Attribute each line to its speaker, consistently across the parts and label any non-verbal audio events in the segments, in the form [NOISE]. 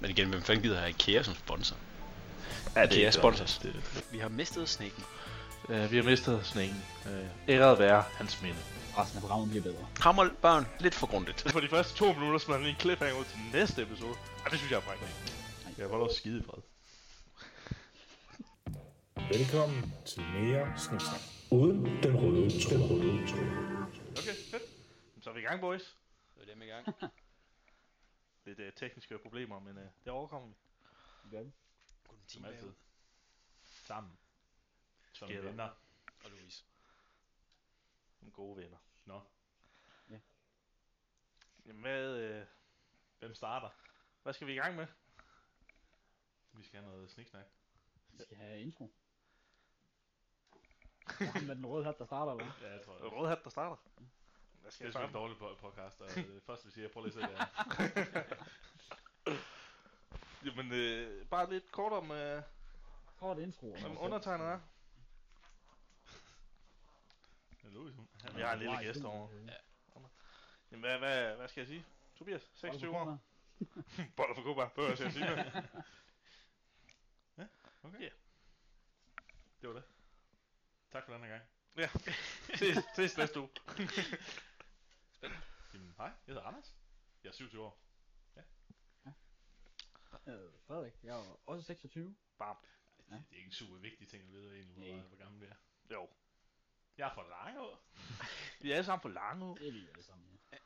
Speaker 1: Men igen, hvem fanden gider have IKEA som sponsor?
Speaker 2: Ja,
Speaker 1: IKEA
Speaker 2: ikke
Speaker 1: sponsors.
Speaker 2: godt. Det,
Speaker 1: Vi har mistet snækken.
Speaker 2: øh, vi har mistet sneen. Øh, æret være hans minde.
Speaker 3: Resten af programmet bliver bedre.
Speaker 1: Krammer børn lidt for grundigt.
Speaker 2: For de første to minutter smed han lige en cliffhanger ud til næste episode. Ej, det synes jeg er prængende. Jeg holder også skide i fred.
Speaker 4: Velkommen til mere sniksnak. Uden den røde tråd. Den røde tråd.
Speaker 2: Okay, fedt. Så er vi i gang, boys.
Speaker 1: Det er dem i gang.
Speaker 2: Lidt øh, tekniske problemer, men øh, det overkommer vi. Som altid. Sammen. Som
Speaker 5: Gælder.
Speaker 2: venner.
Speaker 1: og Louise.
Speaker 2: Som gode venner. Nå.
Speaker 3: Ja.
Speaker 2: Jamen, hvad, øh, hvem starter? Hvad skal vi i gang med? Vi skal have noget sniksnak.
Speaker 3: Vi skal have intro. Det er ham med den røde hat, der starter, eller? hvad?
Speaker 5: Ja, jeg tror det.
Speaker 2: Rødhat, der starter. Hvad skal
Speaker 5: Det er
Speaker 2: jeg
Speaker 5: sådan
Speaker 2: starte?
Speaker 5: en dårlig po- podcast, og øh, det første vi siger, prøv lige at se det her.
Speaker 2: [LAUGHS] Jamen, øh, bare lidt kort om, øh,
Speaker 3: Kort intro. om os
Speaker 2: om
Speaker 3: selv.
Speaker 2: undertegnet er.
Speaker 5: Ja, Louis, hun- han-
Speaker 2: Vi har en lille
Speaker 3: Nej,
Speaker 2: gæst
Speaker 3: det-
Speaker 2: over.
Speaker 3: øh,
Speaker 2: Jamen, hvad, hvad, hvad skal jeg sige? Tobias, 26
Speaker 3: Oliver
Speaker 2: år.
Speaker 3: Kuhlmann.
Speaker 2: Boller for Kuba, behøver jeg selv at sige
Speaker 5: [LAUGHS]
Speaker 2: mere.
Speaker 5: Det var det. Tak for den her gang.
Speaker 2: Ja, ses, ses næste uge.
Speaker 5: Jamen, hej, jeg hedder Anders. Jeg er 27 år.
Speaker 3: Øh, Frederik, jeg er også 26. Ja.
Speaker 5: Det er ikke en super vigtig ting at vide egentlig, hvor,
Speaker 3: Nej.
Speaker 5: hvor gammel vi er.
Speaker 2: Jo,
Speaker 5: Jeg er for lang år.
Speaker 2: [LAUGHS] vi er alle sammen på lange,
Speaker 3: Det er vi alle sammen, ja.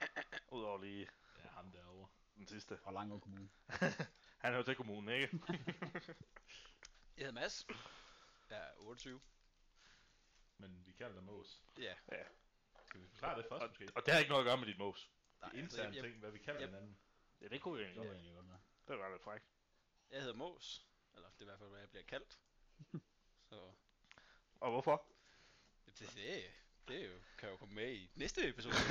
Speaker 2: udover lige
Speaker 5: Ja, ham derovre.
Speaker 2: den sidste.
Speaker 3: Fra Langå Kommune.
Speaker 2: Han er jo til kommunen, ikke?
Speaker 1: Jeg hedder Mads. Jeg er 28.
Speaker 5: Men vi kalder dig Mås.
Speaker 1: Ja.
Speaker 5: Skal vi forklare det først
Speaker 2: Og,
Speaker 5: måske?
Speaker 2: og det har ikke noget at gøre med dit mos.
Speaker 1: Nej,
Speaker 5: Det er
Speaker 1: altså, jeg,
Speaker 5: interne
Speaker 1: jeg,
Speaker 5: ting, hvad vi kalder
Speaker 1: jeg-
Speaker 5: hinanden.
Speaker 2: Ja, det kunne vi
Speaker 3: Det
Speaker 2: egentlig
Speaker 3: er
Speaker 2: godt.
Speaker 3: egentlig godt være.
Speaker 2: Det var lidt frækt.
Speaker 1: jeg hedder Mås. Eller det er i hvert fald, hvad jeg bliver kaldt. Så
Speaker 2: Og [LAUGHS] hvorfor?
Speaker 1: det, det, det er jo, kan jo komme med i næste episode. [LAUGHS]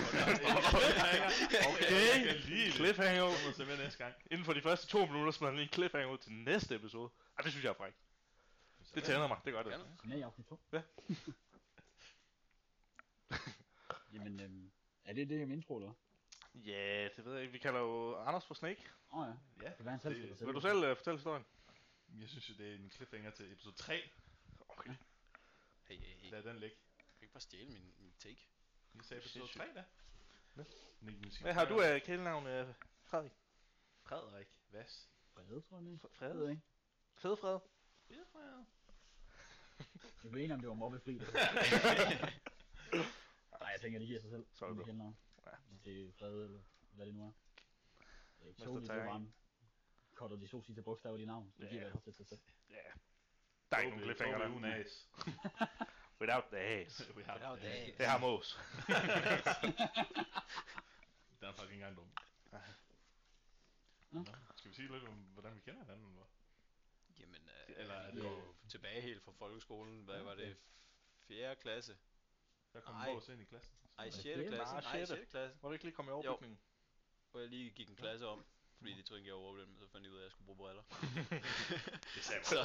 Speaker 2: Okay,
Speaker 5: Jeg kan lige lidt.
Speaker 2: cliffhanger.
Speaker 5: Så må jeg se med næste gang.
Speaker 2: Inden for de første to minutter smed han lige en cliffhanger ud til næste episode. Ej, det synes jeg er frækt. Det tænder mig, det gør det.
Speaker 1: Sådan.
Speaker 3: Så med i afsnit 2.
Speaker 2: Ja.
Speaker 3: [LAUGHS] Jamen, øhm, er det det om intro, eller? hvad?
Speaker 2: Ja, det ved jeg ikke. Vi kalder jo Anders for Snake.
Speaker 3: Åh oh, ja.
Speaker 5: Ja,
Speaker 3: Det kan være, han selv skal
Speaker 5: det-
Speaker 3: fortælle.
Speaker 2: Vil du selv uh, fortælle historien?
Speaker 5: jeg synes jo, det er en cliffhanger til episode 3.
Speaker 2: Okay.
Speaker 1: Hey, hey, hey.
Speaker 5: Lad den ligge.
Speaker 1: Kan ikke bare stjæle min, min take?
Speaker 5: Vi sagde episode
Speaker 2: Sindssygt.
Speaker 5: 3, da.
Speaker 2: Nå.
Speaker 5: Nick,
Speaker 2: Hvad har du af uh, kælenavn, uh, Frederik?
Speaker 5: Frederik Vas.
Speaker 3: Frede, tror jeg, det er.
Speaker 2: F-
Speaker 3: Jeg ved
Speaker 2: Frede?
Speaker 3: ikke.
Speaker 2: Fede Frede?
Speaker 3: Jeg blev enig om, det var
Speaker 5: [LAUGHS]
Speaker 3: mobbefri. Nej, jeg tænker, det giver sig selv.
Speaker 2: Så er det
Speaker 3: det kender.
Speaker 2: Ja.
Speaker 3: Det er Frede, eller hvad det nu er. Det er
Speaker 2: Mester
Speaker 3: Tony, det var
Speaker 2: Tyrone.
Speaker 3: han. Cutter de to sidste bogstaver i dit navn. Det
Speaker 2: Ja.
Speaker 3: giver i hvert fald sig selv.
Speaker 2: Ja. Der er ikke nogen cliffhanger
Speaker 5: der. Uden
Speaker 2: der.
Speaker 1: [LAUGHS]
Speaker 5: as.
Speaker 2: Without the
Speaker 5: [LAUGHS]
Speaker 2: ass.
Speaker 5: Vi har
Speaker 1: Without the as.
Speaker 2: Det har
Speaker 5: [LAUGHS]
Speaker 2: Mås.
Speaker 5: Den er faktisk ikke engang dum.
Speaker 3: Nå.
Speaker 5: Nå, skal vi sige lidt om, hvordan vi kender hinanden? Eller? hvad?
Speaker 1: Jamen, øh,
Speaker 5: Eller er
Speaker 1: vi
Speaker 5: det-
Speaker 1: går jo tilbage helt fra folkeskolen. Hvad var det? 4. klasse?
Speaker 5: Der kom
Speaker 1: Ej.
Speaker 5: Mås ind i klassen.
Speaker 1: Ej,
Speaker 3: det
Speaker 1: 6.
Speaker 3: fjerde?
Speaker 1: klasse.
Speaker 2: Nej,
Speaker 1: Nej,
Speaker 2: sjette.
Speaker 1: 6. klasse.
Speaker 2: Må du ikke lige komme i overbygningen?
Speaker 1: Hvor jeg lige gik en klasse om. Fordi de troede, jeg over dem, så fandt jeg ud af, at jeg skulle bruge briller. [LAUGHS]
Speaker 5: Det sagde
Speaker 1: Så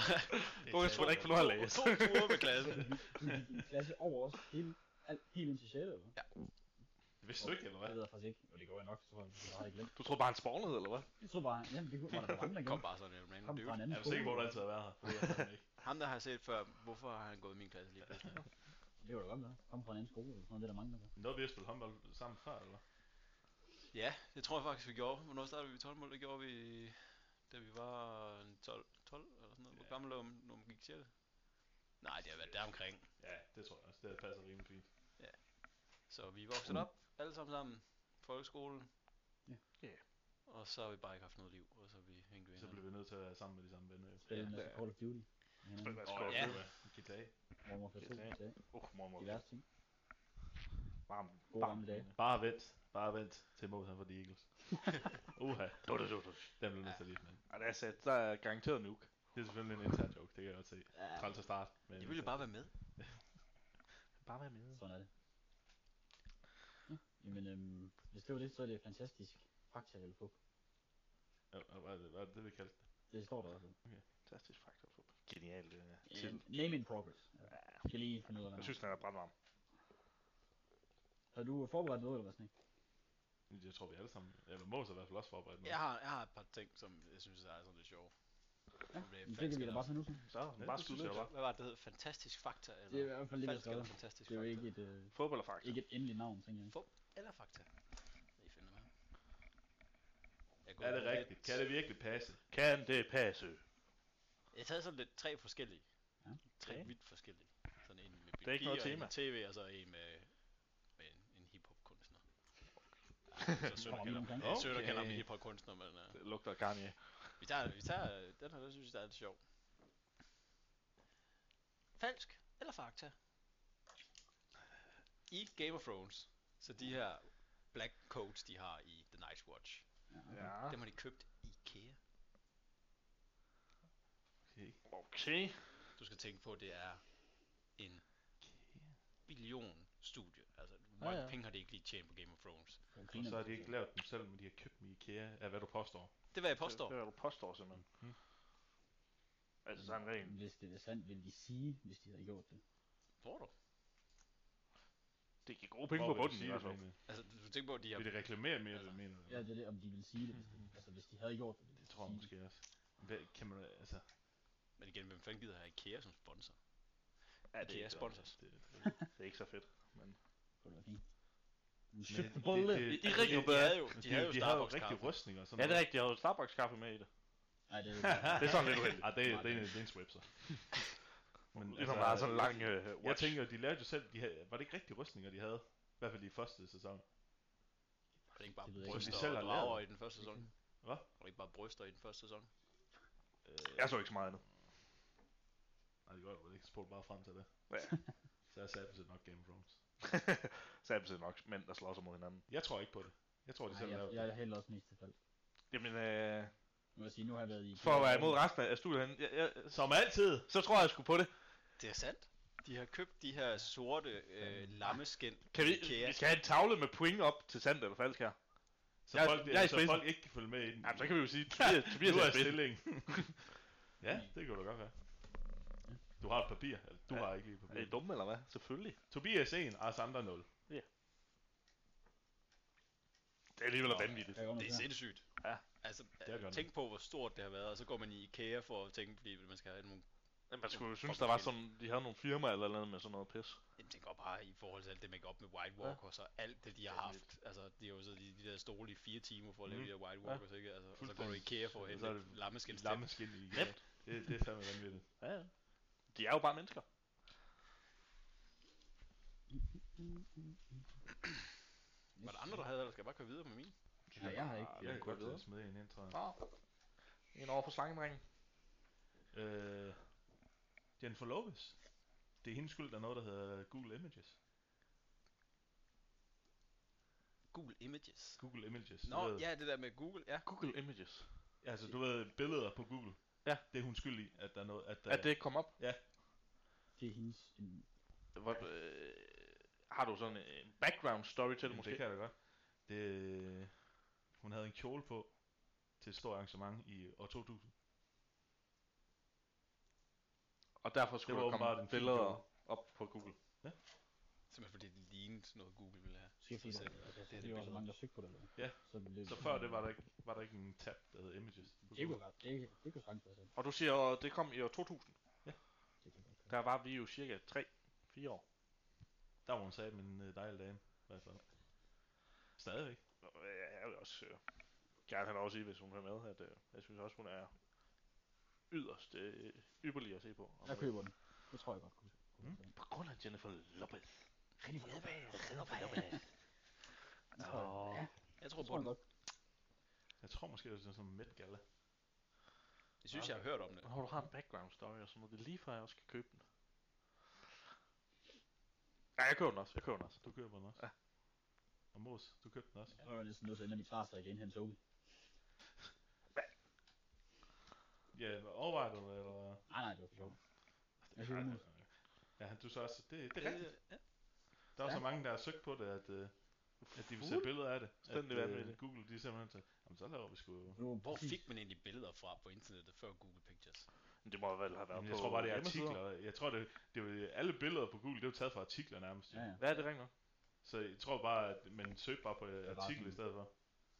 Speaker 2: Du kan sgu da ikke få lov at læse.
Speaker 1: to ture med [LAUGHS] klassen.
Speaker 3: Du gik i klasse over os. Hele, alt, helt ind til 6. eller hvad?
Speaker 5: Det vidste du ikke, eller
Speaker 3: Det
Speaker 5: hvad?
Speaker 3: ved jeg faktisk ikke. Jo, det går jeg nok, tror jeg. Jeg har ikke glemt.
Speaker 2: Du troede bare, han spawnede, eller hvad?
Speaker 3: Jeg tror bare, jamen, det kunne var der bare andre
Speaker 1: Kom
Speaker 3: gang.
Speaker 1: bare sådan en random
Speaker 3: Kom fra en
Speaker 1: dude.
Speaker 3: anden
Speaker 5: Jeg er sikker på, at du altid har
Speaker 2: [LAUGHS]
Speaker 5: været her. Det er jeg fandme ikke.
Speaker 1: Ham, der har jeg set før, hvorfor har han gået i min klasse lige pludselig?
Speaker 3: Det var da godt med. Kom fra en anden skole, eller sådan noget, det er der mange, der gør.
Speaker 5: Nåede vi at spille håndbold sammen før, eller? hvad?
Speaker 1: [LAUGHS] Ja, det tror jeg faktisk, vi gjorde. Hvornår startede vi 12 mål? Det gjorde vi, da vi var en 12, 12 eller sådan noget. Hvor
Speaker 5: Ja.
Speaker 1: gammel var man, når man gik til det? Nej, det har været deromkring.
Speaker 5: Ja, det tror jeg også. Det passer rimelig fint.
Speaker 1: Så vi er vokset op, alle sammen sammen. Folkeskolen.
Speaker 3: Ja.
Speaker 2: Ja.
Speaker 1: Og så har vi bare ikke haft noget liv, og så er vi hængt ved
Speaker 5: Så blev
Speaker 1: hinanden.
Speaker 5: vi nødt til at være sammen med de samme venner. jo.
Speaker 3: Spille en masse
Speaker 1: Ja.
Speaker 3: Call of Duty.
Speaker 2: Spil hvad
Speaker 5: Åh,
Speaker 2: skal
Speaker 5: ja.
Speaker 2: jeg
Speaker 5: Guitar.
Speaker 3: Mormor 2,
Speaker 2: Det er
Speaker 3: GTA.
Speaker 2: Uh, mormor.
Speaker 3: Diverse ting.
Speaker 2: Varm.
Speaker 3: Gode gamle dage.
Speaker 5: Bare vent. Bare vent til Mås han for de [LAUGHS] Eagles. Uha.
Speaker 2: Du, du, du, du.
Speaker 5: Den blev nødt til at lige med.
Speaker 2: Ej, det er sat. Der er garanteret nuke.
Speaker 5: Det er selvfølgelig en intern joke, det kan jeg godt se.
Speaker 3: Ja,
Speaker 5: Træls at starte. Men
Speaker 1: Jeg ville bare være med.
Speaker 2: Bare vær med.
Speaker 3: Sådan er det. Ja. Jamen, øhm, hvis det var det, så er det fantastisk. Fakta eller fup.
Speaker 5: Ja, og Hvad er det, hvad er det, vi kaldte det?
Speaker 3: Det står der også.
Speaker 2: Fantastisk faktor. Genialt. Øh,
Speaker 3: Øh,
Speaker 2: til.
Speaker 3: name in progress. Ja. Jeg skal lige finde ud af,
Speaker 2: Jeg
Speaker 3: hvad
Speaker 2: synes, den er brandvarm.
Speaker 3: Har du forberedt noget, eller hvad sådan ikke?
Speaker 5: Jeg tror, vi alle sammen... Eller Mås er i hvert fald også forberedt nu.
Speaker 1: Jeg har, jeg har et par ting, som jeg synes er sådan lidt sjove.
Speaker 3: Ja,
Speaker 1: Det er
Speaker 3: men det
Speaker 1: falsk
Speaker 3: kan vi da
Speaker 1: alarm.
Speaker 3: bare tage nu. så.
Speaker 2: Så
Speaker 5: det
Speaker 2: ja, bare
Speaker 5: synes
Speaker 2: skyde
Speaker 5: jeg
Speaker 2: løs.
Speaker 1: Hvad var det, det hed? Fantastisk Fakta? Eller?
Speaker 3: Det er i hvert fald lige, hvad
Speaker 1: falsk eller
Speaker 3: skrevet.
Speaker 1: fantastisk
Speaker 3: Det er jo
Speaker 1: fakta?
Speaker 3: ikke et, øh,
Speaker 2: Fodbold eller fakta?
Speaker 3: ikke et endeligt navn, tænker jeg.
Speaker 1: Eller Fakta? I finder mig. Jeg går
Speaker 5: Er det
Speaker 1: lidt-
Speaker 5: rigtigt? Kan det virkelig passe?
Speaker 2: Kan det passe?
Speaker 1: Jeg har taget sådan lidt tre forskellige.
Speaker 3: Ja.
Speaker 1: Tre
Speaker 2: Okay.
Speaker 1: vidt forskellige. Sådan en med
Speaker 2: er ikke noget
Speaker 1: biologi, og en
Speaker 2: tema.
Speaker 1: med tv, og så en med, med en, en
Speaker 3: [LAUGHS]
Speaker 1: hiphop-kunstner. Så Sønder kalder
Speaker 3: Kommer vi
Speaker 1: mig,
Speaker 3: omkring?
Speaker 1: ja, Sønder kalder mig
Speaker 5: Okay.
Speaker 1: hiphop-kunstner, men uh,
Speaker 5: Det lugter af Kanye.
Speaker 1: vi tager, vi tager øh, den her, den synes jeg der er lidt sjov. Falsk eller fakta? I Game of Thrones, så de her black coats, de har i The Night's Watch,
Speaker 3: Ja, okay.
Speaker 2: Ja.
Speaker 1: dem har de købt i IKEA.
Speaker 5: Okay.
Speaker 2: Okay.
Speaker 1: Du skal tænke på, at det er en billion studie. Altså, hvor
Speaker 2: Ja,
Speaker 1: mange
Speaker 2: ja.
Speaker 1: penge har det ikke lige tjent på Game of Thrones?
Speaker 3: Den
Speaker 5: Og
Speaker 3: griner
Speaker 5: så har
Speaker 3: vi
Speaker 5: de ikke
Speaker 3: til.
Speaker 5: lavet dem selv, men de har købt dem i IKEA, af hvad du påstår.
Speaker 1: Det var jeg
Speaker 2: Det,
Speaker 1: påstår.
Speaker 2: det er, hvad du påstår simpelthen.
Speaker 5: Mhm.
Speaker 2: Altså sådan rent.
Speaker 3: Hvis det er sandt, vil de sige, hvis de havde gjort det.
Speaker 1: Tror du?
Speaker 2: Det giver gode penge
Speaker 5: Hvor
Speaker 2: på
Speaker 5: vil du
Speaker 2: bunden i
Speaker 5: sige
Speaker 2: hvert
Speaker 5: det
Speaker 2: fald.
Speaker 5: henne?
Speaker 1: Altså, du du tænker på, at de har...
Speaker 5: Vil de reklamere mere,
Speaker 1: Altså,
Speaker 5: det mener du?
Speaker 3: Ja, det er det, om de vil [LAUGHS] sige det. Hvis de, altså, hvis de havde gjort det.
Speaker 5: Det tror jeg måske også. Hvad, kan man, altså...
Speaker 1: Men igen, hvem fanden gider have IKEA som sponsor?
Speaker 2: Ja, det, er
Speaker 1: IKEA
Speaker 2: ikke så-
Speaker 1: sponsors.
Speaker 5: Det, det,
Speaker 2: det er ikke så fedt. Men...
Speaker 3: Det var fint.
Speaker 5: det, det,
Speaker 2: Bolle.
Speaker 5: det-
Speaker 1: I
Speaker 5: altså,
Speaker 1: rigtig
Speaker 5: de-
Speaker 1: de havde jo, de
Speaker 5: De,
Speaker 1: havde jo
Speaker 5: de havde jo
Speaker 1: Starbucks
Speaker 5: rigtig
Speaker 1: kaffe.
Speaker 5: rustning og sådan
Speaker 2: Ja, det er rigtigt. Jeg havde Starbucks kaffe med i det.
Speaker 3: Nej, det er
Speaker 2: [LAUGHS] Det er sådan lidt uheldigt.
Speaker 5: Ah, det, er- det, er en- det er en swipser. Men
Speaker 2: Det er sådan bare sådan en lang øh, watch.
Speaker 5: altså- Jeg tænker, de lavede jo selv, de havde, var det ikke rigtig rustninger, de havde? I hvert fald i første sæson.
Speaker 1: Var det ikke bare
Speaker 3: Det ved jeg ikke,
Speaker 5: om de
Speaker 1: bryster
Speaker 5: selv
Speaker 1: og
Speaker 5: har
Speaker 1: drager
Speaker 5: lavet.
Speaker 1: i den første sæson?
Speaker 5: Hvad?
Speaker 1: Var det ikke bare bryster i den første sæson?
Speaker 5: Øh,
Speaker 2: Jeg så ikke så meget andet.
Speaker 5: Nej, det gør jeg vel ikke. Så spurgte bare frem til det.
Speaker 2: Ja.
Speaker 5: [LAUGHS] Så jeg sagde nok Game of Thrones.
Speaker 2: [LAUGHS] Så er det nok mænd, der slår sig mod hinanden.
Speaker 5: Jeg tror ikke på det. Jeg tror, de
Speaker 3: Nej,
Speaker 5: selv
Speaker 3: jeg,
Speaker 5: lavede
Speaker 3: jeg
Speaker 5: det.
Speaker 3: er heller også mest tilfælde.
Speaker 2: Jamen, øh,
Speaker 3: Nu vil jeg sige, nu har jeg været i...
Speaker 2: for at være imod resten af studiet, herinde, jeg, jeg,
Speaker 5: Som altid!
Speaker 2: så tror jeg, jeg skulle på det.
Speaker 1: Det er sandt. De har købt de her sorte øh, lammeskin
Speaker 2: Kan vi,
Speaker 1: i IKEA.
Speaker 2: vi skal have en tavle med point op til sandt eller falsk her.
Speaker 5: Så,
Speaker 2: Jeg-
Speaker 5: folk,
Speaker 2: jeg er i
Speaker 5: så
Speaker 2: spidsen.
Speaker 5: folk ikke kan følge med i den.
Speaker 2: Jamen, så kan vi jo sige, [LAUGHS] Tobias, Tobias
Speaker 5: du
Speaker 2: er
Speaker 5: er
Speaker 2: i spidsen.
Speaker 5: stilling. [LAUGHS] ja, det kan du godt være. Du har et papir. Eller, du
Speaker 2: Ja.
Speaker 5: har ikke lige et
Speaker 2: Er I
Speaker 5: papir.
Speaker 2: dumme eller hvad? Selvfølgelig.
Speaker 5: Tobias 1, og os andre 0.
Speaker 2: Det er alligevel
Speaker 1: Nå.
Speaker 2: vanvittigt.
Speaker 1: Det er sindssygt.
Speaker 2: Ja.
Speaker 1: Altså,
Speaker 5: er godt nok.
Speaker 1: tænk på, hvor stort det har været, og så går man i IKEA for at tænke, fordi man skal have nogle...
Speaker 2: Jamen, man skulle jo
Speaker 1: Fuck,
Speaker 2: synes,
Speaker 1: hvor
Speaker 2: der var
Speaker 1: fedt.
Speaker 2: sådan, de havde nogle firmaer eller noget med sådan noget pis.
Speaker 1: Jeg tænker bare i forhold til alt det make op med White Walkers og alt det, de har haft. Altså, de har jo siddet i de der stole i fire timer for at lave
Speaker 5: Mhm.
Speaker 1: de der White Walkers, ikke? Altså, og så går du i
Speaker 5: Fuldstændig.
Speaker 1: IKEA for at
Speaker 5: Og så er
Speaker 1: hente
Speaker 5: det
Speaker 1: lammeskin
Speaker 5: Lammeskin i
Speaker 2: Yep.
Speaker 5: det, det er fandme vanvittigt.
Speaker 2: Ja, ja. De er jo bare mennesker.
Speaker 1: Var der andre, der havde, eller skal jeg bare køre videre med min?
Speaker 3: Nej, jeg har ikke.
Speaker 5: Ah,
Speaker 2: Jeg
Speaker 5: jeg
Speaker 2: kan
Speaker 5: kan
Speaker 2: godt
Speaker 5: godt
Speaker 2: vide.
Speaker 5: smide en ind, tror jeg.
Speaker 2: Nå. En over for slangedrengen.
Speaker 5: Øh, Jennifer Lopez. Det er hendes skyld, der er noget, der hedder Google Images.
Speaker 1: Google Images.
Speaker 5: Google Images. du
Speaker 1: Nå,
Speaker 5: ved.
Speaker 1: ja, det der med Google, ja.
Speaker 2: Google Images.
Speaker 5: Altså, du ved, billeder på Google.
Speaker 2: Ja.
Speaker 5: Det er hun skyld i, at der er noget... At, øh, der,
Speaker 2: At det ikke kom op.
Speaker 3: Det er hendes... en-
Speaker 2: Hvor, øh, har du sådan en background story til det måske?
Speaker 5: Det kan jeg da godt. Det, øh, hun havde en kjole på til et stort arrangement i år 2000.
Speaker 2: Og derfor skulle
Speaker 5: var
Speaker 2: der
Speaker 5: åbenbart
Speaker 2: komme
Speaker 5: en fin
Speaker 2: billeder op på Google.
Speaker 1: Simpelthen fordi det lignede noget, Google ville have.
Speaker 3: Skal jeg
Speaker 1: Så-
Speaker 3: sige det? Altså,
Speaker 1: det er
Speaker 3: Det var så
Speaker 1: billede.
Speaker 3: mange, der søgte på det. eller hvad?
Speaker 5: Ja.
Speaker 3: Så, blev,
Speaker 5: Så før det var der ikke, var der ikke en tab, der hed Images.
Speaker 3: Det kunne godt. Det, det kunne sagtens være sandt.
Speaker 2: Og du siger, at det kom i år 2000.
Speaker 3: Det kan godt
Speaker 2: Der
Speaker 3: være.
Speaker 2: var vi jo cirka 3-4 år.
Speaker 5: Der var hun sagde, men øh, dejlig dame, i hvert fald. Stadigvæk.
Speaker 2: Nå, ja, Jeg vil også øh, gerne have lov at sige, hvis hun hører med, at øh, jeg synes også, hun er yderst øh, ypperlig at se på. Og
Speaker 3: Jeg
Speaker 2: med-
Speaker 3: køber den. Det tror jeg godt. kunne-
Speaker 5: Mm.
Speaker 2: På grund af Jennifer Lopez.
Speaker 3: Rigtig godt. Jeg tror,
Speaker 2: Åh.
Speaker 3: ja,
Speaker 1: Jeg tror
Speaker 3: jeg
Speaker 1: på
Speaker 3: tror
Speaker 1: den.
Speaker 3: godt.
Speaker 5: Jeg tror måske, det er sådan noget Met Gala.
Speaker 1: Jeg synes, jeg har hørt om det.
Speaker 2: Når du har en background story og sådan noget, det er lige før jeg også skal købe den. Ja, jeg køber den også. Jeg køber den også.
Speaker 5: Du køber den også.
Speaker 2: Ja.
Speaker 5: Og Mos, du købte den også.
Speaker 3: Jeg var næsten nødt til at ændre mit svar, så jeg kan indhente Tobi.
Speaker 5: Ja, overvejer du det, eller?
Speaker 3: Nej, nej, det var for sjovt. Jeg
Speaker 5: Ja,
Speaker 3: køber den.
Speaker 5: Ja, du så også, det,
Speaker 2: Øh,
Speaker 5: det er rigtigt.
Speaker 1: Det, ja.
Speaker 5: Der er
Speaker 3: Ja.
Speaker 5: så mange, der har søgt på det, at, øh, at de vil se billeder af det. At, øh,
Speaker 2: Fuldstændig vanvittigt.
Speaker 5: Google, de er simpelthen til, jamen så laver vi sgu...
Speaker 3: Det var
Speaker 1: Hvor
Speaker 3: præcis-
Speaker 1: fik man egentlig billeder fra på internettet før Google Pictures?
Speaker 2: Men det må vel have været
Speaker 5: Jamen,
Speaker 2: på
Speaker 5: jeg tror bare, det er
Speaker 2: hjemmesider.
Speaker 5: artikler. Jeg tror, det, det er, alle billeder på Google, det er jo taget fra artikler nærmest. jo.
Speaker 3: Ja, ja.
Speaker 2: Ja, det ringer.
Speaker 5: Så jeg tror bare, at man søgte bare på øh,
Speaker 3: er bare
Speaker 5: artikel
Speaker 3: sådan-
Speaker 5: i stedet for.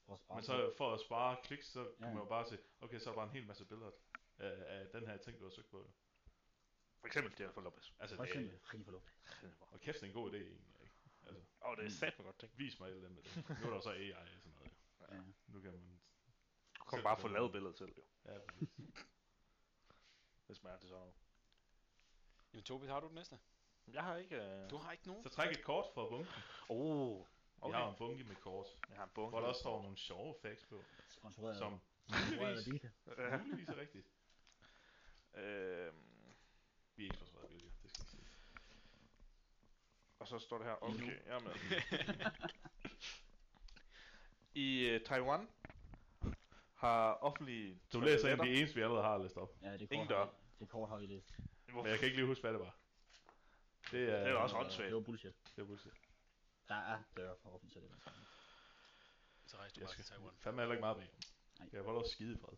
Speaker 3: For at spare
Speaker 5: Men
Speaker 3: lidt.
Speaker 5: så for at spare klik, så kan
Speaker 3: Ja.
Speaker 5: man jo bare se, okay, så er der bare en hel masse billeder øh, af, af den her ting, du har søgt på.
Speaker 2: For eksempel Jennifer Lopez.
Speaker 5: Altså,
Speaker 3: For
Speaker 5: det
Speaker 3: eksempel
Speaker 5: er,
Speaker 3: Jennifer Lopez.
Speaker 5: og kæft, det er en god idé egentlig. Ikke?
Speaker 2: Åh, det er sat godt ting.
Speaker 5: Vis mig et eller andet med det. Nu er der jo så AI og sådan noget. jo.
Speaker 3: Ja.
Speaker 5: Nu kan man...
Speaker 2: Du kan
Speaker 5: Selv
Speaker 2: bare
Speaker 5: hvis
Speaker 2: få
Speaker 5: man-
Speaker 2: lavet billedet selv, jo.
Speaker 5: Ja, præcis.
Speaker 2: Hvis man er til sådan noget.
Speaker 1: Jamen Tobi, har du den næste?
Speaker 2: Jeg har ikke... Øh...
Speaker 1: Du har ikke nogen?
Speaker 5: så træk et kort fra bunken.
Speaker 2: Oh,
Speaker 5: Okay.
Speaker 2: okay.
Speaker 5: Jeg har en bunke med kort,
Speaker 2: Jeg har en bunke.
Speaker 5: hvor der også står nogle sjove facts på,
Speaker 3: Sponsoreret
Speaker 5: som
Speaker 3: som sponsoreret af Adidas.
Speaker 2: Ja.
Speaker 5: muligvis er rigtigt.
Speaker 2: Øhm,
Speaker 5: Vi er ikke sponsoreret af Bilka, det skal jeg sige.
Speaker 2: og så står det her, okay, jeg er med. I uh, Taiwan har offentlige
Speaker 5: Du læser ind
Speaker 2: toiletter-
Speaker 5: det eneste, vi allerede har læst op.
Speaker 3: Ja, det er
Speaker 2: Ingen
Speaker 3: kort,
Speaker 2: dør.
Speaker 3: har- det er kort har vi det.
Speaker 2: Hvorfor?
Speaker 5: Men jeg kan ikke lige huske, hvad det var. Det er,
Speaker 2: Det er da også
Speaker 3: Øh,
Speaker 2: åndssvagt.
Speaker 3: Det var bullshit.
Speaker 5: Det er bullshit.
Speaker 3: Der er døre for offentlige toiletter.
Speaker 1: Så rejser du
Speaker 5: Jeg
Speaker 1: bare til
Speaker 5: skal
Speaker 1: Taiwan.
Speaker 5: fandme heller ikke meget bag.
Speaker 3: Nej.
Speaker 5: Jeg får lov at skide i fred.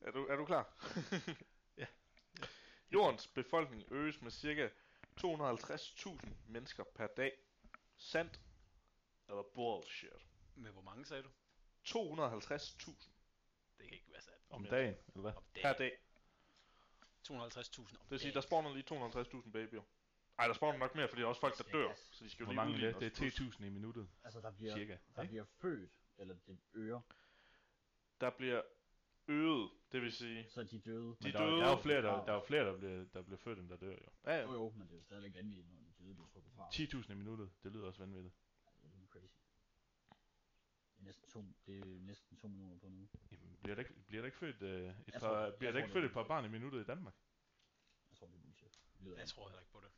Speaker 2: Er du, er du klar?
Speaker 5: [LAUGHS] Ja.
Speaker 2: Jordens befolkning øges med cirka 250.000 mennesker per dag. Sandt eller bullshit?
Speaker 1: Men hvor mange sagde du?
Speaker 2: 250.000
Speaker 1: Det kan ikke være sandt.
Speaker 5: Om dagen, eller hvad?
Speaker 1: Om
Speaker 2: per
Speaker 1: dagen.
Speaker 2: dag.
Speaker 1: 250.000 om
Speaker 2: Det vil sige, der
Speaker 1: dagen.
Speaker 2: spawner lige 250.000 babyer. Ej, der spawner nok mere, fordi der er også folk, der dør. Så de skal jo
Speaker 5: Hvor
Speaker 2: lige
Speaker 5: mange er
Speaker 2: udligne
Speaker 5: det? Det
Speaker 2: os. Plus,
Speaker 5: er 10.000 i minuttet,
Speaker 3: Altså, der bliver,
Speaker 5: cirka.
Speaker 3: der
Speaker 5: ikke?
Speaker 3: bliver født, eller det øger,
Speaker 2: Der bliver øget, det vil sige...
Speaker 3: så er de døde.
Speaker 5: Men
Speaker 2: De
Speaker 5: der, er-
Speaker 2: døde-
Speaker 5: der, er jo flere, der, der er jo flere, der bliver, der bliver født, end der dør jo.
Speaker 2: Ja,
Speaker 3: Jo
Speaker 2: ja.
Speaker 3: jo, men det er jo stadigvæk vanvittigt, når de døde bliver trukket fra.
Speaker 5: 10.000 i minuttet, det lyder også vanvittigt.
Speaker 3: Det er helt crazy. Det er næsten to, det er næsten to millioner på nu.
Speaker 5: Jamen, bliver der ikke, bliver der ikke født, øh, et,
Speaker 3: Jeg
Speaker 5: par,
Speaker 3: tror- jeg
Speaker 5: bliver der
Speaker 3: tror,
Speaker 5: ikke
Speaker 3: det
Speaker 5: født
Speaker 3: er-
Speaker 5: et par barn i minuttet i Danmark?
Speaker 3: Jeg tror, det er bullshit. Det lyder
Speaker 1: Jeg
Speaker 3: ikke.
Speaker 1: tror heller ikke på det.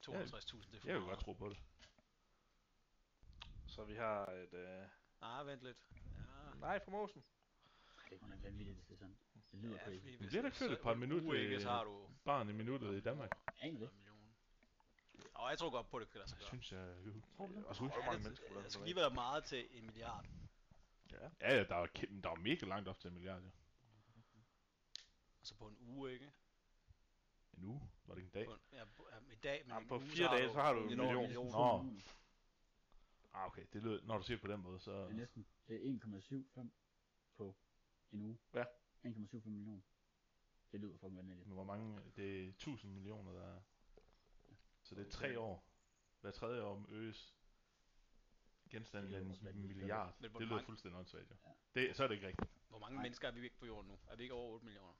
Speaker 1: 250.000, det er for
Speaker 5: Jeg kan
Speaker 1: meget.
Speaker 5: godt tro på det.
Speaker 2: Så vi har et... Øh...
Speaker 1: Ah, vent lidt. Ja.
Speaker 2: Nej, for Mosen.
Speaker 3: Ej, det er kun en vanvittigt, hvis det er sådan. Det lyder
Speaker 1: Ja,
Speaker 3: crazy.
Speaker 1: fordi
Speaker 5: bliver
Speaker 1: hvis
Speaker 5: der
Speaker 1: det
Speaker 5: ikke født
Speaker 1: så-
Speaker 5: et par minutter
Speaker 1: uge ikke,
Speaker 5: i-
Speaker 1: så har du
Speaker 5: Barn i minuttet i Danmark.
Speaker 3: Aner det.
Speaker 1: en million. Og jeg tror godt på, det kan lade sig
Speaker 5: Jeg
Speaker 1: gøre.
Speaker 5: synes, jeg...
Speaker 2: Øh, Og så hvor mange mennesker
Speaker 1: Ja,
Speaker 2: der
Speaker 1: det altså,
Speaker 2: er
Speaker 1: skal
Speaker 2: på
Speaker 1: lige
Speaker 2: det.
Speaker 1: være meget til en milliard.
Speaker 5: Ja, ja, der er, jo kæm- der er jo mega langt op til en milliard, jo.
Speaker 1: Og så altså på en uge, ikke?
Speaker 5: En uge? Var det ikke en dag?
Speaker 1: På en, ja, på, ja, i dag, men
Speaker 2: Jamen,
Speaker 1: en
Speaker 2: på
Speaker 1: uge,
Speaker 2: fire dage, så har du en
Speaker 1: en
Speaker 2: million.
Speaker 5: Nå.
Speaker 3: Mm.
Speaker 5: Ah, okay. Det lyder, når du siger det på den måde, så...
Speaker 3: Det er næsten, det er 1,75 på en uge.
Speaker 2: Ja.
Speaker 3: 1,75 millioner. Det lyder fucking vanvittigt.
Speaker 5: Men hvor mange... Det er 1000 millioner, der er. Så det er tre år. Hver tredje år øges
Speaker 3: Det
Speaker 5: genstanden med
Speaker 3: lyder også
Speaker 5: en
Speaker 3: vanvittigt.
Speaker 5: milliard.
Speaker 1: Men hvor
Speaker 5: Det lyder
Speaker 1: mange-
Speaker 5: fuldstændig åndssvagt, jo.
Speaker 3: Ja.
Speaker 5: Det, så er det ikke rigtigt.
Speaker 1: Hvor mange
Speaker 3: Nej.
Speaker 1: mennesker er vi ikke på jorden nu? Er vi ikke over 8 millioner?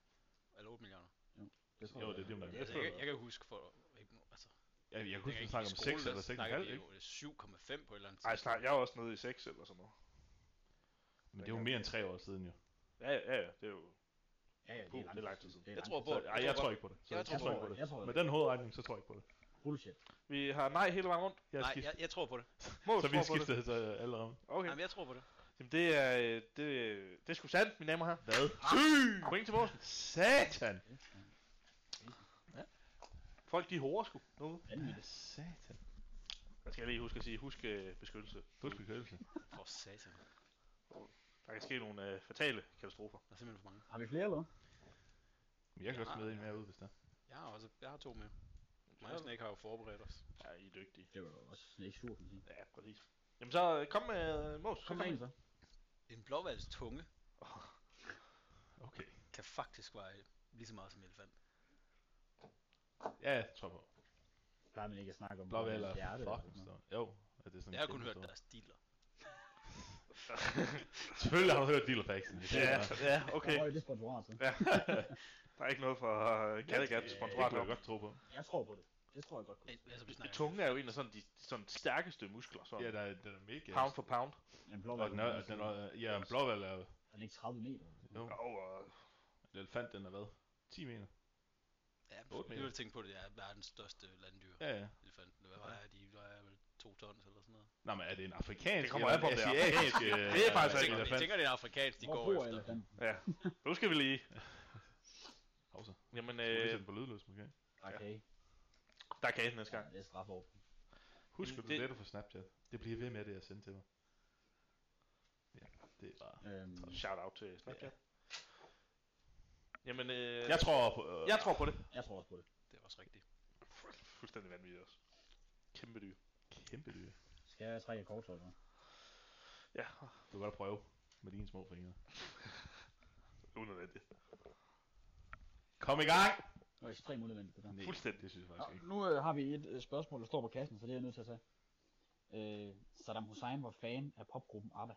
Speaker 1: Eller 8 milliarder?
Speaker 3: tror
Speaker 5: Jo,
Speaker 3: jeg.
Speaker 5: det er det, man
Speaker 3: Jeg
Speaker 1: Altså, jeg, kan- jeg kan huske for... Ikke, nu- altså,
Speaker 5: Jeg, jeg kunne
Speaker 1: dengang
Speaker 5: huske,
Speaker 1: jeg
Speaker 5: vi snakkede
Speaker 1: gik
Speaker 5: om
Speaker 1: i
Speaker 5: 6
Speaker 1: skole,
Speaker 5: eller
Speaker 1: der snakkede
Speaker 5: 6,5,
Speaker 1: vi
Speaker 5: ikke?
Speaker 1: jo 7,5 på et eller andet
Speaker 2: Ej, snart, jeg er også nede i 6 eller sådan noget.
Speaker 5: Men det er jo mere end tre år siden, jo.
Speaker 2: Ja, ja, ja, det er jo...
Speaker 3: Ja, ja,
Speaker 2: Uh, det er lang
Speaker 3: lang
Speaker 2: tid siden.
Speaker 3: Det er
Speaker 1: Jeg
Speaker 3: lang
Speaker 1: tror
Speaker 3: tid
Speaker 1: på
Speaker 5: Så,
Speaker 1: det.
Speaker 5: ej, jeg tror ikke på det. Så,
Speaker 1: Jeg
Speaker 5: jeg
Speaker 1: tror
Speaker 5: tror
Speaker 1: på
Speaker 5: ikke på
Speaker 3: siden.
Speaker 5: det.
Speaker 3: Jeg tror,
Speaker 5: Med
Speaker 3: det.
Speaker 5: den hovedregning, så tror jeg ikke på det.
Speaker 3: Bullshit.
Speaker 2: Vi har nej hele vejen rundt.
Speaker 5: Jeg
Speaker 1: Nej,
Speaker 5: skifter.
Speaker 1: jeg, jeg tror på det.
Speaker 2: Mås
Speaker 5: Så vi
Speaker 2: tror på det.
Speaker 5: skiftede så øh, allerede.
Speaker 2: Okay.
Speaker 1: Jamen, jeg tror på det.
Speaker 2: Jamen, det er, øh, det, det er sgu sandt, mine damer her.
Speaker 5: Hvad?
Speaker 2: Point til Morsen.
Speaker 5: Satan!
Speaker 2: Folk, de hårer sgu. Nu.
Speaker 3: Vanvittigt.
Speaker 5: Satan.
Speaker 2: Jeg skal lige huske at sige, husk øh, beskyttelse.
Speaker 5: Husk bekøbelse.
Speaker 1: For satan.
Speaker 2: Der kan ske nogle øh, fatale katastrofer.
Speaker 1: Der er simpelthen for mange.
Speaker 3: Har vi flere eller hvad?
Speaker 5: Men jeg kan
Speaker 1: Ja,
Speaker 2: Ah.
Speaker 5: også smide en
Speaker 1: ja.
Speaker 5: mere ud, hvis der.
Speaker 1: Jeg har også jeg har to med. Mig og Snake har jo forberedt os.
Speaker 2: Ja, I er dygtige.
Speaker 3: Det var jo også sådan ikke surt, kan man sige.
Speaker 2: Ja, præcis. Jamen så øh, kom med øh, Mås.
Speaker 3: Kom med en så.
Speaker 1: En blåvalgs tunge
Speaker 5: Okay.
Speaker 1: kan faktisk veje lige så meget som en elefant.
Speaker 5: Ja, jeg tror på.
Speaker 3: Plejer man ikke at snakke om
Speaker 5: Blå
Speaker 3: hvordan
Speaker 5: eller
Speaker 3: deres hjerte eller
Speaker 5: fucking
Speaker 3: sådan noget.
Speaker 5: stå. Jo, at det er sådan
Speaker 1: Jeg har kun hørt
Speaker 5: kæmpe
Speaker 1: deres dealer.
Speaker 5: stor. Selvfølgelig har du hørt Dealer Facts.
Speaker 2: [LAUGHS] Ja, ja, okay.
Speaker 3: Der røg det sponsorat så.
Speaker 2: Ja. [LAUGHS] der er ikke noget for øh, Kattegat
Speaker 5: Det
Speaker 2: sponsorat.
Speaker 5: kunne jeg
Speaker 2: Ja,
Speaker 5: godt tro på.
Speaker 3: Jeg tror på det. Det tror jeg godt på.
Speaker 1: Al- Altså, vi snakker
Speaker 2: Tunge er jo en af sådan de sådan stærkeste muskler, så
Speaker 5: Ja, der, er- den er mega.
Speaker 2: pound for pound.
Speaker 3: En blå
Speaker 5: Og den er, den er, ja, en blåvalg er jo,
Speaker 3: Den er ikke 30 meter.
Speaker 5: jo,
Speaker 2: Og, øh,
Speaker 5: en elefant, den er hvad? 10 meter.
Speaker 1: Ja,
Speaker 5: Otte
Speaker 1: nu
Speaker 5: meter.
Speaker 1: vil jeg tænke på, at det er verdens største landdyr.
Speaker 5: Ja, ja.
Speaker 1: Elefant. Hvad vejer de? De vejer vel to tons eller sådan noget.
Speaker 5: Nå, men er det en afrikansk
Speaker 2: Det kommer an på, om det er
Speaker 5: asiatisk, øh,
Speaker 2: Det er
Speaker 1: Jeg
Speaker 2: faktisk Altså,
Speaker 1: tænker,
Speaker 2: en
Speaker 1: jeg tænker, det er en afrikansk, de
Speaker 3: Hvor
Speaker 1: går
Speaker 3: bor
Speaker 1: efter.
Speaker 3: elefanten?
Speaker 2: ja. Nu skal vi lige.
Speaker 5: Hovsa.
Speaker 2: Jamen,
Speaker 5: Skal vi lige
Speaker 2: øh,
Speaker 5: sætte den ligesom på lydløs, måske?
Speaker 3: Okay.
Speaker 2: der er kagen næste
Speaker 3: Ja,
Speaker 2: gang.
Speaker 3: det er strafår.
Speaker 5: Husk,
Speaker 2: Men
Speaker 5: at du
Speaker 2: det-
Speaker 5: letter for Snapchat. Det bliver ved med det, jeg sendte til mig. Ja, det er bare...
Speaker 3: Øhm,
Speaker 2: Shout out til Snapchat. Jamen, øh,
Speaker 5: Jeg tror på... Øh,
Speaker 2: jeg tror på det.
Speaker 3: jeg tror også på det.
Speaker 1: Det er også rigtigt.
Speaker 2: Fuldstændig vanvittigt også.
Speaker 5: Kæft,
Speaker 2: Kæmpe dyr.
Speaker 5: Kæmpe dyr.
Speaker 3: Skal jeg trække kort eller hvad?
Speaker 2: Ja,
Speaker 5: Du kan godt prøve med dine små fingre.
Speaker 2: unødvendigt.
Speaker 5: Kom i gang!
Speaker 3: Det var ekstremt unødvendigt det der.
Speaker 5: Nej,
Speaker 2: Fuldstændig.
Speaker 5: det synes jeg faktisk
Speaker 3: Nå,
Speaker 5: ikke.
Speaker 3: nu øh, har vi et øh, spørgsmål, der står på kassen, så det er jeg nødt til at tage. Øh, Saddam Hussein var fan af popgruppen ABBA.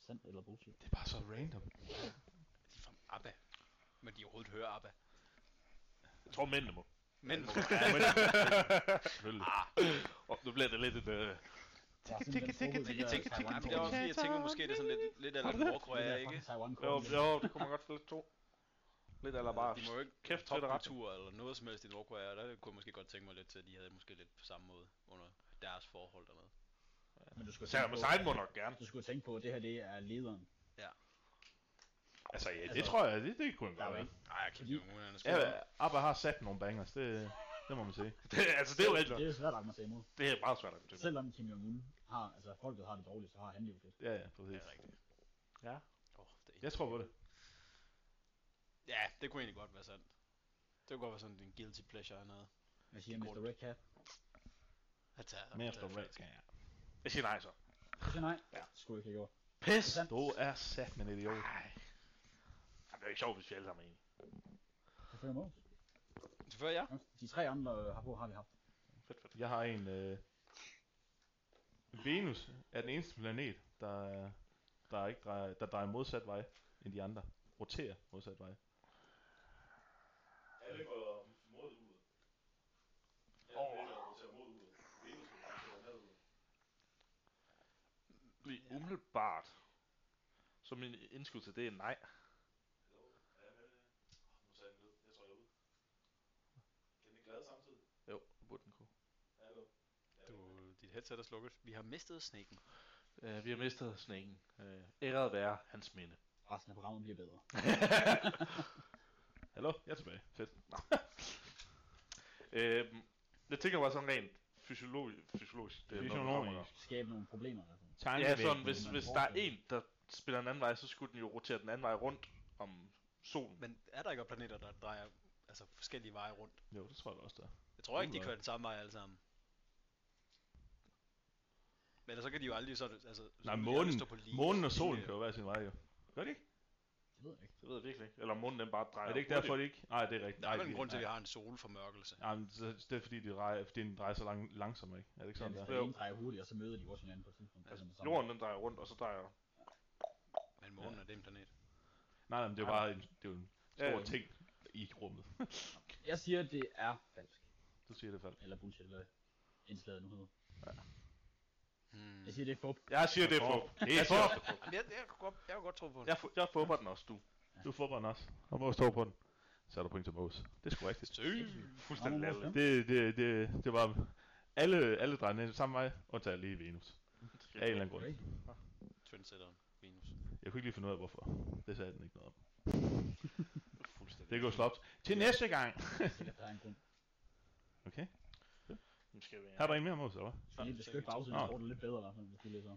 Speaker 3: Sandt eller bullshit?
Speaker 5: Det er bare så random.
Speaker 1: De er fra ABBA. Men de overhovedet hører ABBA.
Speaker 2: Jeg tror mændene må.
Speaker 1: Men må
Speaker 2: Ja, men,
Speaker 5: [LAUGHS] Selvfølgelig.
Speaker 2: og nu bliver det lidt et... Øh,
Speaker 3: Der er sådan den gruppe, de
Speaker 1: jeg
Speaker 3: der
Speaker 1: tænker,
Speaker 3: Taiwan-
Speaker 1: jamen, det er også, fordi, jeg tænker måske, det er sådan lidt, lidt eller
Speaker 3: de der
Speaker 1: Nordkorea, ikke?
Speaker 3: fucking Taiwan
Speaker 2: jo,
Speaker 3: kort,
Speaker 2: jo, det kunne man godt få lidt to. Lidt eller bare...
Speaker 1: De må jo ikke
Speaker 2: Kæft, det er ret.
Speaker 1: topkultur eller noget som helst i Nordkorea, og der kunne jeg måske godt tænke mig lidt til, at de havde måske lidt på samme måde under deres forhold dernede.
Speaker 3: Men du skulle
Speaker 2: Saddam
Speaker 3: tænke
Speaker 2: Hussein
Speaker 3: på,
Speaker 2: må nok gerne.
Speaker 3: du skulle tænke på, at det her det er lederen.
Speaker 2: Altså, ja, [LAUGHS] det
Speaker 5: Det
Speaker 2: tror
Speaker 5: tror jeg, det, det kunne jeg
Speaker 3: Der er jo
Speaker 5: godt være.
Speaker 3: ikke.
Speaker 1: Nej, jeg kan
Speaker 3: Fordi-
Speaker 1: ikke nogen
Speaker 5: Ja,
Speaker 1: spiller.
Speaker 5: Abba har sat nogle bangers, det, det må man sige.
Speaker 2: jeg. altså, det er jo alt.
Speaker 3: Det er svært at argumentere imod.
Speaker 2: Det er meget svært at bedømme.
Speaker 3: Selvom Kim Jong-un har, altså folket har det dårligt, så har han det jo fedt.
Speaker 5: Ja, ja,
Speaker 1: Det
Speaker 5: præcis.
Speaker 1: er rigtigt.
Speaker 2: Ja.
Speaker 1: Åh, det er
Speaker 5: Jeg tror på det.
Speaker 1: ja, det kunne egentlig godt være sandt. Det kunne godt være sådan en guilty pleasure eller noget.
Speaker 3: Hvad siger Mr. Red Cat?
Speaker 1: At tage, at
Speaker 5: Mere
Speaker 1: tage
Speaker 5: efter
Speaker 1: flaske.
Speaker 2: Jeg siger nej så.
Speaker 3: Jeg siger nej.
Speaker 2: Ja.
Speaker 3: Det skulle jeg ikke have gjort.
Speaker 2: Pis!
Speaker 3: Sådan.
Speaker 5: Du er sat med en idiot.
Speaker 2: Nej. Det er jo ikke sjovt, hvis vi alle sammen er enige.
Speaker 3: Det følger mig
Speaker 1: Før jeg?
Speaker 3: De tre andre øh, har på, har vi haft.
Speaker 2: Fedt, fedt.
Speaker 5: Jeg har en... Øh... Venus er den eneste planet, der, der, ikke drejer, der drejer modsat vej end de andre. Roterer modsat vej.
Speaker 2: Alle går mod uret. Alle går mod uret. Venus går mod uret. Lige umiddelbart. Så min indskud til det er nej. Jo, det burde den kunne.
Speaker 1: Du, dit headset er slukket. Vi har mistet sneken.
Speaker 2: Uh, vi har mistet sneen. Uh, æret være hans minde. [LAUGHS]
Speaker 3: Resten af programmet bliver bedre.
Speaker 5: Hallo, jeg er tilbage. Fedt.
Speaker 2: [LAUGHS] Uh, jeg tænker bare sådan rent fysiologisk. fysiologisk det er noget, der kommer der.
Speaker 5: Fysiologisk.
Speaker 3: Skabe nogle problemer i hvert fald.
Speaker 2: Ja,
Speaker 5: Tankevækkende.
Speaker 2: sådan, hvis,
Speaker 3: man
Speaker 2: hvis der er
Speaker 3: forestiller
Speaker 2: en, der spiller en anden vej, så skulle den jo rotere den anden vej rundt om solen.
Speaker 1: Men er der ikke også planeter, der drejer altså, forskellige veje rundt?
Speaker 5: Jo, det tror jeg da også, der er.
Speaker 1: Jeg tror ikke, de
Speaker 5: Uha.
Speaker 1: kører den samme vej alle sammen. Men ellers så kan de jo aldrig så, altså, så
Speaker 5: Nej,
Speaker 1: vil de aldrig
Speaker 5: månen,
Speaker 1: stå på linje-
Speaker 5: månen og solen
Speaker 1: linje.
Speaker 5: kører hver sin vej, jo. Gør de ikke?
Speaker 3: Det ved jeg ikke.
Speaker 2: Det ved jeg virkelig ikke. Eller om månen den bare drejer
Speaker 5: Er det ikke derfor, de ikke... Nej, det er rigtigt.
Speaker 1: Der er vel
Speaker 5: de-
Speaker 1: en grund til, at vi
Speaker 5: nej.
Speaker 1: har en solformørkelse.
Speaker 5: Nej, men så- det er fordi, de drejer, fordi den drejer så lang, langsomt, ikke? Er det ikke sådan,
Speaker 3: ja,
Speaker 5: der?
Speaker 3: hvis
Speaker 2: der.
Speaker 3: den Altså, ene drejer hurtigt, og så møder de også hinanden på et tidspunkt. Altså,
Speaker 2: hurtigt? Jorden den drejer rundt, og så drejer...
Speaker 1: Men månen er det en planet.
Speaker 5: Nej, nej, men det er jo bare en, det er jo en
Speaker 2: Ja,
Speaker 5: stor
Speaker 2: ja.
Speaker 5: ting i rummet.
Speaker 3: Jeg siger, det er falsk.
Speaker 5: Du siger det falsk.
Speaker 3: Eller bullshit, eller hvad indslaget nu hedder.
Speaker 1: Hmm.
Speaker 3: Jeg siger, det er fup.
Speaker 2: Jeg siger, det er fup. Det er fup.
Speaker 1: Jamen, jeg, jeg, kunne godt, jeg kunne godt tro på den.
Speaker 2: Jeg, fu- jeg fupper den også, du.
Speaker 5: Du fodbold også. Og Mås står på den. Så er der point til Mås. Det er sgu rigtigt.
Speaker 2: Fuldstændig
Speaker 3: Nå,
Speaker 2: latterligt.
Speaker 5: Det, det, det, det var alle, alle drejende samme vej, undtagen lige Venus. Af en eller anden grund.
Speaker 3: Okay.
Speaker 1: Trendsetteren. Venus.
Speaker 5: Jeg kunne ikke lige finde ud af, hvorfor. Det sagde den ikke noget om.
Speaker 2: Fuldstændig.
Speaker 5: Det går slapt. Til næste gang.
Speaker 3: Det er der er en grund.
Speaker 5: Okay.
Speaker 2: Nu Skal, vi,
Speaker 5: Har du en mere, Mås, eller hvad?
Speaker 3: Så lige beskytte bagsiden, jeg tror, det er lidt bedre i hvert fald, hvis du læser.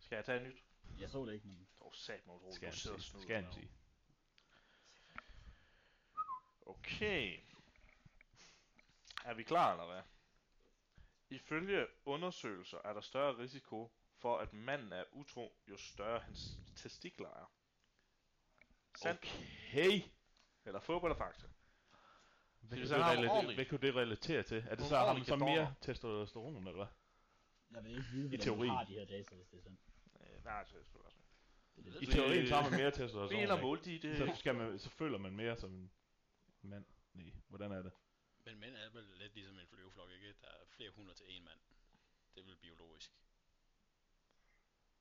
Speaker 2: skal jeg tage en nyt?
Speaker 3: Jeg så det ikke, men
Speaker 2: Åh, oh, sat mig utroligt.
Speaker 5: Skal
Speaker 2: Nu
Speaker 5: han
Speaker 2: sidder
Speaker 5: sige.
Speaker 2: snuden
Speaker 5: Skal han
Speaker 2: derovre.
Speaker 5: sige.
Speaker 2: Okay. Er vi klar, eller hvad? Ifølge undersøgelser er der større risiko for, at manden er utro, jo større hans testikler er. Sandt
Speaker 5: Okay.
Speaker 2: eller fup eller fakta?
Speaker 5: Hvad
Speaker 2: vi
Speaker 5: kunne,
Speaker 2: så
Speaker 5: det
Speaker 2: har en
Speaker 5: relatere,
Speaker 2: ordentlig-
Speaker 5: hvad kunne det relatere til? Er det
Speaker 2: Nogle
Speaker 5: så ham
Speaker 2: ordentlige
Speaker 5: så mere
Speaker 2: gadoner.
Speaker 5: testosteron, eller hvad?
Speaker 3: jeg vil ikke vide,
Speaker 5: I
Speaker 3: hvordan
Speaker 5: teorien.
Speaker 3: man har de her data, hvis det er sådan.
Speaker 2: Øh, nej, det er selvfølgelig også ikke.
Speaker 3: Det er det.
Speaker 5: I
Speaker 2: Det-
Speaker 5: teorien så har man mere [LAUGHS] testosteron.
Speaker 2: Biler
Speaker 5: ikke?
Speaker 2: målte i det.
Speaker 5: Så, skal man, så føler man mere som en mand. Nej, hvordan er det?
Speaker 1: Men mænd er vel lidt ligesom en flyveflok, ikke? Der er flere hundrede til én mand. Det er vel biologisk.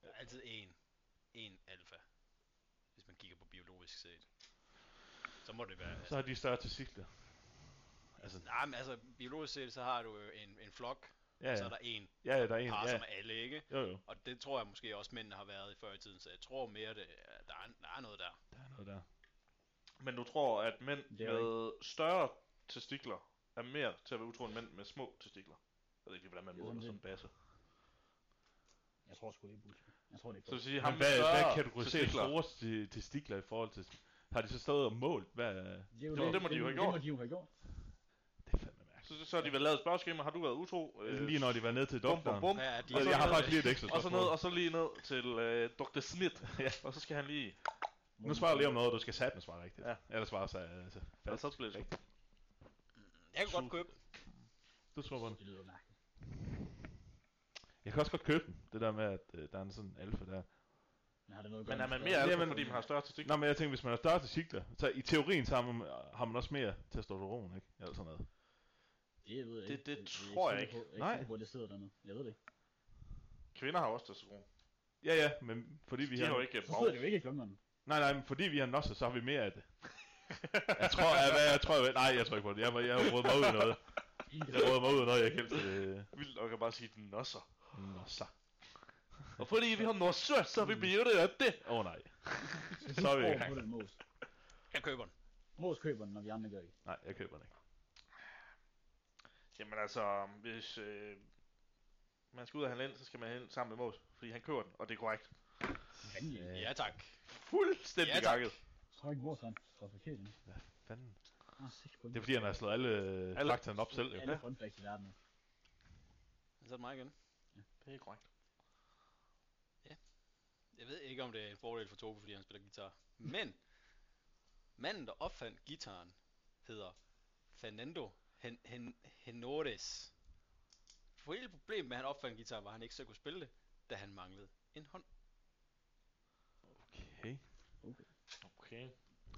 Speaker 1: Der er altid én. En alfa. Hvis man kigger på biologisk set. Så må det være...
Speaker 5: Så har de større testikler.
Speaker 1: altså, nej, men altså, biologisk set, så har du jo en, en flok,
Speaker 5: Ja,
Speaker 1: og så
Speaker 5: ja,
Speaker 1: er der en
Speaker 5: ja, ja der er en.
Speaker 1: par,
Speaker 5: Ja.
Speaker 1: som er alle, ikke?
Speaker 5: Jo, jo,
Speaker 1: Og det tror jeg måske også, mændene har været i før i tiden, så jeg tror mere, det, er- der, er, der er noget der.
Speaker 5: der er noget der.
Speaker 2: Men du tror, at mænd
Speaker 3: Det er
Speaker 2: med større testikler er mere til at være utro end mænd med små testikler? Jeg ved ikke, lige, hvordan man
Speaker 3: Det er
Speaker 2: måler
Speaker 3: sådan
Speaker 2: sådan en basse.
Speaker 3: Jeg tror sgu, det er bullshit. Jeg tror, det er
Speaker 2: Så
Speaker 3: fup.
Speaker 2: vil sige,
Speaker 5: Men
Speaker 2: ham med
Speaker 5: hvad, hvad
Speaker 2: større
Speaker 5: kategoriserer
Speaker 2: testikler.
Speaker 5: store te- testikler i forhold til... Har de så stået og målt? Hvad,
Speaker 3: Det, er jo
Speaker 2: det må de jo have gjort.
Speaker 3: Det må de jo have gjort.
Speaker 5: det er fandme mærkeligt.
Speaker 2: Så, så har de vel lavet et spørgeskema, har du været utro? Øh,
Speaker 5: Lige når de var nede til
Speaker 2: bum, bum,
Speaker 5: doktoren.
Speaker 2: bum.
Speaker 1: Hvad er
Speaker 2: Og
Speaker 5: altså, Jeg,
Speaker 2: så
Speaker 5: jeg har
Speaker 2: ned-
Speaker 5: faktisk lige et ekstra
Speaker 2: Og så, ned,
Speaker 5: spørgsmål.
Speaker 2: og så lige ned til øh, Dr. Smith, ja. og så skal han lige...
Speaker 5: Nu svarer jeg lige om noget, du skal satme svare rigtigt.
Speaker 2: Ja.
Speaker 5: Ja. Ellers svarer så altså,
Speaker 2: Eller
Speaker 5: fast.
Speaker 2: så skal det
Speaker 1: Jeg kan godt købe
Speaker 5: Du tror på den.
Speaker 3: Det lyder mærkeligt.
Speaker 5: Jeg kan også godt købe den. Det der med, at øh, der er en sådan alfa der.
Speaker 3: Men har det noget at
Speaker 2: Men
Speaker 3: gøre
Speaker 2: er man
Speaker 3: med-
Speaker 2: mere alfa,
Speaker 5: Jamen-
Speaker 2: fordi man har større testikler?
Speaker 5: Nå, men jeg tænker, hvis man har større testikler, så i teorien så har man, har man også mere testosteron, ikke? Eller sådan noget.
Speaker 3: Det ved jeg
Speaker 2: Det-
Speaker 3: ikke.
Speaker 2: det
Speaker 3: er
Speaker 2: tror jeg
Speaker 3: sikker
Speaker 2: ikke.
Speaker 3: på- Jeg er
Speaker 5: Nej.
Speaker 3: ikke sikker på, at det sidder dernede. Jeg ved det ikke.
Speaker 2: Kvinder har også testosteron.
Speaker 5: Ja, ja, men fordi vi
Speaker 2: De har jo
Speaker 5: [LAUGHS]
Speaker 2: ikke
Speaker 3: Så
Speaker 2: brug.
Speaker 3: sidder det jo ikke i klungerne.
Speaker 5: Nej, nej, men fordi vi har nosser, så har vi mere af det. Jeg tror, jeg, hvad, jeg tror, jeg, nej, jeg tror ikke på det. Jeg, må- jeg har rodet mig ud i noget. Jeg rodet mig ud i noget, jeg kæmper til
Speaker 2: Vildt nok at bare sige, den nosser.
Speaker 5: nosser.
Speaker 2: Og fordi vi har nosser, så
Speaker 5: Mm.
Speaker 2: er vi beauty af det.
Speaker 5: Åh oh, nej.
Speaker 3: Så [LAUGHS]
Speaker 5: Så er vi i
Speaker 3: er
Speaker 5: gang.
Speaker 3: vi den Mås.
Speaker 1: Jeg køber den.
Speaker 3: Mås køber den, når vi andre gør ikke.
Speaker 5: Nej, jeg køber den ikke.
Speaker 2: Jamen altså, hvis øh, man skal ud og handle ind, så skal man hen sammen med Mås, fordi han køber den, og det er korrekt.
Speaker 3: Fanden, jeg
Speaker 1: Ja tak.
Speaker 2: Fuldstændig
Speaker 1: Ja,
Speaker 2: ja,
Speaker 1: tak.
Speaker 2: gakket.
Speaker 3: tror ikke, Mås har en trafikering.
Speaker 5: Fanden.
Speaker 3: Ah, 6 point.
Speaker 5: Det er fordi, han har slået alle, alle.
Speaker 2: Alle-
Speaker 5: faktorerne op selv. Jo.
Speaker 3: Alle fun facts i verden. nu.
Speaker 1: Så er det mig igen.
Speaker 2: Det er korrekt.
Speaker 1: Jeg ved ikke, om det er en fordel for Tobe, fordi han spiller guitar. Men, manden, der opfandt gitaren, hedder Fernando Hen Hen Henores. For hele problemet med, at han opfandt guitar, var, at han ikke selv kunne spille det, da han manglede en hånd.
Speaker 5: Okay.
Speaker 2: Okay.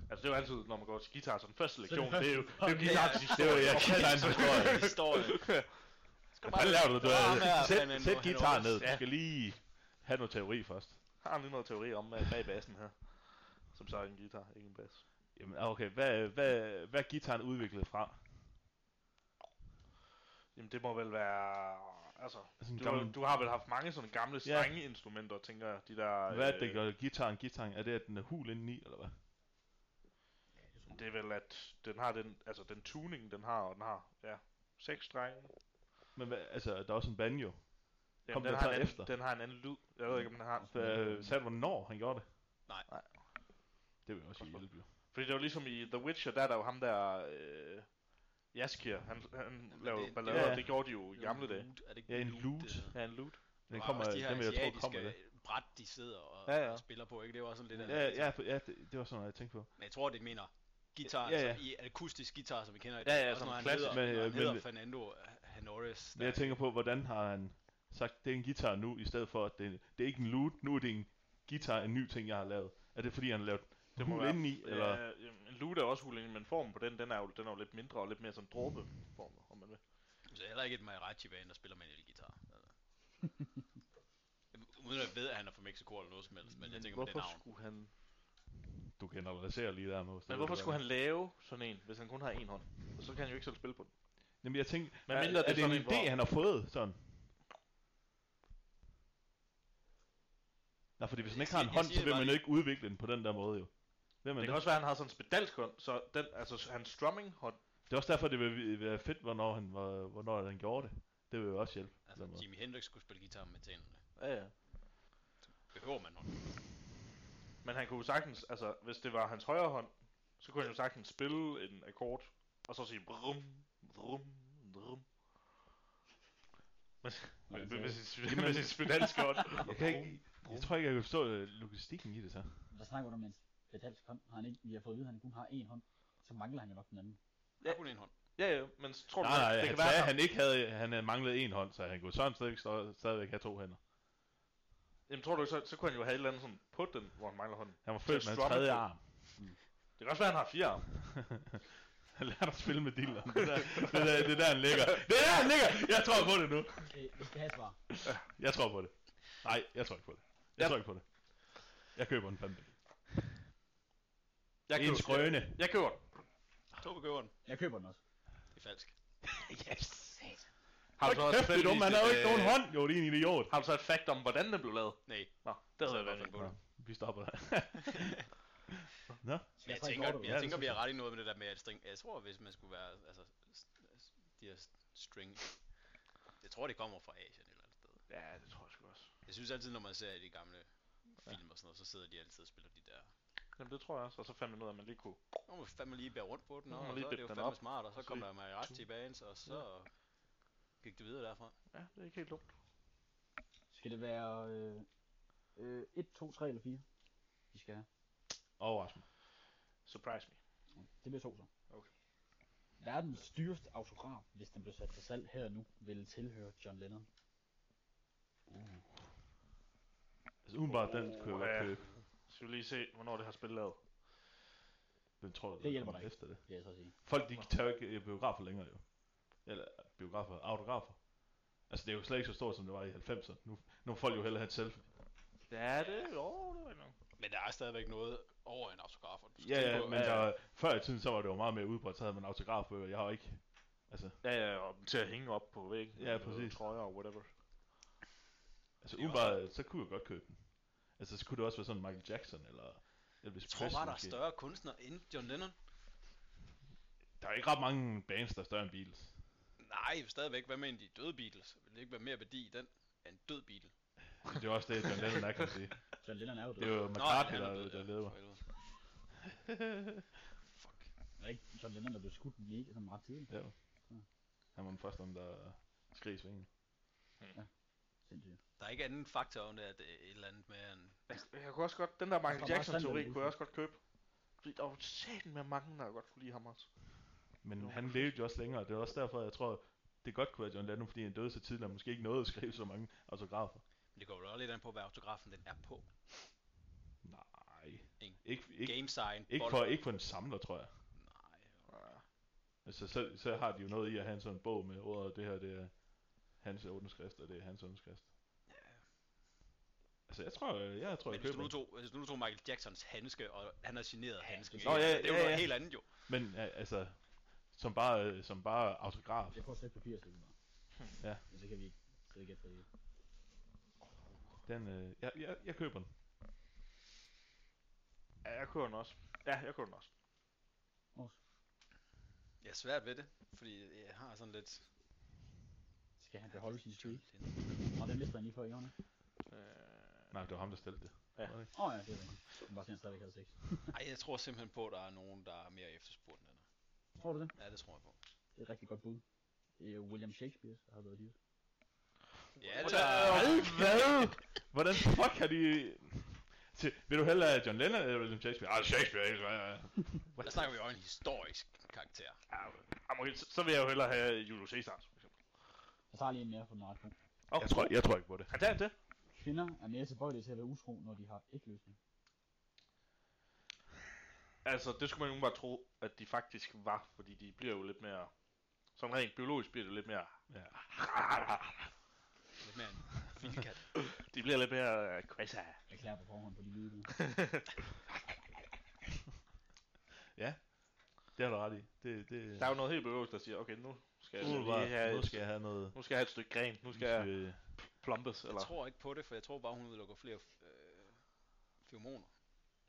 Speaker 2: Altså det er jo altid, når man går til guitar, så den første
Speaker 3: det
Speaker 2: lektion, det er jo, det er jo
Speaker 3: første-
Speaker 2: guitar
Speaker 1: Ja.
Speaker 2: til sidst.
Speaker 5: Det var jeg kan en
Speaker 2: [LAUGHS]
Speaker 5: historie.
Speaker 1: Historie. [LAUGHS] Skal
Speaker 5: Hvad laver du? du
Speaker 1: Kom her,
Speaker 5: er, sæt,
Speaker 1: Fernando
Speaker 5: sæt guitaren
Speaker 1: Henores.
Speaker 5: ned. Du
Speaker 2: Ja.
Speaker 5: skal lige have noget teori først.
Speaker 2: Har han lige noget teori om øh, bag bassen her? Som så er en guitar, ikke en bass.
Speaker 5: Jamen, ah, okay. Hvad, hvad, hvad er guitaren udviklet fra?
Speaker 2: Jamen det må vel være... Altså,
Speaker 5: Altså, en
Speaker 2: du,
Speaker 5: gammel,
Speaker 2: gammel... du har vel haft mange sådan gamle
Speaker 5: Ja.
Speaker 2: strengeinstrumenter, tænker jeg. De der, øh,
Speaker 5: hvad er det, der gør guitaren guitaren? Er det, at den er hul indeni, eller hvad?
Speaker 2: Det er vel, at den har den, altså den tuning, den har, og den har, ja, seks strenge.
Speaker 5: Men hvad, altså, der er også en banjo.
Speaker 2: Jamen,
Speaker 5: Kom,
Speaker 2: den, har
Speaker 5: den tager
Speaker 2: en anden,
Speaker 5: efter.
Speaker 2: den har en anden lyd. Jeg ved ikke, om den har.
Speaker 5: Øh, sagde du, hvornår han gjorde det?
Speaker 1: Nej.
Speaker 2: Mm. Nej.
Speaker 5: Det vil jeg også hjælpe, jo.
Speaker 2: Fordi det var ligesom i The Witcher, der er der jo ham der, øh, Jaskier, han, han
Speaker 1: Jamen,
Speaker 2: laver
Speaker 1: det-
Speaker 2: ballader,
Speaker 5: det-
Speaker 2: det, det gjorde de jo i
Speaker 1: Det er
Speaker 2: gamle
Speaker 1: en
Speaker 2: dage.
Speaker 1: lute. Er det ikke
Speaker 5: Ja, en
Speaker 1: lute,
Speaker 5: lute.
Speaker 1: det hedder?
Speaker 2: Ja, en loot.
Speaker 1: Og
Speaker 5: Den kommer,
Speaker 1: også de her
Speaker 5: den vil jeg tro, kommer det.
Speaker 1: asiatiske bræt, de sidder og,
Speaker 2: Ja, ja.
Speaker 1: og spiller på, ikke? Det er jo også sådan lidt af...
Speaker 5: Ja, ja, for- ja det, det, var sådan noget, jeg tænkte på.
Speaker 1: Men jeg tror, det mener guitar,
Speaker 5: Ja, ja.
Speaker 1: Som i akustisk guitar, som vi kender i
Speaker 2: Ja, ja,
Speaker 1: Også
Speaker 2: som
Speaker 1: når han
Speaker 2: klassisk,
Speaker 1: hedder,
Speaker 5: men,
Speaker 1: når han
Speaker 5: øh,
Speaker 1: hedder
Speaker 5: men-
Speaker 1: Fernando Henores.
Speaker 5: Men jeg tænker på, hvordan har han sagt, det er en guitar nu, i stedet for, at det, det er ikke en loot, nu er det en guitar, en ny ting, jeg har lavet. Er det fordi, han har lavet det hul indeni,
Speaker 2: Ja,
Speaker 5: eller?
Speaker 2: jamen, en loot er også hulen, men formen på den, den er jo, den er jo lidt mindre og lidt mere sådan dråbeform, om man vil.
Speaker 1: Så heller ikke et Mariachi-band, der spiller med en elgitar. Altså. Uden at ved, at han er fra Mexico eller noget som helst, men jeg tænker på det
Speaker 2: hvorfor
Speaker 1: navn.
Speaker 2: skulle han...
Speaker 5: Du generaliserer lige der, Mås.
Speaker 2: Men hvorfor skulle han lave sådan en, hvis han kun har en hånd? Og så kan han jo ikke selv spille på den.
Speaker 5: Jamen, jeg tænker,
Speaker 2: Men
Speaker 5: er, er,
Speaker 2: mindre det er
Speaker 5: det, en
Speaker 2: sådan en,
Speaker 5: idé,
Speaker 2: hvor-
Speaker 5: han har fået, sådan? Nej, fordi hvis han
Speaker 1: Jeg
Speaker 5: ikke har en
Speaker 1: siger- jeg
Speaker 5: hånd,
Speaker 1: siger
Speaker 5: så vil
Speaker 1: bare
Speaker 5: man jo
Speaker 1: lige-
Speaker 5: ikke udvikle den på den der måde, jo. Hvem er
Speaker 2: Det
Speaker 5: det?
Speaker 2: kan også være, at han har sådan en spedalsk hånd, så den, altså hans strumming hånd,
Speaker 5: Det er også derfor, det vil være fedt, hvornår han, var- hvornår han gjorde det. Det vil jo også hjælpe. på
Speaker 1: Altså,
Speaker 5: den måde.
Speaker 1: Jimi Hendrix skulle spille guitar med tænderne.
Speaker 2: ja, ja.
Speaker 1: Behøver man hånden?
Speaker 2: Men han kunne jo sagtens, altså hvis det var hans højre hånd, så kunne han jo sagtens spille en akkord, og så sige brum, brum, brum. Men, med,
Speaker 3: Nej, det-
Speaker 2: med, med, sin, [LAUGHS] med sin spedalske hånd.
Speaker 5: Jeg, kan ikke, jeg tror ikke, jeg kan forstå øh, logistikken i det så.
Speaker 3: Hvad snakker du om, mens Pedalsk hånd? Har han ikke, vi har fået at vide, at han kun har én hånd. Så mangler han jo nok den anden.
Speaker 1: Ja. Har kun en hånd?
Speaker 2: [LAUGHS] Ja, ja, men så tror du,
Speaker 5: Nej, nej,
Speaker 2: det
Speaker 5: han
Speaker 2: kan
Speaker 5: sagde,
Speaker 2: være,
Speaker 5: at han ikke havde, han havde manglet en hånd, så han kunne sådan stadigvæk, stå- stadigvæk have to hænder.
Speaker 2: Jamen, tror du, ikke, så, så kunne han jo have et eller andet sådan på den, hvor han mangler hånden.
Speaker 5: Han var født
Speaker 2: Så
Speaker 5: med en
Speaker 2: strummer
Speaker 5: tredje
Speaker 2: på.
Speaker 5: arm.
Speaker 2: Det kan også være, at han har fire [LAUGHS] arme.
Speaker 5: Han lærte at spille med diller. Det, der- det, der- det er der, han ligger. Det er der, han ligger! Jeg tror på det nu.
Speaker 3: Okay, vi skal have et svar.
Speaker 5: Jeg tror på det. Nej, jeg tror ikke på det. Jeg
Speaker 2: Ja.
Speaker 5: tror ikke på det. Jeg køber en fandme.
Speaker 2: Jeg
Speaker 5: En
Speaker 2: køber,
Speaker 5: skrøne.
Speaker 2: jeg køber den.
Speaker 1: Tobe køber den.
Speaker 3: Jeg køber den også.
Speaker 1: Det er falsk.
Speaker 5: Yes!
Speaker 2: Har
Speaker 5: Hold
Speaker 2: du så også
Speaker 5: kæft, det er dumt.
Speaker 2: tilfældigvis
Speaker 5: Han har jo
Speaker 2: et,
Speaker 5: ikke
Speaker 2: øh,
Speaker 5: nogen hånd. Jo, det er en idiot.
Speaker 2: Har du så et fakt om, hvordan den blev lavet?
Speaker 1: Nej,
Speaker 2: Nå, det havde været
Speaker 1: jeg
Speaker 2: en
Speaker 1: på det.
Speaker 5: Vi stopper der.
Speaker 1: Men jeg
Speaker 3: trække
Speaker 1: tænker,
Speaker 3: kortet,
Speaker 1: jeg
Speaker 5: Ja,
Speaker 1: tænker,
Speaker 5: det
Speaker 1: vi
Speaker 5: synes
Speaker 1: har ret i noget med det der med, at string... Jeg tror, hvis man skulle være... Altså, s- s- de her s- string... Jeg tror, det kommer fra Asien et eller andet sted.
Speaker 2: Ja, det tror jeg sgu også.
Speaker 1: Jeg synes altid, når man ser de gamle film og sådan noget, så sidder de altid og spiller de der
Speaker 2: Jamen det tror jeg også. Og så fandt man ud af, at man lige kunne.
Speaker 1: Nu må vi fandme lige bære rundt på den,
Speaker 2: Nu må
Speaker 1: og,
Speaker 2: man
Speaker 1: og
Speaker 2: lige
Speaker 1: så er det
Speaker 2: dippe
Speaker 1: jo
Speaker 2: den
Speaker 1: fandme
Speaker 2: op,
Speaker 1: smart, og så
Speaker 2: og
Speaker 1: kom
Speaker 2: se.
Speaker 1: der med ret tilbage, og så gik det videre derfra.
Speaker 2: Ja, det er ikke helt dumt.
Speaker 3: Skal det være øh, øh, 1, 2, 3 eller 4? De skal have.
Speaker 5: Overraskende.
Speaker 2: Surprise me.
Speaker 3: Det bliver to så.
Speaker 2: Okay.
Speaker 3: Verdens dyreste autograf, hvis den blev sat til salg her og nu, ville tilhøre John Lennon.
Speaker 5: Altså umiddelbart, den kunne jeg
Speaker 2: Oha.
Speaker 5: godt købe.
Speaker 2: Skal vi lige se, hvornår det har spillet lavet.
Speaker 5: Den tror jeg,
Speaker 3: Det hjælper
Speaker 5: kommer
Speaker 3: dig.
Speaker 5: efter det.
Speaker 3: Vil jeg så sige.
Speaker 5: Folk, de tager jo ikke øh, biografer længere jo. Eller øh, biografer, autografer. Altså, det er jo slet ikke så stort, som det var i 90'erne. Nu, nu vil folk jo hellere have et selfie.
Speaker 2: Ja, det er jo, det var ikke nok.
Speaker 1: Men der er stadigvæk noget over en autograf. og du skal
Speaker 5: Ja,
Speaker 1: tænke
Speaker 5: ja,
Speaker 1: på,
Speaker 5: men
Speaker 1: at-
Speaker 5: der, før i tiden, så var det jo meget mere udbredt, så havde man autografbøger. Jeg har jo ikke... Altså,
Speaker 2: Ja, ja, og til at hænge op på væggen.
Speaker 5: Ja,
Speaker 2: eller
Speaker 5: præcis.
Speaker 2: Trøjer og whatever.
Speaker 5: altså
Speaker 1: Det er
Speaker 5: umiddelbart, øh, så kunne jeg godt købe den. Altså, så kunne det også være sådan Michael Jackson, eller Elvis
Speaker 1: Jeg tror
Speaker 5: Presley
Speaker 1: bare, der er
Speaker 5: måske.
Speaker 1: større kunstnere end John Lennon.
Speaker 5: Der er ikke ret mange bands, der er større end Beatles.
Speaker 1: Nej, stadigvæk. Hvad med en de døde Beatles? Vil det ikke være mere værdi i den end en død Beatle?
Speaker 5: Det er også det, John Lennon er, kan man sige.
Speaker 3: John Lennon er jo
Speaker 5: Det
Speaker 3: død.
Speaker 5: er jo
Speaker 1: Nå, ja,
Speaker 5: McCartney,
Speaker 1: han er
Speaker 5: der,
Speaker 1: død,
Speaker 5: der
Speaker 1: ja,
Speaker 5: leder.
Speaker 1: for helvede. Fuck.
Speaker 3: Det er ikke John Lennon, der blev skudt lige ikke sådan ret tidligt.
Speaker 5: Ja. Han var den første, der skreg i svingen.
Speaker 3: Sindssygt.
Speaker 1: Der er ikke anden faktor, end at det er et eller andet med en...
Speaker 2: Altså, Jeg kunne også godt, den der
Speaker 3: Der er
Speaker 2: Michael
Speaker 3: meget
Speaker 2: Jackson-teori
Speaker 3: sandt,
Speaker 2: kunne jeg også godt købe. Fordi der var satan med mange, der godt kunne lide ham også.
Speaker 5: Men
Speaker 2: Jo.
Speaker 5: jo. han levede jo også længere, det er også derfor, jeg tror, det godt kunne være John Lennon, fordi han døde så tidligt, og måske ikke nåede at skrive så mange autografer.
Speaker 1: Men det går jo også lidt an på, hvad autografen den er på.
Speaker 5: Nej.
Speaker 1: Ikke-
Speaker 5: Ikke, ikke,
Speaker 1: Game sign.
Speaker 5: ikke,
Speaker 1: bold.
Speaker 5: for, ikke for en samler, tror jeg.
Speaker 1: Nej,
Speaker 5: Altså, så, så har de jo noget i at have en sådan bog med ordet, det her, det er hans underskrift, og det er hans underskrift. Altså, jeg tror, øh, jeg tror,
Speaker 1: Men
Speaker 5: jeg
Speaker 1: hvis du,
Speaker 5: køber
Speaker 1: nu
Speaker 5: den.
Speaker 1: tog, hvis du nu tog Michael Jacksons handske, og han har generet handsken,
Speaker 5: Nå,
Speaker 1: ikke?
Speaker 5: ja,
Speaker 1: det er jo
Speaker 5: ja,
Speaker 1: noget
Speaker 5: ja.
Speaker 1: helt andet jo.
Speaker 5: Men øh, altså, som bare, øh, som bare autograf.
Speaker 3: Jeg får slet papir til det.
Speaker 5: Ja.
Speaker 3: Men det kan vi ikke. Så ikke efter det.
Speaker 5: Den, øh, jeg, jeg, jeg køber den.
Speaker 2: Ja, jeg køber den også. Ja, jeg køber den også.
Speaker 1: Jeg er svært ved det, fordi jeg har sådan lidt...
Speaker 3: Skal han beholde sin streak?
Speaker 1: John Lennon.
Speaker 3: Og den mister han lige for i hjørnet.
Speaker 2: Øh,
Speaker 5: Nej, det var ham, der stillede det.
Speaker 3: Åh oh, ja, det er det. Han bare siger, han stadigvæk havde sex.
Speaker 1: Ej, jeg tror simpelthen på, at der er nogen, der er mere efterspurgt end andre.
Speaker 3: Tror du det?
Speaker 1: Ja, det tror jeg på.
Speaker 3: Det er et rigtig godt bud. Øh, William Shakespeare har været dyrt.
Speaker 1: Ja, det
Speaker 5: Hvad?
Speaker 1: er...
Speaker 5: Hvad? Hvordan fuck har de... Se, vil du hellere have John Lennon eller William Shakespeare? Ah, Shakespeare, ikke? Ja, ja.
Speaker 1: Der snakker vi jo om en historisk karakter.
Speaker 2: ja, okay, så, så vil jeg jo hellere have Julius Caesar, for eksempel.
Speaker 3: Jeg tager lige en mere for den ret god.
Speaker 2: Okay.
Speaker 5: Jeg tror, jeg tror ikke på det.
Speaker 2: Er det det?
Speaker 3: Kvinder er mere tilbøjelige til at være utro, når de har ikke løsning.
Speaker 2: Altså, det skulle man jo bare tro, at de faktisk var, fordi de bliver jo lidt mere... Sådan rent biologisk bliver det lidt mere...
Speaker 5: Ja.
Speaker 1: Lidt mere en
Speaker 5: [LAUGHS]
Speaker 1: filkat.
Speaker 2: [LAUGHS] De bliver lidt mere... Uh, quasi.
Speaker 3: Jeg klarer på forhånd på de lyde. der.
Speaker 5: Det har du ret i. Det, det...
Speaker 2: Der er jo noget helt biologisk, der siger, okay, nu skal jeg
Speaker 5: nu,
Speaker 2: lige have,
Speaker 5: nu skal jeg have noget...
Speaker 2: nu skal jeg have et stykke gren, nu skal jeg
Speaker 5: Øh,
Speaker 2: plumpes, eller...
Speaker 1: Jeg tror ikke på det, for jeg tror bare, hun udelukker flere øh, feromoner,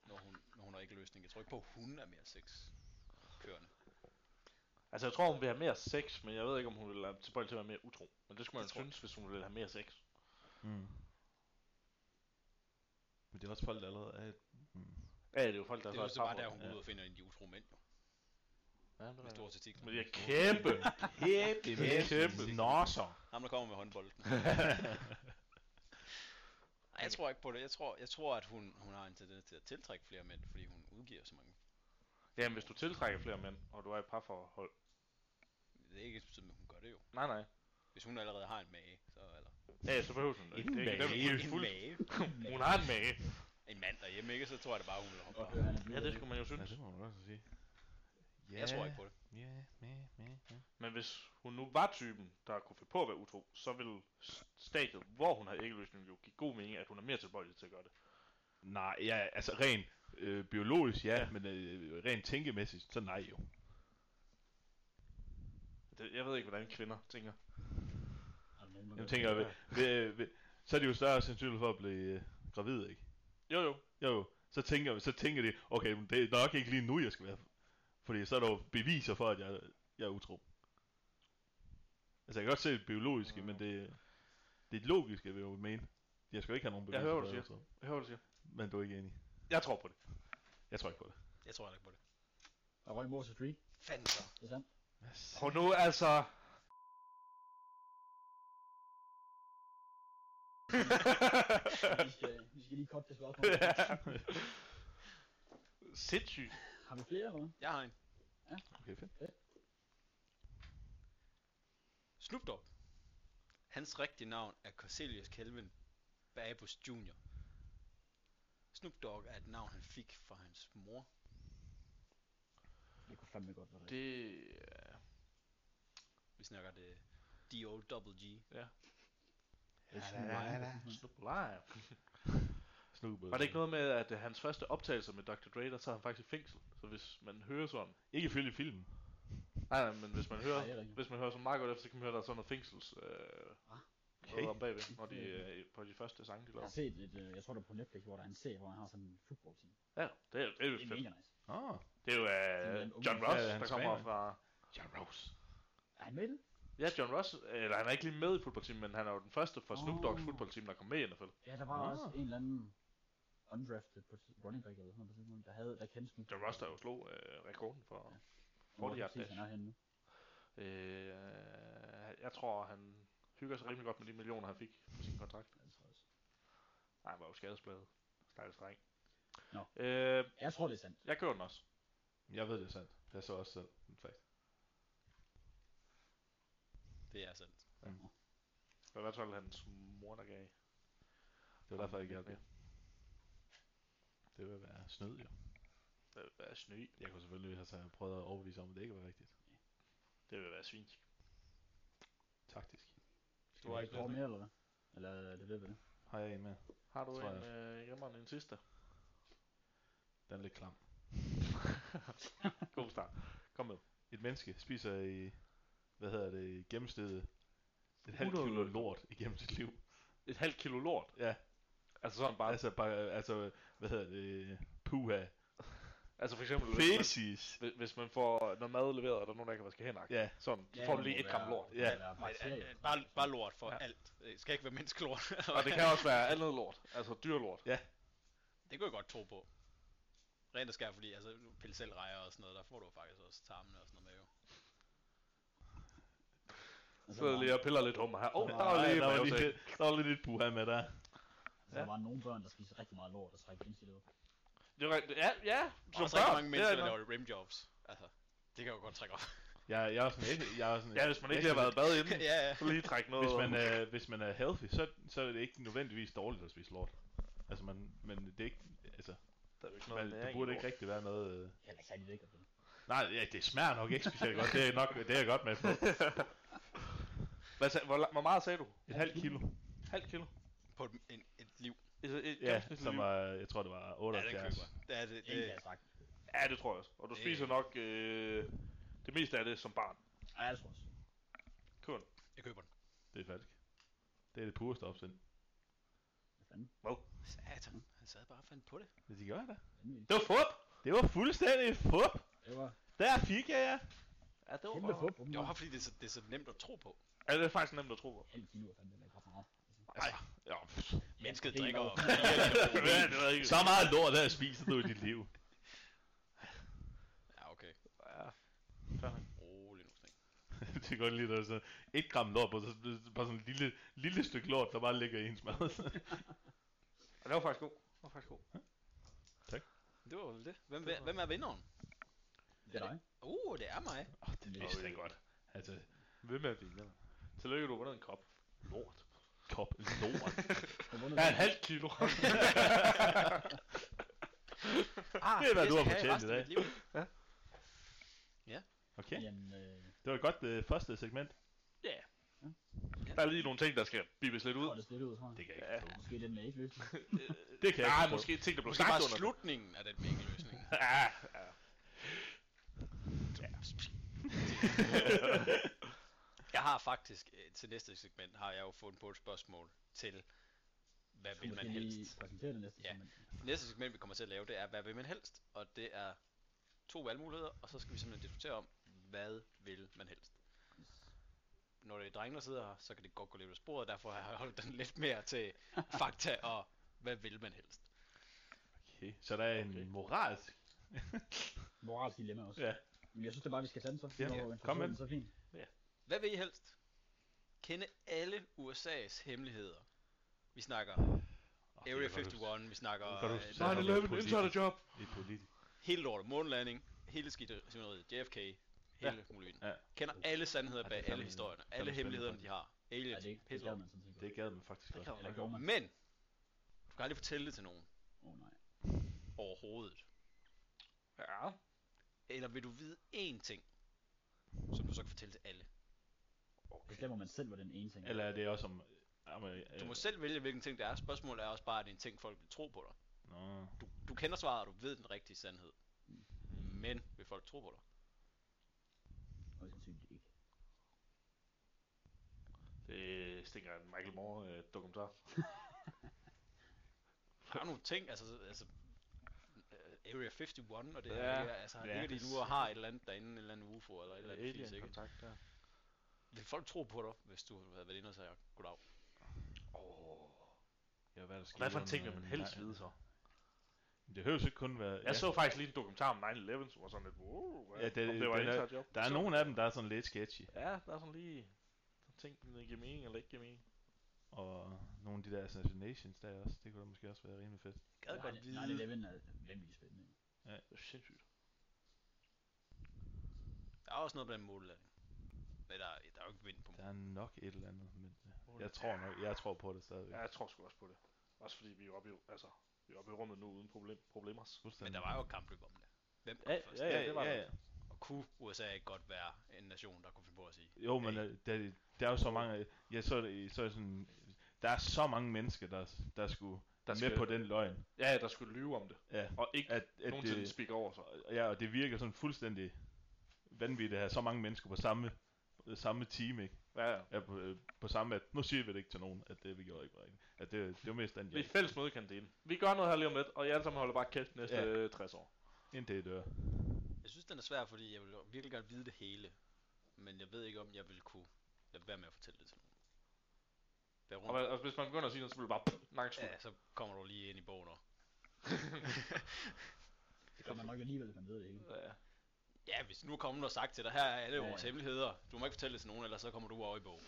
Speaker 1: når hun, når hun har ikke løsning. Jeg tror ikke på, at hun er mere sex kørende.
Speaker 2: Altså, jeg tror, hun vil have mere sex, men jeg ved ikke, om hun vil have tilbøjelig til at være mere utro. Men det skulle man
Speaker 1: Det
Speaker 2: jo
Speaker 1: tror jeg.
Speaker 2: synes, hvis hun ville have mere sex.
Speaker 5: mm. Men det er også folk, der allerede er... Mm.
Speaker 2: Ja, det er jo folk, der
Speaker 1: Det
Speaker 2: så
Speaker 1: er jo så bare der, hun
Speaker 2: parforhold.
Speaker 1: går
Speaker 5: ja.
Speaker 1: ud og finder en de utro mænd, jo,
Speaker 2: Ja, det
Speaker 1: med
Speaker 2: er
Speaker 1: store testikler.
Speaker 2: Men jeg er kæmpe, kæmpe, kæmpe nosser.
Speaker 1: Ham, der kommer med
Speaker 2: [LAUGHS]
Speaker 1: håndbolden. Ej, jeg tror ikke på det. Jeg tror, jeg tror at hun, hun har en tendens til at tiltrække flere mænd, fordi hun udgiver så mange.
Speaker 2: Jamen, hvis du tiltrækker flere mænd, og du er i et parforhold.
Speaker 1: Det er ikke sådan, at hun gør det jo.
Speaker 2: Nej, nej.
Speaker 1: Hvis hun allerede har en mage, så eller
Speaker 2: Ja, så behøver hun det ikke.
Speaker 5: En
Speaker 2: Det er ikke
Speaker 5: mage.
Speaker 2: dem, der er
Speaker 1: en
Speaker 2: fuld.
Speaker 1: mage,
Speaker 2: Hun har en mage.
Speaker 1: en mand derhjemme, ikke? Så tror jeg da bare, hun vil hoppe.
Speaker 3: Og
Speaker 1: bare.
Speaker 3: hører, han er dyr.
Speaker 2: Ja, det skulle man jo
Speaker 5: Ja,
Speaker 2: synes.
Speaker 5: det må man også sige. Ja,
Speaker 1: Jeg tror ikke på det.
Speaker 5: Ja, ja, ja, ja.
Speaker 2: Men hvis hun nu var typen, der kunne finde på at være utro, så ville s- stadiet, hvor hun har æggeløsning, jo give god mening, at hun er mere tilbøjelig til at gøre det.
Speaker 5: Nej, ja, altså rent øh, biologisk, ja, ja. men øh, rent tænkemæssigt, så nej jo.
Speaker 2: det. Jeg ved ikke, hvordan kvinder tænker.
Speaker 3: Er der nogen, der
Speaker 5: Jamen
Speaker 3: gør det?
Speaker 5: tænker jeg, ved, ved, ved, så er det jo større sandsynlighed for at blive øh, gravid, ikke?
Speaker 2: Jo, jo.
Speaker 5: Jo, jo. Så tænker, så tænker de, okay, men det er nok ikke lige nu, jeg skal være. Fordi så er der jo beviser for, at jeg, jeg er utro. Altså, jeg kan godt se det biologiske,
Speaker 2: Mm.
Speaker 5: mm. men det, det logiske, vil jeg jo mene. Jeg skal jo ikke have
Speaker 2: Jeg
Speaker 5: nogen beviser
Speaker 2: hører,
Speaker 5: for,
Speaker 2: hvad du
Speaker 5: at jeg er utro.
Speaker 2: Jeg hører, hvad du siger.
Speaker 5: Men du er ikke enig.
Speaker 2: Jeg tror på det.
Speaker 5: Jeg tror ikke på det.
Speaker 1: Jeg tror heller ikke på det.
Speaker 3: Der røg Moses Reed.
Speaker 1: Fanden så.
Speaker 2: [LAUGHS]
Speaker 3: Det er sandt.
Speaker 2: Og nu altså...
Speaker 3: Vi skal, vi skal lige koppe det
Speaker 2: [LAUGHS]
Speaker 3: spørgsmål.
Speaker 2: Sindssygt.
Speaker 3: Har vi flere eller hvad?
Speaker 1: Jeg har en.
Speaker 5: Okay, fedt.
Speaker 1: Snoop Dogg. Hans rigtige navn er Corselius Kelvin Babus Jr. Snoop Dogg er et navn, han fik fra hans mor.
Speaker 3: Det kunne fandme godt være det.
Speaker 2: Det...
Speaker 1: Vi snakker det D-O-double-G.
Speaker 2: Ja, da, da, da. Snoop Live.
Speaker 5: Snoop.
Speaker 2: Var det ikke noget med, at øh, hans første optagelser med Dr. Dre, der sad han faktisk i fængsel? Så hvis man hører sådan...
Speaker 5: Ikke ifølge filmen.
Speaker 2: Nej, nej, men hvis man hører...
Speaker 3: Nej, det er rigtigt.
Speaker 2: Hvis man hører sådan meget godt efter, så kan man høre, der er sådan noget fængsels... Øh, okay. Noget om bagved, når de, øh, på de første sange, de
Speaker 3: Jeg
Speaker 2: lavede.
Speaker 3: har set et, øh, jeg tror det er på Netflix, hvor der er en serie, hvor han har sådan en football team.
Speaker 2: Ja, det er, det er jo
Speaker 3: Det er
Speaker 2: fedt.
Speaker 3: mega nice.
Speaker 5: Ah,
Speaker 2: Det er jo
Speaker 3: Sådan en
Speaker 2: øh,
Speaker 3: ung-
Speaker 2: John Ross,
Speaker 5: Ja,
Speaker 2: ja, der
Speaker 5: hans
Speaker 2: kommer
Speaker 5: fan.
Speaker 2: fra...
Speaker 5: John Rose.
Speaker 3: Er han med i det?
Speaker 2: Ja, John Ross, eller han er ikke lige med i fodboldteamet, men han er jo den første fra Snoop Dogg's
Speaker 3: Oh.
Speaker 2: fodboldteam, der kom med i NFL.
Speaker 3: Ja, der var
Speaker 5: Ah.
Speaker 3: også en eller anden undrafted på running back eller sådan noget, på tidspunkt, der, havde, der kendte sådan.
Speaker 2: John Ross, der jo slog øh, rekorden for...
Speaker 3: Hvor
Speaker 2: hurtigt
Speaker 3: præcis
Speaker 2: jagtdash.
Speaker 3: han er henne nu.
Speaker 2: Øh, jeg tror, han hygger sig rimelig godt med de millioner, han fik på sin kontrakt.
Speaker 3: Ja, det tror jeg også.
Speaker 2: Nej, han var jo skadesbladet. Stakkels dreng.
Speaker 3: Nå.
Speaker 2: Øh,
Speaker 3: Jeg tror, det er sandt.
Speaker 2: jeg kører den også.
Speaker 5: Jeg ved, det er sandt. Jeg så også selv, in fact.
Speaker 1: Det er altså- sandt.
Speaker 2: Det var i hvert fald hans mor, der gav.
Speaker 5: Det var derfor, jeg ikke hjalp det. Det vil være snyd, jo.
Speaker 2: Det vil være sny.
Speaker 5: Jeg kunne selvfølgelig have prøvet at overbevise om, at det ikke var rigtigt.
Speaker 2: Det vil være svinsk.
Speaker 5: Taktisk.
Speaker 1: Du har ikke
Speaker 3: Tror
Speaker 1: noget.
Speaker 3: mere, eller hvad? Eller er det ved ved det?
Speaker 5: Har jeg en med?
Speaker 2: Har du
Speaker 5: Tror
Speaker 2: en
Speaker 5: jeg.
Speaker 2: øh, jammer end en sidste?
Speaker 5: Den er lidt klam.
Speaker 2: God start. Kom med.
Speaker 5: Et menneske spiser i, hvad hedder det, i gennemsnittet et halvt
Speaker 2: 100
Speaker 5: kilo lort igennem sit liv.
Speaker 2: Et halvt kilo lort.
Speaker 5: Ja.
Speaker 2: Altså sådan bare. Altså,
Speaker 5: Altså, bare, altså hvad hedder det, puha,
Speaker 2: altså for eksempel, hvis
Speaker 5: feces.
Speaker 2: man, hvis- hvis man får noget mad leveret, og der er nogen, der ikke kan vaske hænder.
Speaker 5: Ja,
Speaker 2: Sådan, så får du lige et gram lort.
Speaker 5: Ja. Altså,
Speaker 1: Bare, bare lort for
Speaker 2: Ja.
Speaker 1: ja. alt. Det skal ikke være menneskelort.
Speaker 2: Og det kan også være alt noget lort. Altså dyrlort.
Speaker 1: [LAUGHS] det kunne jeg godt tro på. Rent og skær, fordi altså, nu pille selv rejer og sådan noget, der får du faktisk også tarmene og sådan noget med jo.
Speaker 2: Så sidder jeg lige og piller lidt hummer her. Åh, oh,
Speaker 5: der
Speaker 2: der var lige
Speaker 5: der var
Speaker 2: en
Speaker 5: lige,
Speaker 2: mavesæk.
Speaker 5: lidt, der var lige lidt puha med der.
Speaker 3: Altså, der var nogle børn, der spiser rigtig meget lort og trækker ind i det.
Speaker 2: Det var rigtigt. Ja, ja.
Speaker 1: Og så rigtig mange mennesker, der laver rimjobs. Altså, det kan jeg jo godt trække op.
Speaker 5: Jeg, jeg er sådan ikke, jeg er sådan,
Speaker 2: Ja, hvis man ikke lige
Speaker 5: jeg
Speaker 2: har været i bad
Speaker 5: [LAUGHS]
Speaker 2: inden,
Speaker 1: ja, ja.
Speaker 2: så lige trække noget.
Speaker 5: Hvis man, øh, er, hvis man er healthy, så, så er det ikke nødvendigvis dårligt at spise lort. Altså, man, men det er ikke, altså,
Speaker 2: der er jo ikke
Speaker 5: man,
Speaker 2: noget
Speaker 5: det burde ikke rigtig være noget... Øh...
Speaker 3: Jeg er ikke særlig lækkert. det.
Speaker 5: Nej, ja, det smager nok ikke specielt godt, det er, nok, det er jeg godt med på.
Speaker 2: Hvad sag, hvor, la- hvor meget sagde du?
Speaker 5: Et halvt kilo.
Speaker 2: Halvt kilo?
Speaker 1: På et, en, et liv.
Speaker 2: Et, et, et
Speaker 5: [LAUGHS] Ja, som var, jeg tror det var
Speaker 1: Ja, den
Speaker 5: 78.
Speaker 1: køber. Det er
Speaker 2: Øh.
Speaker 1: det,
Speaker 3: Det kan
Speaker 1: det,
Speaker 3: jeg sagt.
Speaker 2: ja, det tror jeg også. Og du
Speaker 1: Øh.
Speaker 2: spiser nok øh, det meste af det som barn.
Speaker 3: Ej, jeg tror også.
Speaker 2: Kun.
Speaker 1: jeg køber den.
Speaker 5: det er falsk. Det er det pureste opsind.
Speaker 3: Hvad fanden?
Speaker 1: Satan, han sad bare og fandt på det.
Speaker 5: Det de gør det.
Speaker 3: Vanvittigt.
Speaker 5: Det var fup! Det var fuldstændig fup!
Speaker 3: Det var
Speaker 5: Der fik jeg jer!
Speaker 2: Ja, det var
Speaker 3: kæmpe
Speaker 2: bare...
Speaker 3: fup.
Speaker 1: Det var bare fordi, det er, så, det er så nemt at tro på.
Speaker 2: Ja, det er faktisk nemt at tro på.
Speaker 3: Halv kilo er fandme heller ikke ret meget.
Speaker 2: Nej. Ja,
Speaker 5: [LAUGHS]
Speaker 2: pff.
Speaker 1: Mennesket
Speaker 3: det er
Speaker 1: drikker
Speaker 3: nok.
Speaker 1: og fire
Speaker 2: ja, det ved jeg ikke.
Speaker 5: Så meget lort der spiser du i dit liv. [LAUGHS]
Speaker 1: Ja, okay.
Speaker 2: Ja.
Speaker 1: Rolig nu, Sten.
Speaker 5: det kan godt lide, at der er sådan et gram lort på, så bare sådan en lille, lille stykke lort, der bare ligger i ens mad. [LAUGHS]
Speaker 2: Og det var faktisk god. Det var faktisk god.
Speaker 1: Det var vel det. Hvem, hvem, hvem er vinderen?
Speaker 3: Det er dig.
Speaker 1: Uh, det er mig.
Speaker 5: oh, det vidste
Speaker 2: øh,
Speaker 5: jeg godt. Altså,
Speaker 2: Hvem er din venner? Tillykke, du har vundet en kop. Lort.
Speaker 5: kop [LAUGHS] lort.
Speaker 3: Du har vundet
Speaker 2: Ja,
Speaker 3: den.
Speaker 2: en halv kilo.
Speaker 1: Ah,
Speaker 5: Det er, hvad du har
Speaker 1: skal jeg
Speaker 5: fortjent
Speaker 1: resten
Speaker 5: i
Speaker 1: af
Speaker 5: dag.
Speaker 1: mit liv.
Speaker 5: Okay,
Speaker 3: Jamen, øh,
Speaker 5: det var et godt øh, første segment.
Speaker 2: der er lige nogle ting, der skal bibes lidt
Speaker 3: så
Speaker 2: ud.
Speaker 3: var det slidt ud, tror jeg.
Speaker 5: Det kan jeg ikke forstå.
Speaker 3: Måske den er ikke løst.
Speaker 5: Det kan jeg
Speaker 2: Nej,
Speaker 5: ikke forstå.
Speaker 2: måske ting, der blev
Speaker 1: Måske
Speaker 2: sagt
Speaker 1: bare
Speaker 2: under. den.
Speaker 1: slutningen af den vinkeløsning.
Speaker 2: Ja, ja.
Speaker 1: [LAUGHS] Jeg har faktisk, øh, til næste segment, har jeg jo fundet på et spørgsmål til, hvad vil man helst?
Speaker 3: præsentere det næste
Speaker 1: Ja.
Speaker 3: segment.
Speaker 1: Det næste segment, vi kommer til at lave, det er, hvad vil man helst? Og det er to valgmuligheder, og så skal vi simpelthen diskutere om, hvad vil man helst? Når det er drenge, der sidder her, så kan det godt gå lidt af sporet, derfor har jeg holdt den lidt mere til fakta og, hvad vil man helst?
Speaker 5: Okay, så der er en moralsk
Speaker 3: moralsk dilemma også.
Speaker 5: Ja.
Speaker 3: Men jeg synes det bare, vi skal tage den så.
Speaker 2: Ja,
Speaker 3: Når
Speaker 2: ja.
Speaker 3: introduktionen
Speaker 2: Kom med den.
Speaker 3: er Så fint.
Speaker 1: Hvad vil I helst? Kende alle USA's hemmeligheder. Vi snakker
Speaker 5: Oh,
Speaker 1: Area 51, vi snakker
Speaker 5: Kan du-
Speaker 1: øh,
Speaker 5: Så har vi lavet et
Speaker 2: insider job.
Speaker 5: Det er politisk.
Speaker 1: hele lortet, månelanding, hele skidteriet, JFK, hele ja. muligheden.
Speaker 2: Ja.
Speaker 1: Kender alle sandheder
Speaker 5: Ja,
Speaker 1: bag
Speaker 5: det er
Speaker 1: alle
Speaker 5: fandme-
Speaker 1: historierne,
Speaker 5: fandme
Speaker 1: alle
Speaker 5: spændende
Speaker 1: hemmelighederne, de
Speaker 5: faktisk.
Speaker 1: har.
Speaker 3: Ja,
Speaker 1: Aliens,
Speaker 3: det,
Speaker 1: ja,
Speaker 3: det gad
Speaker 1: pisser.
Speaker 3: man sådan set godt.
Speaker 5: Det gad man faktisk godt.
Speaker 3: Eller gjorde man.
Speaker 1: Men, du kan aldrig fortælle det til nogen
Speaker 3: Åh oh, nej.
Speaker 1: overhovedet.
Speaker 2: Ja.
Speaker 1: Eller vil du vide én ting, som du så kan fortælle til alle?
Speaker 3: Det stemmer man selv, var den ene ting.
Speaker 5: Eller er det også om... om øh,
Speaker 1: Du må selv vælge, hvilken ting det er. Spørgsmålet er også bare, at det er en ting, folk vil tro på dig.
Speaker 5: Nå.
Speaker 1: Du, du kender svaret, og du ved den rigtige sandhed. Men vil folk tro på dig?
Speaker 3: Og sandsynligt ikke.
Speaker 2: Det stinker af en Michael Moore øh, dokumentar.
Speaker 1: Der er nogle ting, altså... altså øh, Area 51 og det
Speaker 2: Ja,
Speaker 1: her, ja, altså,
Speaker 2: ja,
Speaker 1: ligger
Speaker 2: det
Speaker 1: de
Speaker 2: er
Speaker 1: nu og
Speaker 2: s-
Speaker 1: har et eller andet derinde, en eller anden UFO eller et eller andet fisk,
Speaker 2: Alien
Speaker 1: ikke?
Speaker 2: kontakt der.
Speaker 1: Vil folk tro på dig, hvis du havde været inde og sagt goddag?
Speaker 2: Åh.
Speaker 5: Ja, hvad, er der skete
Speaker 2: Hvad for en
Speaker 5: under-
Speaker 2: ting vil man helst
Speaker 5: nej,
Speaker 2: vide så?
Speaker 5: Det behøver jo ikke kun være...
Speaker 2: Jeg så faktisk lige en dokumentar om 9-11, som var sådan lidt, wow, hvad,
Speaker 5: Ja, det-
Speaker 2: om det var
Speaker 5: den er-
Speaker 2: inside job.
Speaker 5: Der er
Speaker 2: Så-
Speaker 5: nogle af dem, der er sådan lidt sketchy.
Speaker 2: Ja, der er sådan lige sådan ting, der giver mening eller ikke giver mening.
Speaker 5: Og nogle af de der assassinations der også. Det kunne da måske også være rimelig fedt.
Speaker 1: Gad
Speaker 3: Nej,
Speaker 1: godt
Speaker 3: det-
Speaker 1: vide.
Speaker 3: Nej, det er vanvittigt spændende.
Speaker 2: Det er sindssygt.
Speaker 1: Der er også noget blandt mållanding. Men der, er- der er jo ikke vind på
Speaker 5: Der er nok et eller andet, men øh, jeg tror nok, jeg tror på det stadigvæk.
Speaker 2: Ja, jeg tror sgu også på det. Også fordi vi er oppe i, altså, vi er oppe i rummet nu uden problem, problemer.
Speaker 5: Fuldstændig.
Speaker 1: Men der var jo kampløb om det. Hvem kom
Speaker 2: Ja,
Speaker 1: først?
Speaker 2: ja, ja, det var
Speaker 5: ja,
Speaker 2: der.
Speaker 5: ja.
Speaker 1: Og kunne USA ikke godt være en nation, der kunne finde på at sige,
Speaker 5: Jo, men øh, der, der er jo så mange, jeg så, det- så er sådan, der er så mange mennesker, der, der skulle der
Speaker 2: Der
Speaker 5: med
Speaker 2: skal-
Speaker 5: på den løgn.
Speaker 2: Ja, der skulle lyve om det.
Speaker 5: Ja,
Speaker 2: Og ikke
Speaker 5: at, at
Speaker 2: nogensinde
Speaker 5: det,
Speaker 2: speak over sig.
Speaker 5: ja, og det virker sådan fuldstændig vanvittigt at have så mange mennesker på samme, øh, samme team, ikke?
Speaker 2: Ja, ja.
Speaker 5: Ja, på, øh, på samme, at nu siger vi det ikke til nogen, at det vi gjorde ikke var rigtigt. At det, det var mest den,
Speaker 2: Vi er
Speaker 5: jeg
Speaker 2: fælles møde i kantinen. Vi gør noget her lige om lidt, og I alle sammen holder bare kæft næste
Speaker 5: Ja.
Speaker 2: ja. 60 år.
Speaker 5: indtil det dør.
Speaker 1: jeg synes den er svær, fordi jeg vil virkelig gerne vide det hele. Men jeg ved ikke om jeg ville kunne lade være med at fortælle det til nogen. Vær
Speaker 2: Og,
Speaker 1: rundt.
Speaker 2: hvad- og hvis man begynder at sige noget, så bliver det bare nakkeskud. Ja.
Speaker 1: Ja, så kommer du lige ind i bogen og...
Speaker 3: Det kommer nok alligevel, hvis man ved det hele.
Speaker 2: [LAUGHS] ja.
Speaker 1: Ja, hvis nu kommer nogen og sagt til dig, her er alle
Speaker 3: Ja,
Speaker 1: vores
Speaker 3: ja.
Speaker 1: hemmeligheder. Du må ikke fortælle det til nogen, ellers så kommer du over i bogen.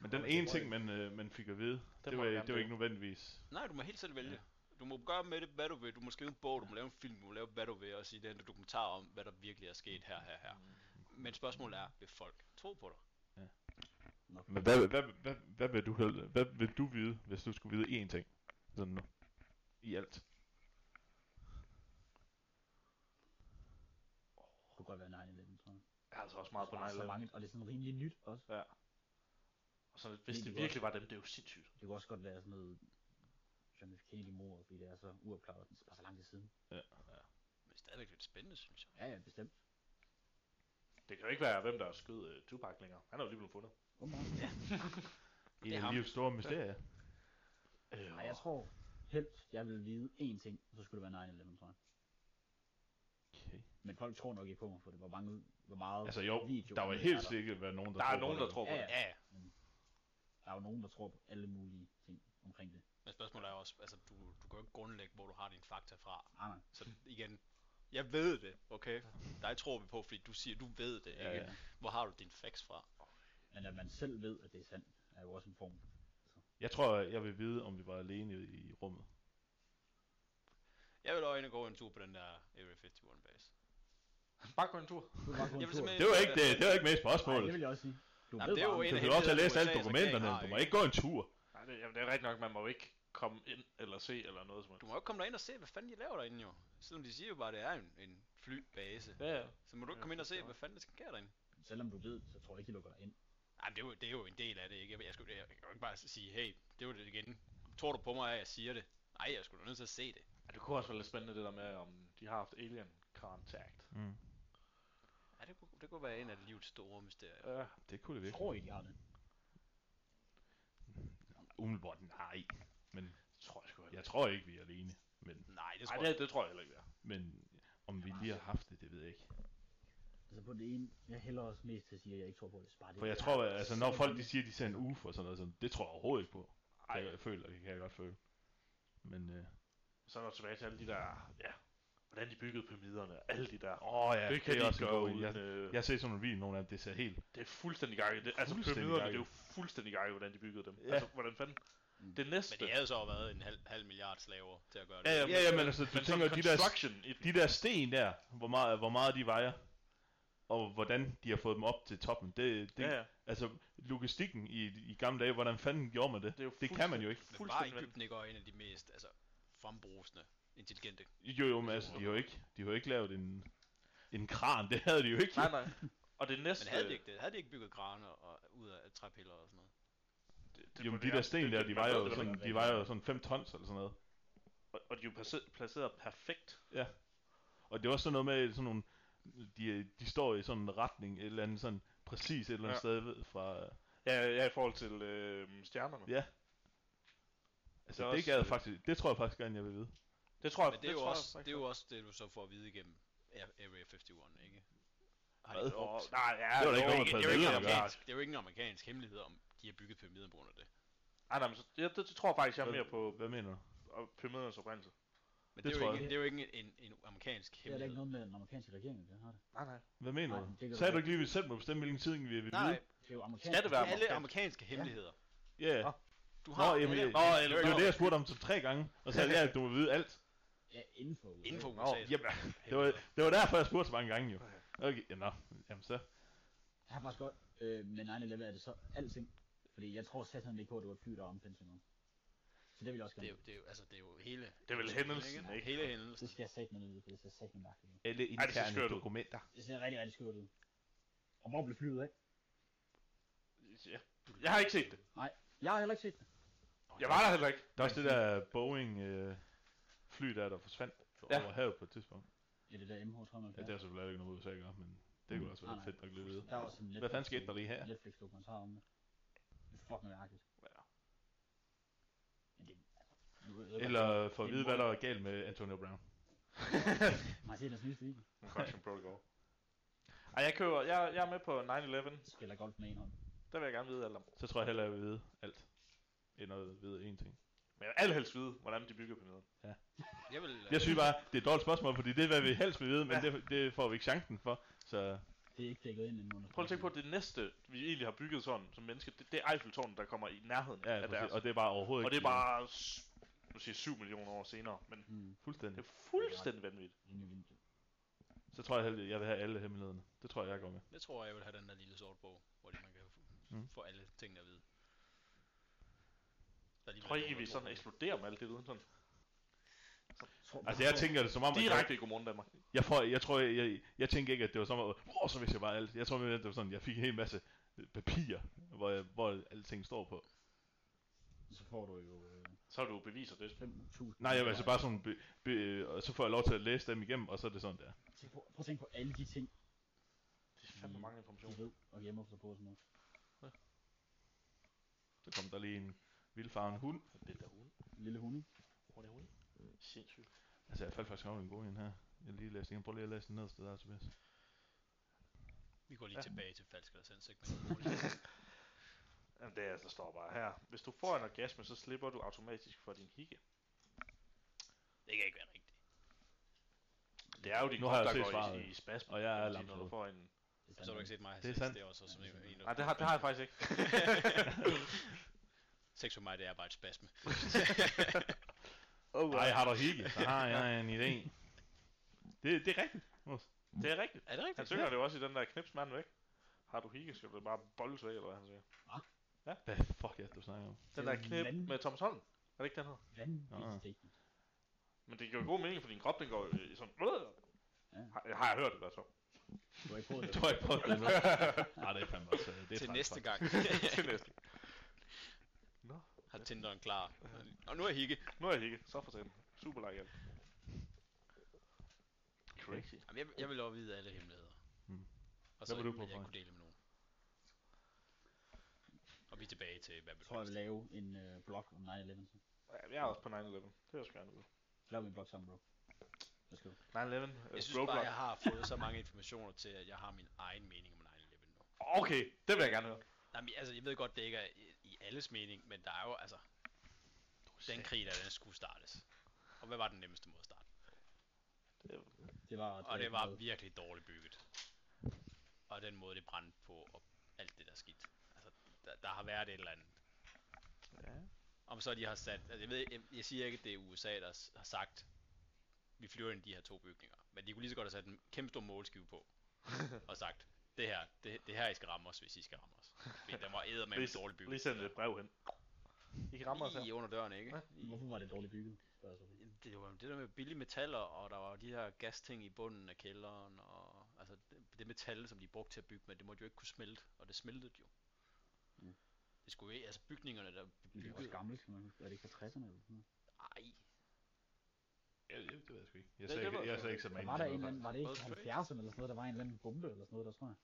Speaker 5: Men den
Speaker 3: men det
Speaker 5: ene
Speaker 3: var
Speaker 5: ting, man, øh, man fik at vide, det,
Speaker 2: må
Speaker 5: var,
Speaker 2: man gerne
Speaker 5: det var
Speaker 2: vide.
Speaker 5: ikke nødvendigvis.
Speaker 1: Nej, du må helt selv vælge. Du må gøre med det, hvad du vil. Du må skrive en bog, du må lave en film, du må lave hvad du vil, og sige den dokumentar om, hvad der virkelig er sket her, her, her.
Speaker 3: Mm.
Speaker 1: Men spørgsmålet er, vil folk tro på dig?
Speaker 3: Nok.
Speaker 5: Men hvad, hvad, hvad, hvad, vil du, hel- hvad vil du vide, hvis du skulle vide én ting? Sådan nu. I alt.
Speaker 3: Det kunne godt være 9-11, tror jeg.
Speaker 2: Jeg er altså også meget på
Speaker 3: Der er så
Speaker 2: 9
Speaker 3: mange, og det er sådan rimelig nyt også.
Speaker 2: Og sådan, lidt, hvis
Speaker 3: Virkelig
Speaker 2: det
Speaker 3: godt.
Speaker 2: virkelig var dem, det er jo sindssygt.
Speaker 3: Det kunne også godt være sådan noget John F. kennedy mor, fordi det er så uopklaret, og det er bare så lang tid siden.
Speaker 1: Men stadigvæk lidt spændende, synes jeg.
Speaker 3: Ja, ja, bestemt.
Speaker 2: Det kan jo ikke være, hvem der skød uh, Tupac længere. Han er jo lige blevet fundet.
Speaker 3: Åbenbart. Ja.
Speaker 5: I
Speaker 1: Det er
Speaker 5: det
Speaker 1: ham.
Speaker 5: livs store mysterie.
Speaker 2: Øh,
Speaker 3: Nej, jeg tror helst, jeg ville vide én ting, og så skulle det være 9-11, tror jeg.
Speaker 5: Okay.
Speaker 3: Men folk tror nok ikke på mig, for det var mange, hvor meget
Speaker 5: Altså jo,
Speaker 3: video altså,
Speaker 5: der var
Speaker 3: der
Speaker 5: helt
Speaker 3: er der.
Speaker 5: sikkert været nogen, der,
Speaker 2: der er
Speaker 5: på
Speaker 2: nogen,
Speaker 5: det.
Speaker 2: der tror på
Speaker 3: Ja,
Speaker 2: det.
Speaker 3: ja.
Speaker 1: Ja, ja.
Speaker 3: Der er jo nogen, der tror på alle mulige ting omkring det.
Speaker 1: men spørgsmålet er også, altså du, du kan jo ikke grundlægge, hvor du har dine fakta fra.
Speaker 3: Ah, Nej, nej.
Speaker 1: Så igen, jeg ved det, okay? Dig tror vi på, fordi du siger, du ved det, ikke?
Speaker 5: Ja, ja.
Speaker 1: Hvor har du dine facts fra?
Speaker 3: Men at man selv ved, at det er sandt, er jo også en form.
Speaker 5: Jeg tror, jeg vil vide, om vi var alene i, i rummet.
Speaker 1: Jeg vil også ind og gå en tur på den der Area 51 base.
Speaker 2: Bare gå en tur.
Speaker 3: Du bare gå
Speaker 1: Jeg
Speaker 3: en
Speaker 1: vil
Speaker 3: tur.
Speaker 1: simpelthen- øh,
Speaker 5: Det var ikke det, det var ikke med
Speaker 3: Nej, det
Speaker 5: spørgsmålet.
Speaker 3: vil jeg også sige. Du
Speaker 1: Jamen,
Speaker 3: ved
Speaker 1: det er jo
Speaker 3: bare, om
Speaker 1: en
Speaker 5: Du
Speaker 1: af
Speaker 5: kan lov til at læse alle
Speaker 1: USA's
Speaker 5: dokumenterne,
Speaker 1: regering har,
Speaker 5: du må ikke gå en tur.
Speaker 2: Nej, det, jamen, det er rigtigt nok, man må jo ikke komme ind eller se eller noget som helst.
Speaker 1: Du må jo ikke komme derind og se, hvad fanden de laver derinde jo. Selvom de siger jo bare, at det er en, en flybase.
Speaker 2: Ja, ja.
Speaker 1: Så må du ikke
Speaker 2: Ja,
Speaker 1: komme ind og se,
Speaker 2: forstår.
Speaker 1: hvad fanden der sker derinde.
Speaker 3: Selvom du ved, så tror jeg ikke, de lukker dig ind.
Speaker 1: Ej, men det er, jo, det er jo en del af det, ikke? Jeg, jeg, skulle, jeg, jeg kan jo ikke bare sige, hey, det var det igen. Tror du på mig, at jeg siger det? Nej, jeg skulle da nødt til at se det.
Speaker 2: ja. det kunne også være lidt spændende det der med, om de har haft alien contact.
Speaker 5: Mm.
Speaker 1: Ja, det kunne, det kunne være en af livets store mysterier.
Speaker 2: Ja.
Speaker 5: Det kunne det
Speaker 3: Jeg
Speaker 5: virkelig.
Speaker 3: tror ikke, de har det.
Speaker 5: Umiddelbart nej. Men
Speaker 2: Det tror jeg sgu heller
Speaker 5: jeg
Speaker 2: ikke.
Speaker 5: tror ikke, vi er alene. Men,
Speaker 1: Nej, det
Speaker 2: Ej,
Speaker 1: tror jeg.
Speaker 2: det, det tror jeg heller ikke, vi er.
Speaker 5: men om vi lige har haft det, det ved jeg ikke.
Speaker 3: Altså på det ene, jeg hælder også mest til at sige, at jeg ikke tror på det. Bare det
Speaker 5: For jeg
Speaker 3: der.
Speaker 5: tror, at, altså når
Speaker 3: Så
Speaker 5: folk de
Speaker 3: mange-
Speaker 5: siger, at de ser en UFO og sådan noget, sådan, det tror jeg overhovedet ikke på. Kan
Speaker 2: Ej.
Speaker 5: jeg, jeg føler, det kan jeg godt føle. Men øh,
Speaker 2: Så er der tilbage til alle de der, ja, hvordan de byggede pyramiderne og alle de der.
Speaker 5: Åh oh, ja,
Speaker 2: det kan de ikke
Speaker 5: en
Speaker 2: gøre
Speaker 5: god
Speaker 2: uden...
Speaker 5: en. Jeg,
Speaker 2: øh,
Speaker 5: jeg har set sådan en video, nogle af dem, det ser helt...
Speaker 2: Det er fuldstændig gakket. Det, altså
Speaker 5: Fuldstændig
Speaker 2: pyramiderne, det er
Speaker 5: gakket.
Speaker 2: jo fuldstændig gakket, hvordan de byggede dem.
Speaker 5: Ja.
Speaker 2: Ja. Altså, hvordan fanden?
Speaker 1: Mm.
Speaker 2: Det næste...
Speaker 1: Men det havde så været en halv, halv milliard slaver til at gøre det.
Speaker 2: Ja, ja,
Speaker 5: Ja, ja, men altså, du
Speaker 2: men
Speaker 5: tænker,
Speaker 2: sådan
Speaker 5: de der-
Speaker 2: construction i den.
Speaker 5: De der sten der, hvor meget, hvor meget de vejer, og hvordan de har fået dem op til toppen, det, det
Speaker 2: Ja, ja.
Speaker 5: altså logistikken i, i gamle dage, hvordan fanden gjorde man det?
Speaker 2: Det, er jo
Speaker 5: Det kan man jo ikke.
Speaker 1: Men bare
Speaker 2: Fuldstændig
Speaker 1: Ægypten ikke også en af de mest altså, frembrusende, intelligente.
Speaker 5: Jo, jo, men altså, de har jo ikke, de har jo ikke lavet en, en kran, [LAUGHS] det havde de jo ikke.
Speaker 1: [LAUGHS]
Speaker 2: Nej, nej. Og det
Speaker 5: Altså-
Speaker 2: næste...
Speaker 1: Men havde de ikke det? Havde de ikke bygget graner og ud af træpiller og sådan noget?
Speaker 2: det-
Speaker 5: Det,
Speaker 2: det
Speaker 5: jo,
Speaker 2: må
Speaker 5: men de
Speaker 2: det
Speaker 5: der
Speaker 2: være-
Speaker 5: sten
Speaker 2: det-
Speaker 5: der,
Speaker 2: det-
Speaker 5: de
Speaker 2: man
Speaker 5: vejer
Speaker 2: ved
Speaker 5: jo
Speaker 2: det, man-
Speaker 5: sådan, de vejer jo sådan 5 tons eller sådan noget.
Speaker 2: Og, og de er jo place- placeret perfekt.
Speaker 5: Og det er også sådan noget med sådan nogle, de, de står i sådan en retning, et eller andet sådan, præcis et eller andet
Speaker 2: Ja.
Speaker 5: sted ved fra, altså,
Speaker 2: Ja, ja i forhold til øh, stjernerne.
Speaker 5: Ja. altså
Speaker 2: er
Speaker 5: det, det
Speaker 2: også,
Speaker 5: gad jeg
Speaker 2: øh,
Speaker 5: faktisk, det tror jeg faktisk gerne, jeg vil vide.
Speaker 2: Det tror jeg,
Speaker 1: Men det, er jo
Speaker 2: tror
Speaker 1: også,
Speaker 2: jeg,
Speaker 1: det er jo også det, du så får at vide igennem A- Area 51, ikke? Har de
Speaker 5: Hvad?
Speaker 1: brugt-
Speaker 2: Åh, nej, ja,
Speaker 5: Det var
Speaker 1: Det
Speaker 5: da ikke
Speaker 1: er jo
Speaker 5: nogen,
Speaker 1: ikke,
Speaker 5: der
Speaker 1: det er jo ikke en
Speaker 5: ved, hvad
Speaker 1: amerikansk, det er jo ikke en amerikansk hemmelighed om, de har bygget pyramiden på grund af det.
Speaker 2: Ej, nej, men så, jeg, det, det tror jeg faktisk, jeg er mere på
Speaker 5: Hvad mener du?
Speaker 2: og pyramidernes oprindelse.
Speaker 1: Men det,
Speaker 5: Det
Speaker 1: det, er,
Speaker 5: tror
Speaker 1: jo ikke,
Speaker 5: jeg.
Speaker 1: det er jo ikke en, en amerikansk
Speaker 3: Det er da
Speaker 1: hemmelighed.
Speaker 3: ikke noget med den amerikanske regering, det har det.
Speaker 2: Nej, nej.
Speaker 5: Hvad mener
Speaker 3: Nej,
Speaker 5: du?
Speaker 3: det kan du
Speaker 5: Sagde du
Speaker 3: ikke.
Speaker 5: ikke lige, at vi selv må bestemme, hvilken tid vi vil vide?
Speaker 1: Nej,
Speaker 3: Det er jo amerikansk.
Speaker 2: Skal det
Speaker 1: det
Speaker 2: være
Speaker 1: er alle
Speaker 2: amerikansk?
Speaker 1: amerikanske hemmeligheder.
Speaker 5: Ja, yeah.
Speaker 2: Nå.
Speaker 1: Du
Speaker 5: Nå,
Speaker 1: har
Speaker 5: jamen,
Speaker 1: alle
Speaker 5: jeg-
Speaker 2: Nå,
Speaker 1: amerikanske
Speaker 2: eller-
Speaker 5: det var det,
Speaker 1: hemmeligheder
Speaker 5: jeg spurgte om til tre gange, og sagde, ja, du må vide alt.
Speaker 3: Ja, inden for USA.
Speaker 1: inden for
Speaker 2: Nå,
Speaker 1: USA.
Speaker 5: Jamen, det var, det var derfor, jeg spurgte så mange gange jo. Okay, jamen, nå, jamen så.
Speaker 3: Jeg har faktisk godt, øh, med 9-11 er det så alting. Fordi jeg tror satan ikke på, at det var et fly, der omfindte noget. Så det vil jeg også
Speaker 1: Det er,
Speaker 3: gerne.
Speaker 1: jo, det, er jo, altså, det er jo hele...
Speaker 2: Det er vel hændelsen, ikke?
Speaker 1: Hele
Speaker 3: Det
Speaker 1: hændelsen.
Speaker 3: skal jeg satan ned ud, for det ser satan mærkeligt ud.
Speaker 5: Alle
Speaker 2: det ser skørt ud.
Speaker 5: dokumenter.
Speaker 3: Det ser rigtig, rigtig skørt ud. Og hvor blev flyet af?
Speaker 2: Ja. Jeg har ikke set det.
Speaker 3: Jeg har heller ikke set det.
Speaker 2: Jeg var der heller ikke.
Speaker 5: Der er også det der Boeing øh, fly der, der forsvandt
Speaker 2: Ja.
Speaker 5: ja. over havet på et tidspunkt.
Speaker 3: Ja, det der MH, tror jeg,
Speaker 5: Ja, det er selvfølgelig ikke noget med USA at gøre, men det kunne også være
Speaker 3: Nej,
Speaker 5: fedt nok lige at vide.
Speaker 3: Der er også en
Speaker 5: Hvad fanden skete der lige her?
Speaker 3: Netflix-dokumentar om det. Det er fucking mærkeligt.
Speaker 2: Ja.
Speaker 3: Men det, nu ved jeg godt,
Speaker 5: Eller for at vide, hvad der var galt med Antonio Brown.
Speaker 3: Martinez nyeste video.
Speaker 2: Construction Protocol. Ej, jeg køber, jeg, jeg er med på 9-11.
Speaker 3: Så spiller golf med en hånd.
Speaker 2: Der vil jeg gerne vide alt om.
Speaker 5: Så tror jeg hellere, jeg vil vide alt, end at vide én ting.
Speaker 2: Men jeg vil allerhelst vide, hvordan de bygger pyramiderne.
Speaker 1: Jeg vil...
Speaker 5: Jeg synes bare, det er et dårligt spørgsmål, fordi det er, hvad vi helst vil vide, men det, det får vi ikke chancen for. Så
Speaker 3: Det er ikke dækket ind i en måned.
Speaker 2: Prøv at tænke på, at det næste, vi egentlig har bygget sådan som menneske, det, det er Eiffeltårnet, der kommer i nærheden
Speaker 5: ja,
Speaker 2: af
Speaker 5: præcis,
Speaker 2: deres.
Speaker 5: og det er bare overhovedet
Speaker 2: Og det er
Speaker 5: ikke
Speaker 2: bare, s- nu siger jeg 7 millioner år senere, men
Speaker 3: Hmm,
Speaker 2: det
Speaker 5: fuldstændig.
Speaker 2: er fuldstændig vanvittigt.
Speaker 3: det er en ny vinkel.
Speaker 5: Så tror jeg heldigvis, jeg vil have alle hemmelighederne. Det tror jeg, jeg går med.
Speaker 1: Jeg tror, jeg vil have den der lille sort bog, hvor de- man kan få,
Speaker 5: Mm.
Speaker 1: få alle tingene at vide. Der er lige
Speaker 2: Jeg tror
Speaker 1: været
Speaker 2: ikke,
Speaker 1: nogen,
Speaker 2: vi
Speaker 1: der
Speaker 2: sådan
Speaker 1: tror
Speaker 2: eksploderer med alt det viden sådan.
Speaker 3: Tror-
Speaker 5: Altså, jeg tænker det som om, at jeg,
Speaker 2: Direkte i Godmorgen Danmark.
Speaker 5: jeg, får, jeg, tror, jeg, jeg, jeg tænker ikke, at det var sådan, at oh, så vidste jeg bare alt. Jeg tror, mere, at det var sådan, jeg fik en hel masse øh, papirer, hvor, jeg, hvor alting står på.
Speaker 3: Så får du jo øh,
Speaker 2: Så har du beviser det.
Speaker 3: 5.000.
Speaker 5: Nej, jeg vil altså bare sådan, be, be, øh, og så får jeg lov til at læse dem igennem, og så er det sådan der.
Speaker 3: Tænk på, prøv at tænke på alle de ting,
Speaker 2: Det er fandme mange informationer.
Speaker 3: de ved og gemmer sig på og sådan noget.
Speaker 5: Så kom der lige en vildfarven hund.
Speaker 2: Den der hund.
Speaker 3: En lille hund, ikke?
Speaker 2: Hvor er det hund? Sindssygt.
Speaker 5: Altså, jeg faldt faktisk over en god en her. Jeg lige læste den. Prøv lige at læse den nederste der, Tobias.
Speaker 1: Vi går lige
Speaker 2: Ja.
Speaker 1: tilbage til falsk eller sandsigt.
Speaker 2: Jamen, det er altså, der står bare her. Hvis du får en orgasme, så slipper du automatisk for din hikke.
Speaker 1: Det kan ikke være rigtigt.
Speaker 2: Det er jo din
Speaker 5: Nu har
Speaker 2: krop,
Speaker 5: jeg
Speaker 2: der
Speaker 5: set
Speaker 2: går
Speaker 5: svaret.
Speaker 2: i, i spasmen.
Speaker 5: Og jeg
Speaker 2: kan
Speaker 5: er
Speaker 2: man sige, Når
Speaker 5: lamslået.
Speaker 2: du får en...
Speaker 3: Det
Speaker 1: Så Altså, har du ikke set mig have
Speaker 5: Det er
Speaker 1: sex,
Speaker 5: sandt.
Speaker 1: det er også sådan
Speaker 3: Ja, det er
Speaker 1: en...
Speaker 2: Nej, det har, det har jeg faktisk ikke.
Speaker 1: Sex for mig, det er bare et spasme.
Speaker 2: Oh,
Speaker 5: Nej, har du hikke? Så har jeg en idé. Det, det er rigtigt.
Speaker 2: Det er rigtigt.
Speaker 1: Er det
Speaker 2: Han
Speaker 1: rigtigt?
Speaker 2: synger det jo også i den der knipsmand væk. Har du hikke, skal du bare bolles væk, eller hvad han siger.
Speaker 5: Hvad fuck er det, du snakker om?
Speaker 2: Den
Speaker 3: Det er
Speaker 2: der knip
Speaker 3: vanvittigt.
Speaker 2: med Thomas Holm. Er det ikke den her?
Speaker 5: Ah.
Speaker 3: Vanvittigt dækket.
Speaker 2: Men det giver jo god mening, for din krop, den går jo i sådan...
Speaker 3: Ja.
Speaker 2: Har, har jeg hørt det, der [LAUGHS] så?
Speaker 3: Du har ikke
Speaker 5: [LAUGHS]
Speaker 3: prøvet det.
Speaker 5: Du har ikke prøvet det endnu. Nej, det er fandme også. øh, Det er
Speaker 1: Til
Speaker 5: træls,
Speaker 1: næste
Speaker 5: faktisk.
Speaker 1: gang
Speaker 2: Til næste.
Speaker 1: [LAUGHS] har Tinderen klar. Og nu er Hikke.
Speaker 2: Nu er jeg hikke. Så for sent. Super like alt. Crazy.
Speaker 1: Jamen, jeg, jeg vil også vide alle hemmeligheder.
Speaker 5: Mm.
Speaker 1: Og så
Speaker 5: Hvad vil du
Speaker 1: vil
Speaker 5: prøve
Speaker 1: jeg
Speaker 5: for?
Speaker 1: kunne dele med nogen. Og vi er tilbage til
Speaker 3: Jeg tror, jeg
Speaker 1: Babylon.
Speaker 3: vil lave en øh, blog om 9-11. Så
Speaker 2: Ja, jeg er også på 9-11. Det vil jeg sgu gerne vide.
Speaker 3: Så laver vi en blog sammen, bro. Let's
Speaker 2: 9-11.
Speaker 3: go.
Speaker 2: øh,
Speaker 1: Jeg synes
Speaker 2: roadblock.
Speaker 1: bare, jeg har fået så mange informationer til, at jeg har min egen mening om 9-11 nu.
Speaker 2: Okay, det vil jeg gerne høre.
Speaker 1: Jamen, altså, jeg ved godt, det ikke er i, i alles mening, men der er jo, altså... Den krig, der den skulle startes. Og hvad var den nemmeste måde at starte?
Speaker 2: Det,
Speaker 3: Det var,
Speaker 1: Og det var
Speaker 3: noget.
Speaker 1: virkelig dårligt bygget. Og den måde, det brændte på, og alt det der skidt. Altså, der, der har været et eller andet.
Speaker 2: ja.
Speaker 1: Om så de har sat, altså jeg, ved, jeg, jeg siger ikke, at det er USA, der s- har sagt, vi flyver ind i de her to bygninger. Men de kunne lige så godt have sat en kæmpe stor målskive på, og sagt, det her, det, det her I skal ramme os, hvis I skal ramme os. Fordi den var eddermame
Speaker 2: Lige,
Speaker 1: dårligt
Speaker 2: lige
Speaker 1: bygget.
Speaker 2: send et brev hen. I rammer os her.
Speaker 1: Lige under døren, ikke?
Speaker 2: Ja.
Speaker 3: Hvorfor var det dårligt bygget? spørger jeg så.
Speaker 1: Det var det der med billige metaller, og der var de her gasting i bunden af kælderen, og altså det, det metal, som de brugte til at bygge med, det måtte jo ikke kunne smelte, og det smeltede jo.
Speaker 3: Mm.
Speaker 1: Det skulle ikke, altså bygningerne, der blev
Speaker 3: Men det er også
Speaker 1: bygget.
Speaker 3: gammelt, kan man huske. Er det ikke fra 60'erne eller sådan noget?
Speaker 1: Ej,
Speaker 5: Ja, det, det ved jeg sgu ikke. Jeg
Speaker 2: Det-
Speaker 5: sagde,
Speaker 2: det
Speaker 5: ikke,
Speaker 2: ved
Speaker 5: jeg
Speaker 2: jeg
Speaker 5: sagde ikke så
Speaker 3: Der
Speaker 5: meget.
Speaker 3: var der en eller anden, var det ikke
Speaker 1: Både
Speaker 3: 70'erne eller sådan noget, der var en eller anden bombe eller sådan noget, der tror jeg.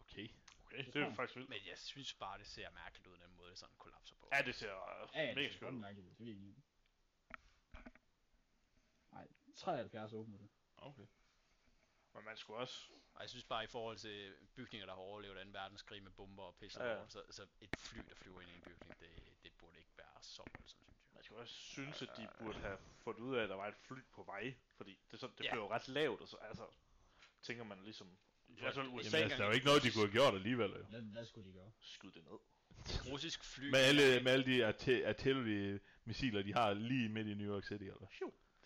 Speaker 5: Okay.
Speaker 2: Okay, det er jo faktisk vildt.
Speaker 1: men jeg synes bare, det ser mærkeligt ud, den måde, det sådan kollapser på.
Speaker 2: Ja, det ser uh,
Speaker 3: Ja, ja,
Speaker 2: mega
Speaker 3: det er
Speaker 2: skønt
Speaker 3: godt
Speaker 2: ud.
Speaker 3: mærkeligt, det er egentlig. Nej, 73 åbner det.
Speaker 5: Okay.
Speaker 2: Men man skulle også...
Speaker 1: Og jeg synes bare, i forhold til bygninger, der har overlevet 2. verdenskrig med bomber og pisse
Speaker 2: Ja, ja.
Speaker 1: ja. så, så et fly, der flyver ind i en bygning, det, det burde ikke være så voldsomt, synes jeg.
Speaker 2: Man skulle også synes, at de burde have fundet ud af, at der var et fly på vej. Fordi det, er sådan, det
Speaker 1: Ja.
Speaker 2: blev jo ret lavt, og så altså, tænker man ligesom... I hvert fald
Speaker 1: Jamen,
Speaker 2: USA
Speaker 5: Jamen, altså, der er jo ikke noget, de kunne have gjort alligevel, jo.
Speaker 3: Hvad, hvad skulle de gøre?
Speaker 2: skyde det ned.
Speaker 1: Russisk fly...
Speaker 5: Med alle, med alle de arte- artillery-missiler, de har lige midt i New York City, eller?
Speaker 2: De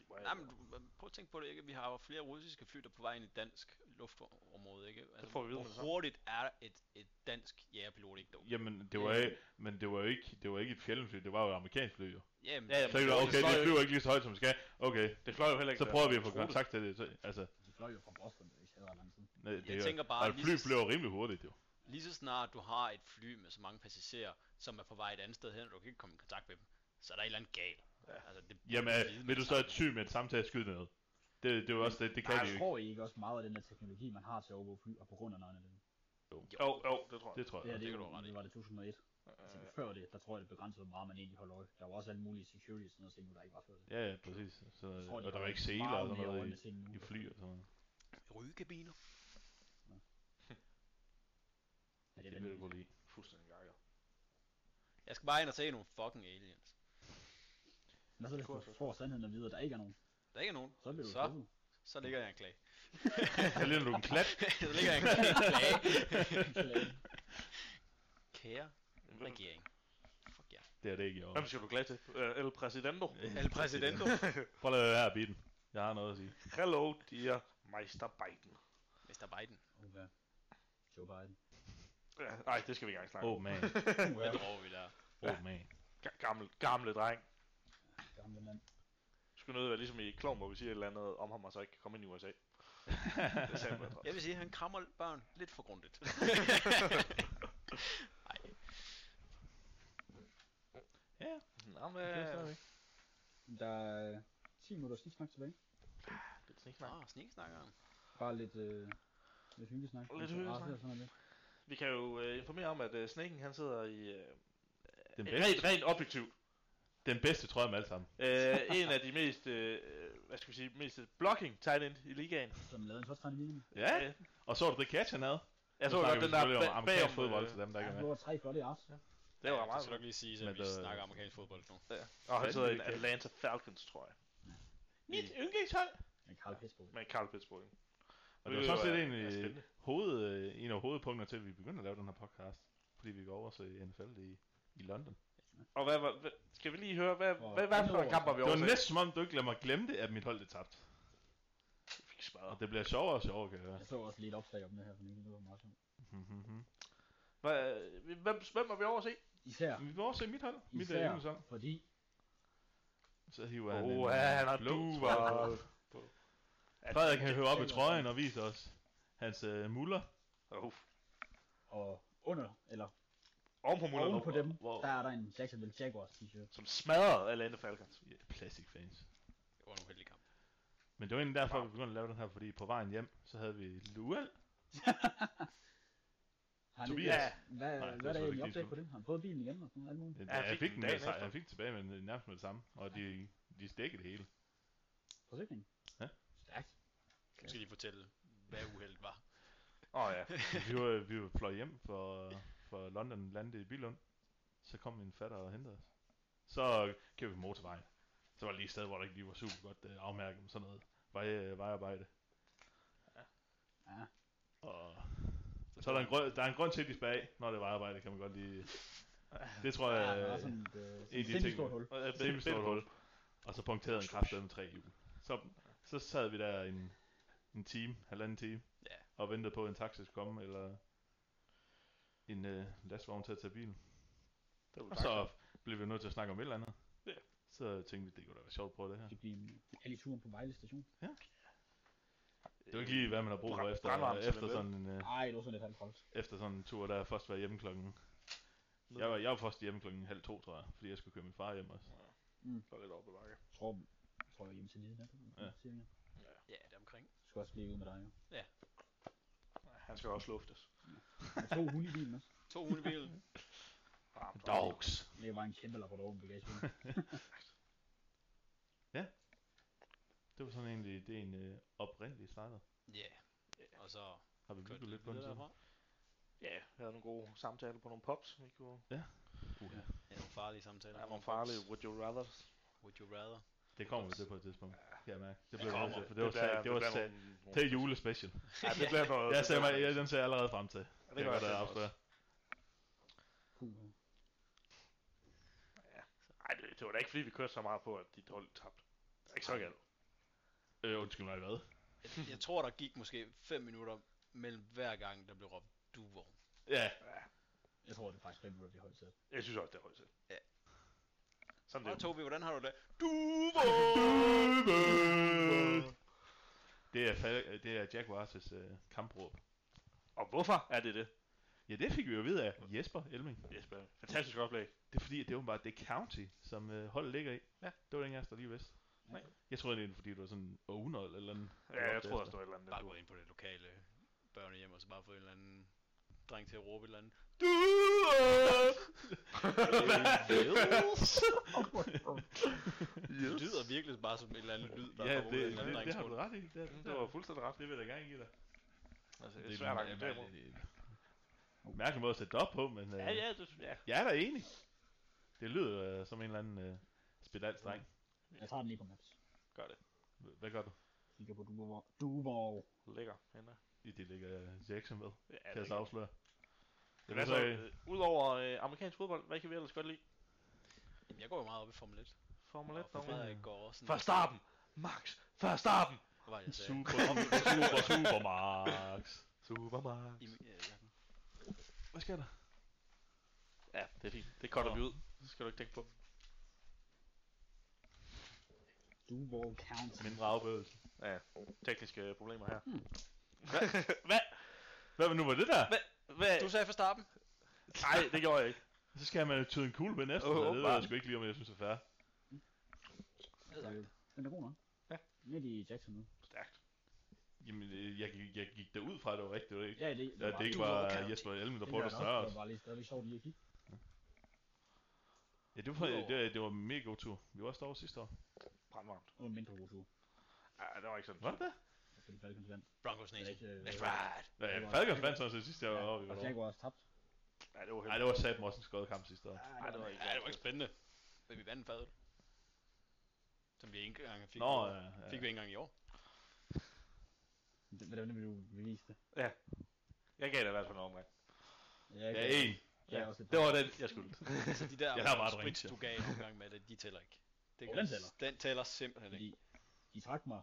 Speaker 2: var,
Speaker 1: Nej, men du- men prøv at tænke på det, ikke? Vi har jo flere russiske fly, der er på vej ind i dansk luftområde, ikke? Altså,
Speaker 2: får vi at vide med det
Speaker 1: hvor
Speaker 2: samme.
Speaker 1: hurtigt er et, et dansk jægerpilot ikke dog?
Speaker 5: Jamen, det var,
Speaker 2: Ja.
Speaker 5: ikke, men det var jo ikke, det var ikke et fjeldenfly, det var jo et amerikansk fly, jo.
Speaker 1: Jamen,
Speaker 2: Ja,
Speaker 1: ja,
Speaker 2: ja.
Speaker 1: ja.
Speaker 5: Så tænkte
Speaker 2: det
Speaker 5: jeg,
Speaker 2: var-
Speaker 5: okay,
Speaker 2: det fløj
Speaker 5: det
Speaker 2: jo
Speaker 5: flyver ikke lige så højt, som det skal. Okay,
Speaker 2: det fløj jo heller ikke.
Speaker 5: så
Speaker 2: da-
Speaker 5: prøver vi at få
Speaker 2: skruet.
Speaker 5: kontakt til det. Så, altså,
Speaker 3: De fløj jo fra Boston, det er ikke så lang tid.
Speaker 5: nej, det er jo-
Speaker 1: tænker bare
Speaker 5: og et
Speaker 1: lige
Speaker 5: fly
Speaker 1: så-
Speaker 5: flyver rimelig hurtigt, jo.
Speaker 1: lige så snart du har et fly med så mange passagerer, som er på vej et andet sted hen, og du kan ikke komme i kontakt med dem, så er der et eller andet galt. Ja. Altså, det burde
Speaker 5: Jamen,
Speaker 1: vi
Speaker 5: øh,
Speaker 1: vide med
Speaker 5: vil du
Speaker 1: det
Speaker 5: så
Speaker 1: samme.
Speaker 5: et syg med et samtale skyde det ned? Det, det er jo også det, det kan
Speaker 3: Ej,
Speaker 5: de jo ikke.
Speaker 3: tror I ikke også meget af den der teknologi, man har til at overvåge fly, og på grund af noget af det?
Speaker 2: Jo, jo, det tror jeg.
Speaker 5: Det tror
Speaker 3: Det
Speaker 5: jeg.
Speaker 3: her, det,
Speaker 1: det
Speaker 3: er
Speaker 1: kan
Speaker 3: jo-
Speaker 1: du ret i.
Speaker 3: det var det 2001. Altså, før det, der tror jeg, det begrænsede, hvor meget man egentlig holdt øje. Der var også alle mulige security og sådan noget, ting, der ikke var før det.
Speaker 5: Ja, ja, præcis. Så,
Speaker 3: Jeg tror, de
Speaker 5: Øh, og der var
Speaker 3: holder
Speaker 5: ikke seler
Speaker 3: meget
Speaker 5: og sådan
Speaker 3: mere øje
Speaker 5: noget
Speaker 3: med ting nu.
Speaker 5: i, i fly og sådan noget.
Speaker 1: Rygekabiner?
Speaker 3: Ja, det er
Speaker 5: Det vil
Speaker 3: vanvittigt.
Speaker 5: jeg kunne lide.
Speaker 2: Fuldstændig gakket.
Speaker 1: Jeg skal bare ind og se nogle fucking aliens.
Speaker 3: Men så hvis du får sandheden at vide, at der ikke er nogen,
Speaker 1: Der er ikke nogen.
Speaker 3: så bliver du
Speaker 1: Så?
Speaker 3: skuffet.
Speaker 1: Så ligger jeg en
Speaker 2: [LAUGHS]
Speaker 1: klage.
Speaker 5: Så ligner du en klat.
Speaker 1: [LAUGHS] så ligger jeg en
Speaker 2: [LAUGHS]
Speaker 1: klage.
Speaker 5: [LAUGHS]
Speaker 1: Kære
Speaker 2: Hvem,
Speaker 1: regering. Fuck jer.
Speaker 5: Det er det ikke, jo.
Speaker 2: hvem skal du klage til? Øh, El Presidento?
Speaker 1: Yeah. El Presidento.
Speaker 5: [LAUGHS] Prøv at lade være at bide den. Jeg har noget at sige.
Speaker 2: Hello, dear Meister Biden.
Speaker 1: Mr. Biden.
Speaker 3: Uha. Joe Biden.
Speaker 2: Ja, Nej, det skal vi ikke engang snakke om.
Speaker 5: Oh man,
Speaker 1: Hvad droger vi der?
Speaker 5: oh man.
Speaker 2: Ga- Gammel, gamle dreng.
Speaker 3: Gamle mand.
Speaker 2: Skulle nødt være ligesom i Klom, hvor vi siger et eller andet om ham, og så ikke kan komme ind i
Speaker 5: [LAUGHS]
Speaker 2: USA. det sagde man,
Speaker 1: Jeg vil sige, at han krammer børn lidt for [LAUGHS] grundigt. Nej,
Speaker 2: Nå, men... øh,
Speaker 5: Det forstår jeg ikke.
Speaker 3: Der er 10 minutter sniksnak tilbage.
Speaker 2: Lidt sniksnak.
Speaker 1: nå, sniksnakkeren.
Speaker 3: Bare lidt, øh, lidt hyggesnak.
Speaker 2: Lidt hyggesnak.
Speaker 3: Raser og sådan noget.
Speaker 2: Vi kan jo øh, informere om, at øh, Snaken han sidder i... Øh, [LAUGHS]
Speaker 5: Den
Speaker 2: rent,
Speaker 5: bedste,
Speaker 2: rent objektivt.
Speaker 5: den bedste tror jeg med alle sammen.
Speaker 2: Øh, en af de mest, øh, hvad skal vi sige, mest blocking tight end i ligaen.
Speaker 3: Som lavede en touchdown i weekenden.
Speaker 5: Ja,
Speaker 2: Øh,
Speaker 5: og så var det det catch, han havde.
Speaker 2: jeg
Speaker 5: Nu
Speaker 2: så
Speaker 5: snakker
Speaker 2: godt
Speaker 5: vi
Speaker 2: den der
Speaker 5: selvfølgelig om
Speaker 2: ba-
Speaker 5: amerikansk
Speaker 2: bagom...
Speaker 5: fodbold
Speaker 2: øh,
Speaker 5: til dem, der ikke
Speaker 3: Han
Speaker 5: er med.
Speaker 3: blev tre flotte yards.
Speaker 2: Det var
Speaker 1: Jeg
Speaker 2: meget
Speaker 1: skal nok lige sige,
Speaker 5: Men øh,
Speaker 1: at vi
Speaker 5: der-
Speaker 1: snakker amerikansk fodbold nu.
Speaker 2: Og han sidder i en
Speaker 5: Fandme,
Speaker 2: Atlanta Falcons, tror jeg.
Speaker 1: Mit
Speaker 2: yndlingshold!
Speaker 3: Men Carl Pittsburgh.
Speaker 2: Med Carl Pittsburgh.
Speaker 5: Og det var sådan set
Speaker 2: er-
Speaker 5: egentlig
Speaker 2: er spændende.
Speaker 5: hoved, øh, en af hovedpunkterne til, at vi begyndte at lave den her podcast. Fordi vi går over til NFL i, i London.
Speaker 2: Og hvad, var- hvad, skal vi lige høre, hvad,
Speaker 3: Og
Speaker 2: hvad, hvad for
Speaker 3: Hannover.
Speaker 2: en kamp var vi
Speaker 5: Det var
Speaker 2: over
Speaker 5: næsten som om, du ikke lader mig glemme det, at mit hold det tabt.
Speaker 2: Fik
Speaker 5: Og
Speaker 2: smadret.
Speaker 5: det bliver sjovere og sjovere, kan jeg høre.
Speaker 3: Jeg så også lige et opslag om det her for nylig. Det var meget sjovt.
Speaker 5: Mhm.
Speaker 2: Hvad, hvem, hvem var vi over at se?
Speaker 3: Især,
Speaker 5: [LAUGHS] Men Vi må også se mit hold. Mit
Speaker 3: Især.
Speaker 5: Især. sang.
Speaker 3: fordi
Speaker 5: Så hiver han
Speaker 2: Åh,
Speaker 5: øh,
Speaker 2: han har
Speaker 5: blå
Speaker 2: duver.
Speaker 5: trøje på.
Speaker 2: Ja,
Speaker 5: Frederik kan høre op i
Speaker 3: det-
Speaker 5: trøjen og vise os hans øh, muller.
Speaker 2: Oh,
Speaker 3: og under, eller
Speaker 2: oven på munden.
Speaker 3: oven på dem,
Speaker 5: Wow.
Speaker 3: der er der en Jacksonville Jaguars t-shirt.
Speaker 2: Som smadrede Atlanta Falcons.
Speaker 5: Ja, plastic fans.
Speaker 1: Det var en uheldig kamp.
Speaker 5: Men det var egentlig derfor, vi begyndte at lave den her, fordi på vejen hjem, så havde vi Luel.
Speaker 3: Har han
Speaker 5: Tobias.
Speaker 3: Ikke, hvad,
Speaker 5: Nej,
Speaker 3: hvad
Speaker 5: det var
Speaker 3: er der
Speaker 5: selvfølgelig
Speaker 3: egentlig
Speaker 5: ikke
Speaker 3: opdag
Speaker 5: lige
Speaker 3: på det? Har han prøvet bilen igen og sådan alt muligt?
Speaker 5: Ja,
Speaker 2: han
Speaker 5: jeg
Speaker 2: fik
Speaker 5: fik
Speaker 2: den
Speaker 5: den, med det
Speaker 2: dagen
Speaker 5: sa-
Speaker 2: efter.
Speaker 5: jeg fik den tilbage med den- nærmest med det samme, og de, de stækkede det hele.
Speaker 3: Forsikring.
Speaker 5: Ja.
Speaker 3: Stærkt.
Speaker 1: Nu skal de fortælle, hvad uheldet var.
Speaker 2: Åh oh, ja.
Speaker 5: [LAUGHS] vi var, vi var fløj hjem for, for London, landede i Bilund. Så kom min fatter og hentede os. Så kørte vi på motorvejen. Så var det lige et sted, hvor der ikke lige var super godt øh, afmærket med sådan noget. vej, øh, vejarbejde.
Speaker 3: Ja.
Speaker 5: Og så er der en grund, der er en grund til, at de spærer af, når det er vejarbejde, kan man godt lige... Det tror
Speaker 3: Ja,
Speaker 5: jeg...
Speaker 3: der er
Speaker 5: øh,
Speaker 3: sådan et, øh,
Speaker 5: en af de
Speaker 3: sådan et
Speaker 5: ting-
Speaker 3: stort hul.
Speaker 2: Og jeg
Speaker 5: Semi
Speaker 2: bedt
Speaker 5: stort
Speaker 2: på
Speaker 5: hul. øh, Og så punkterede en kraft med tre hjul. Så, så sad vi der en, en time, halvanden time,
Speaker 1: Ja.
Speaker 5: og ventede på, at en taxa skulle komme, eller en øh, lastvogn til at tage bilen.
Speaker 2: Det var
Speaker 5: Og
Speaker 2: så...
Speaker 5: så blev vi nødt til at snakke om et eller andet.
Speaker 2: Ja.
Speaker 5: Så tænkte vi, det kunne da være sjovt at prøve det her.
Speaker 3: Det bliver en ærlig tur på Vejle station.
Speaker 5: Det var ikke lige, hvad man har brug for
Speaker 2: Brand-
Speaker 5: efter,
Speaker 2: brandvarmt til
Speaker 5: efter
Speaker 2: dem,
Speaker 5: sådan, en, øh,
Speaker 3: Ej, det var sådan lidt halvt koldt.
Speaker 5: efter sådan en tur, der først var hjemme klokken. Jeg var, jeg var først hjemme klokken halv to, tror jeg, fordi jeg skulle køre min far hjem også.
Speaker 2: Det var lidt over på bakke.
Speaker 3: Jeg tror, jeg tror jeg er hjemme til lige der.
Speaker 5: Ja.
Speaker 3: Ja. Jeg
Speaker 1: Ja, det er omkring.
Speaker 3: skal også lige ud med dig, jo.
Speaker 2: Han skal også luftes.
Speaker 3: Jeg tog hul i bilen også.
Speaker 1: To hundebil.
Speaker 2: Varmt,
Speaker 5: Dogs!
Speaker 3: Det var en kæmpe labrador med bagagerummet.
Speaker 5: Det var sådan egentlig ideen øh, oprindeligt startede.
Speaker 1: [LAUGHS] Ja. Og så
Speaker 5: Har
Speaker 1: kørte
Speaker 5: vi bygget
Speaker 1: vi
Speaker 5: lidt på den
Speaker 1: videre
Speaker 5: siden?
Speaker 1: derfra.
Speaker 2: Ja, vi havde nogle gode samtaler på nogle pops, vi kunne...
Speaker 5: Uha.
Speaker 1: Ja, nogle farlige samtaler.
Speaker 2: Der er nogle farlige would you rather.
Speaker 1: Would you rather?
Speaker 5: Det kommer vi til på et tidspunkt. Kan jeg mærke. Det
Speaker 1: Det
Speaker 5: blev jeg nødt
Speaker 1: kommer.
Speaker 5: til, for det var sag, det var sag. Det er julespecial.
Speaker 2: Ja, det bliver noget...
Speaker 5: [LAUGHS] Jeg ser mig, jeg, den ser jeg allerede frem til.
Speaker 2: det gør jeg selv også.
Speaker 5: afsløre.
Speaker 3: Puh.
Speaker 2: Ej, det, det, var da ikke fordi, vi kørte så meget på, at dit hold tabte. Det er ikke så galt.
Speaker 5: Øh, undskyld mig, hvad?
Speaker 1: Jeg, jeg tror, der gik måske 5 minutter mellem hver gang, der blev råbt, du er vågen.
Speaker 5: Ja,
Speaker 3: Jeg tror, det er faktisk 5 minutter, vi holdt til.
Speaker 2: Jeg synes også, det er højt til.
Speaker 1: Ja.
Speaker 2: Sådan
Speaker 1: Og
Speaker 2: det. er.
Speaker 1: Tobi, hvordan har du det? [LAUGHS] Du er vågen!
Speaker 5: det er, Fal- det er Jack Wars' øh, kampråb.
Speaker 2: Og hvorfor er det det?
Speaker 5: Ja, det fik vi jo ved af Jesper Elming.
Speaker 2: Jesper, fantastisk oplæg.
Speaker 5: Det er fordi, at det er åbenbart det county, som øh, holdet ligger i.
Speaker 2: Ja.
Speaker 5: Det var den jeg der lige vidste.
Speaker 3: Nej.
Speaker 5: Jeg troede egentlig, fordi du var sådan owner eller eller andet.
Speaker 2: Ja, jeg tror, der står et eller andet.
Speaker 1: Bare
Speaker 2: på.
Speaker 1: gå ind på det lokale børnehjem, og så bare få en eller anden dreng til at råbe et eller andet.
Speaker 5: Du er
Speaker 1: Yes. Det lyder virkelig bare som et eller andet lyd, der
Speaker 5: Ja,
Speaker 1: er
Speaker 5: det,
Speaker 1: råbet af en
Speaker 5: det,
Speaker 1: eller anden
Speaker 5: det,
Speaker 1: drengs
Speaker 5: har du
Speaker 1: mund.
Speaker 5: ret i. Det, det,
Speaker 2: Mm,
Speaker 5: det
Speaker 2: Det
Speaker 5: var
Speaker 2: var fuldstændig ret.
Speaker 5: Det vil jeg da gerne give dig.
Speaker 2: Altså, det er svært at
Speaker 5: en-
Speaker 2: argumentere imod.
Speaker 5: det er en mærkelig måde at sætte det op på, men øh,
Speaker 2: Ja, ja, det, ja.
Speaker 5: jeg er da enig. Det lyder øh, som en eller anden øh, spedalsdreng.
Speaker 3: Jeg tager den lige på maps.
Speaker 2: Gør det.
Speaker 5: H- Hvad gør du?
Speaker 3: Kigger på Duborg. Duborg.
Speaker 2: Lækker. Henne.
Speaker 5: I det ligger øh, Jackson med,
Speaker 2: Ja,
Speaker 5: kan jeg så
Speaker 2: lækker.
Speaker 5: afsløre.
Speaker 2: Men
Speaker 5: Jeg ved
Speaker 2: altså,
Speaker 5: så, ikke-
Speaker 2: øh, udover øh, amerikansk fodbold, hvad kan vi ellers godt lide?
Speaker 1: Jamen, jeg går jo meget op i Formel 1.
Speaker 2: Formel 1
Speaker 1: Og for
Speaker 2: nummer.
Speaker 1: Frederik går også sådan...
Speaker 2: Fra starten! Max! Fra starten!
Speaker 1: Hvad var det, jeg sagde?
Speaker 5: super, super, super, super, Max.
Speaker 2: Super Max.
Speaker 1: I, ja, ja.
Speaker 5: Hvad sker der?
Speaker 2: Ja, det er fint. Det cutter
Speaker 1: Nå.
Speaker 2: vi ud. Det skal du ikke tænke på.
Speaker 3: Duborg County.
Speaker 5: Mindre afbødelse.
Speaker 2: Ja, tekniske problemer her.
Speaker 5: Hvad nu var det der?
Speaker 2: Hvad?
Speaker 1: Du sagde fra starten.
Speaker 2: Nej, det gjorde jeg ikke.
Speaker 5: Så skal man jo tyde en kugle ved næsten.
Speaker 2: Åh,
Speaker 5: Oh, det ved jeg
Speaker 2: åbenbart.
Speaker 5: sgu ikke lige, om jeg synes det er fair.
Speaker 3: Øh, Den er god nok.
Speaker 2: Ja.
Speaker 3: Nede i Jackson nu.
Speaker 2: Stærkt.
Speaker 5: Jamen, øh, jeg, gik- jeg gik derud fra, at det var rigtigt, det var det ikke?
Speaker 3: Ja, det,
Speaker 5: Ja, det ikke
Speaker 1: var
Speaker 5: var
Speaker 1: County.
Speaker 5: Jesper Elm, der
Speaker 3: det
Speaker 5: prøvede
Speaker 3: gør jeg
Speaker 5: at
Speaker 3: da
Speaker 5: snøre
Speaker 3: også.
Speaker 5: os.
Speaker 3: Det var bare lige stadigvæk sjovt lige at kigge.
Speaker 5: Ja, det var,
Speaker 1: Udover-
Speaker 5: det, det var en mega god tur. Vi var også derovre sidste år.
Speaker 2: Brandvarmt.
Speaker 3: Og en mindre god tur. Altså,
Speaker 2: Ja, det var ikke sådan.
Speaker 5: Var det det?
Speaker 3: Fordi Falcons vandt.
Speaker 1: Broncos
Speaker 3: Det er
Speaker 1: Nation.
Speaker 3: ikke, øh,
Speaker 1: Let's ride!
Speaker 5: Ja,
Speaker 3: Det var-
Speaker 5: ja, Falcons vandt sådan set sidste år,
Speaker 3: Ja,
Speaker 5: ja, vi var
Speaker 3: og
Speaker 5: derovre.
Speaker 3: Jaguar også tabt.
Speaker 2: Ja, det var
Speaker 5: Nej,
Speaker 2: helt...
Speaker 5: det var Sat Morsens kamp sidste år.
Speaker 2: Nej, det var ikke.
Speaker 1: Ja, det var ikke spændende. Men vi vandt fadet. Som vi ikke engang fik.
Speaker 5: Nå, ja, ja.
Speaker 1: Fik vi ikke engang i år.
Speaker 3: Det- Hvordan vil du bevise det?
Speaker 2: Jeg gav det i hvert fald en [LAUGHS] omgang.
Speaker 3: jeg
Speaker 5: Ja,
Speaker 3: kan-
Speaker 5: en.
Speaker 3: Jeg er
Speaker 2: Ja.
Speaker 3: også lidt
Speaker 5: Det var den, jeg skulle.
Speaker 1: Så de der
Speaker 5: Jeg har meget
Speaker 1: sprit,
Speaker 5: drinks, ja.
Speaker 1: du gav en omgang med det, de tæller ikke. Det
Speaker 3: Jo,
Speaker 1: gør-
Speaker 3: den tæller.
Speaker 1: Den tæller simpelthen ikke.
Speaker 3: Fordi de trak mig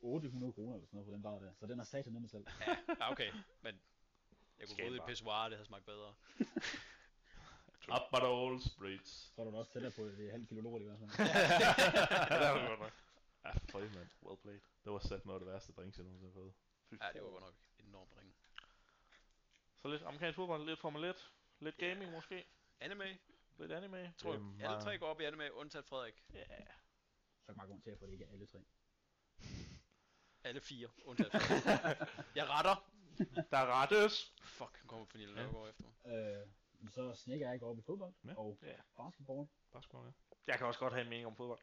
Speaker 3: 800 kroner eller sådan noget på den bar der. Så den har sat ned mig selv.
Speaker 1: Ja, Ah, okay, men jeg kunne
Speaker 2: Skal
Speaker 1: gå ud i
Speaker 2: bare.
Speaker 1: pissoir, det havde smagt bedre.
Speaker 5: Up but all spritz.
Speaker 3: Så er du da også tættere på et halvt kilo lort i hvert fald.
Speaker 2: Ja, det var det godt nok.
Speaker 5: Ja, føj, mand.
Speaker 2: Well played.
Speaker 5: Det var Sat noget af det værste drinks, jeg nogensinde har fået.
Speaker 2: Fy
Speaker 1: Ja, det
Speaker 2: for-
Speaker 1: var godt nok enormt ringe.
Speaker 2: Så lidt amerikansk fodbold, lidt Formel 1, lidt gaming måske,
Speaker 1: Anime,
Speaker 2: lidt anime.
Speaker 1: tror jeg.
Speaker 5: Jamen,
Speaker 1: Alle
Speaker 5: øh,
Speaker 1: tre går op i anime, undtagen Frederik.
Speaker 2: Ja.
Speaker 3: Så er der meget grund til at få det ikke er alle tre.
Speaker 1: Alle fire, undtagen Frederik. jeg retter.
Speaker 2: Der rettes.
Speaker 1: Fuck, han kommer Pernille
Speaker 5: Ja.
Speaker 1: Nørgaard efter mig.
Speaker 3: Øh, men så snikker jeg ikke op i fodbold
Speaker 5: Ja.
Speaker 3: og
Speaker 2: Ja.
Speaker 3: basketball.
Speaker 5: Bare skål, ja.
Speaker 2: Jeg kan også godt have en mening om fodbold.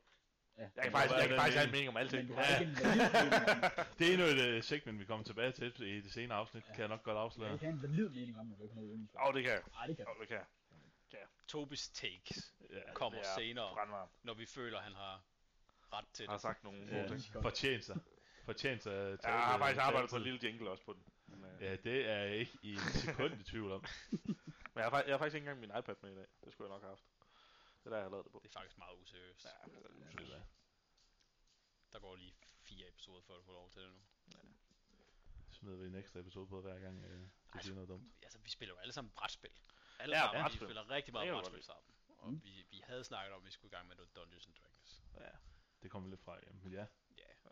Speaker 3: Ja.
Speaker 2: Jeg kan faktisk,
Speaker 5: hvad er
Speaker 2: jeg kan
Speaker 5: den
Speaker 2: faktisk have en
Speaker 5: mening?
Speaker 2: mening om
Speaker 3: Men
Speaker 2: alting.
Speaker 3: du har
Speaker 5: Ja.
Speaker 3: ikke en valid mening om det.
Speaker 5: Det er endnu et øh, segment, vi kommer tilbage til i det senere afsnit,
Speaker 3: Ja.
Speaker 5: kan jeg nok godt
Speaker 3: Du kan
Speaker 5: afsløre.
Speaker 3: ikke have en valid mening om, når du ikke har noget øvelse.
Speaker 2: [LAUGHS] Åh, oh, det kan jeg.
Speaker 3: Nej, det kan
Speaker 2: Åh,
Speaker 3: du.
Speaker 2: oh, det kan jeg.
Speaker 1: Tobis takes
Speaker 5: Ja,
Speaker 1: kommer
Speaker 2: det er
Speaker 1: senere,
Speaker 2: Brandvarm.
Speaker 1: når vi føler, han har ret til
Speaker 2: Jeg har
Speaker 1: det.
Speaker 2: sagt nogle
Speaker 5: Ja.
Speaker 2: gode ting.
Speaker 3: Godt.
Speaker 5: fortjent sig. fortjent at
Speaker 2: Jeg har faktisk arbejdet på en lille jingle også på den. Men, øh,
Speaker 5: Ja, det er jeg ikke i en sekund i tvivl om.
Speaker 2: men jeg, har, fak- jeg har faktisk ikke engang min iPad med i dag. Det skulle jeg nok have haft. Det er der, jeg har lavet det på.
Speaker 1: Det er faktisk meget useriøst.
Speaker 2: Ja, men det er lidt
Speaker 5: Sådan
Speaker 2: sødt.
Speaker 5: der.
Speaker 1: Der går lige fire episoder, før du får lov til det nu.
Speaker 5: Smider vi en ekstra episode på hver gang, øh, du
Speaker 1: Ej,
Speaker 5: siger noget dumt.
Speaker 1: Altså, vi spiller jo alle sammen brætspil. Alle
Speaker 2: Ja,
Speaker 1: ja, sammen,
Speaker 2: brætspil.
Speaker 1: vi spiller rigtig meget
Speaker 2: Det kan jeg
Speaker 1: brætspil
Speaker 2: godt
Speaker 1: sammen. Og
Speaker 3: Mm.
Speaker 1: vi, vi havde snakket om, at vi skulle i gang med noget Dungeons and Dragons.
Speaker 2: Ja.
Speaker 5: Det kommer vi lidt fra, ja. Men ja,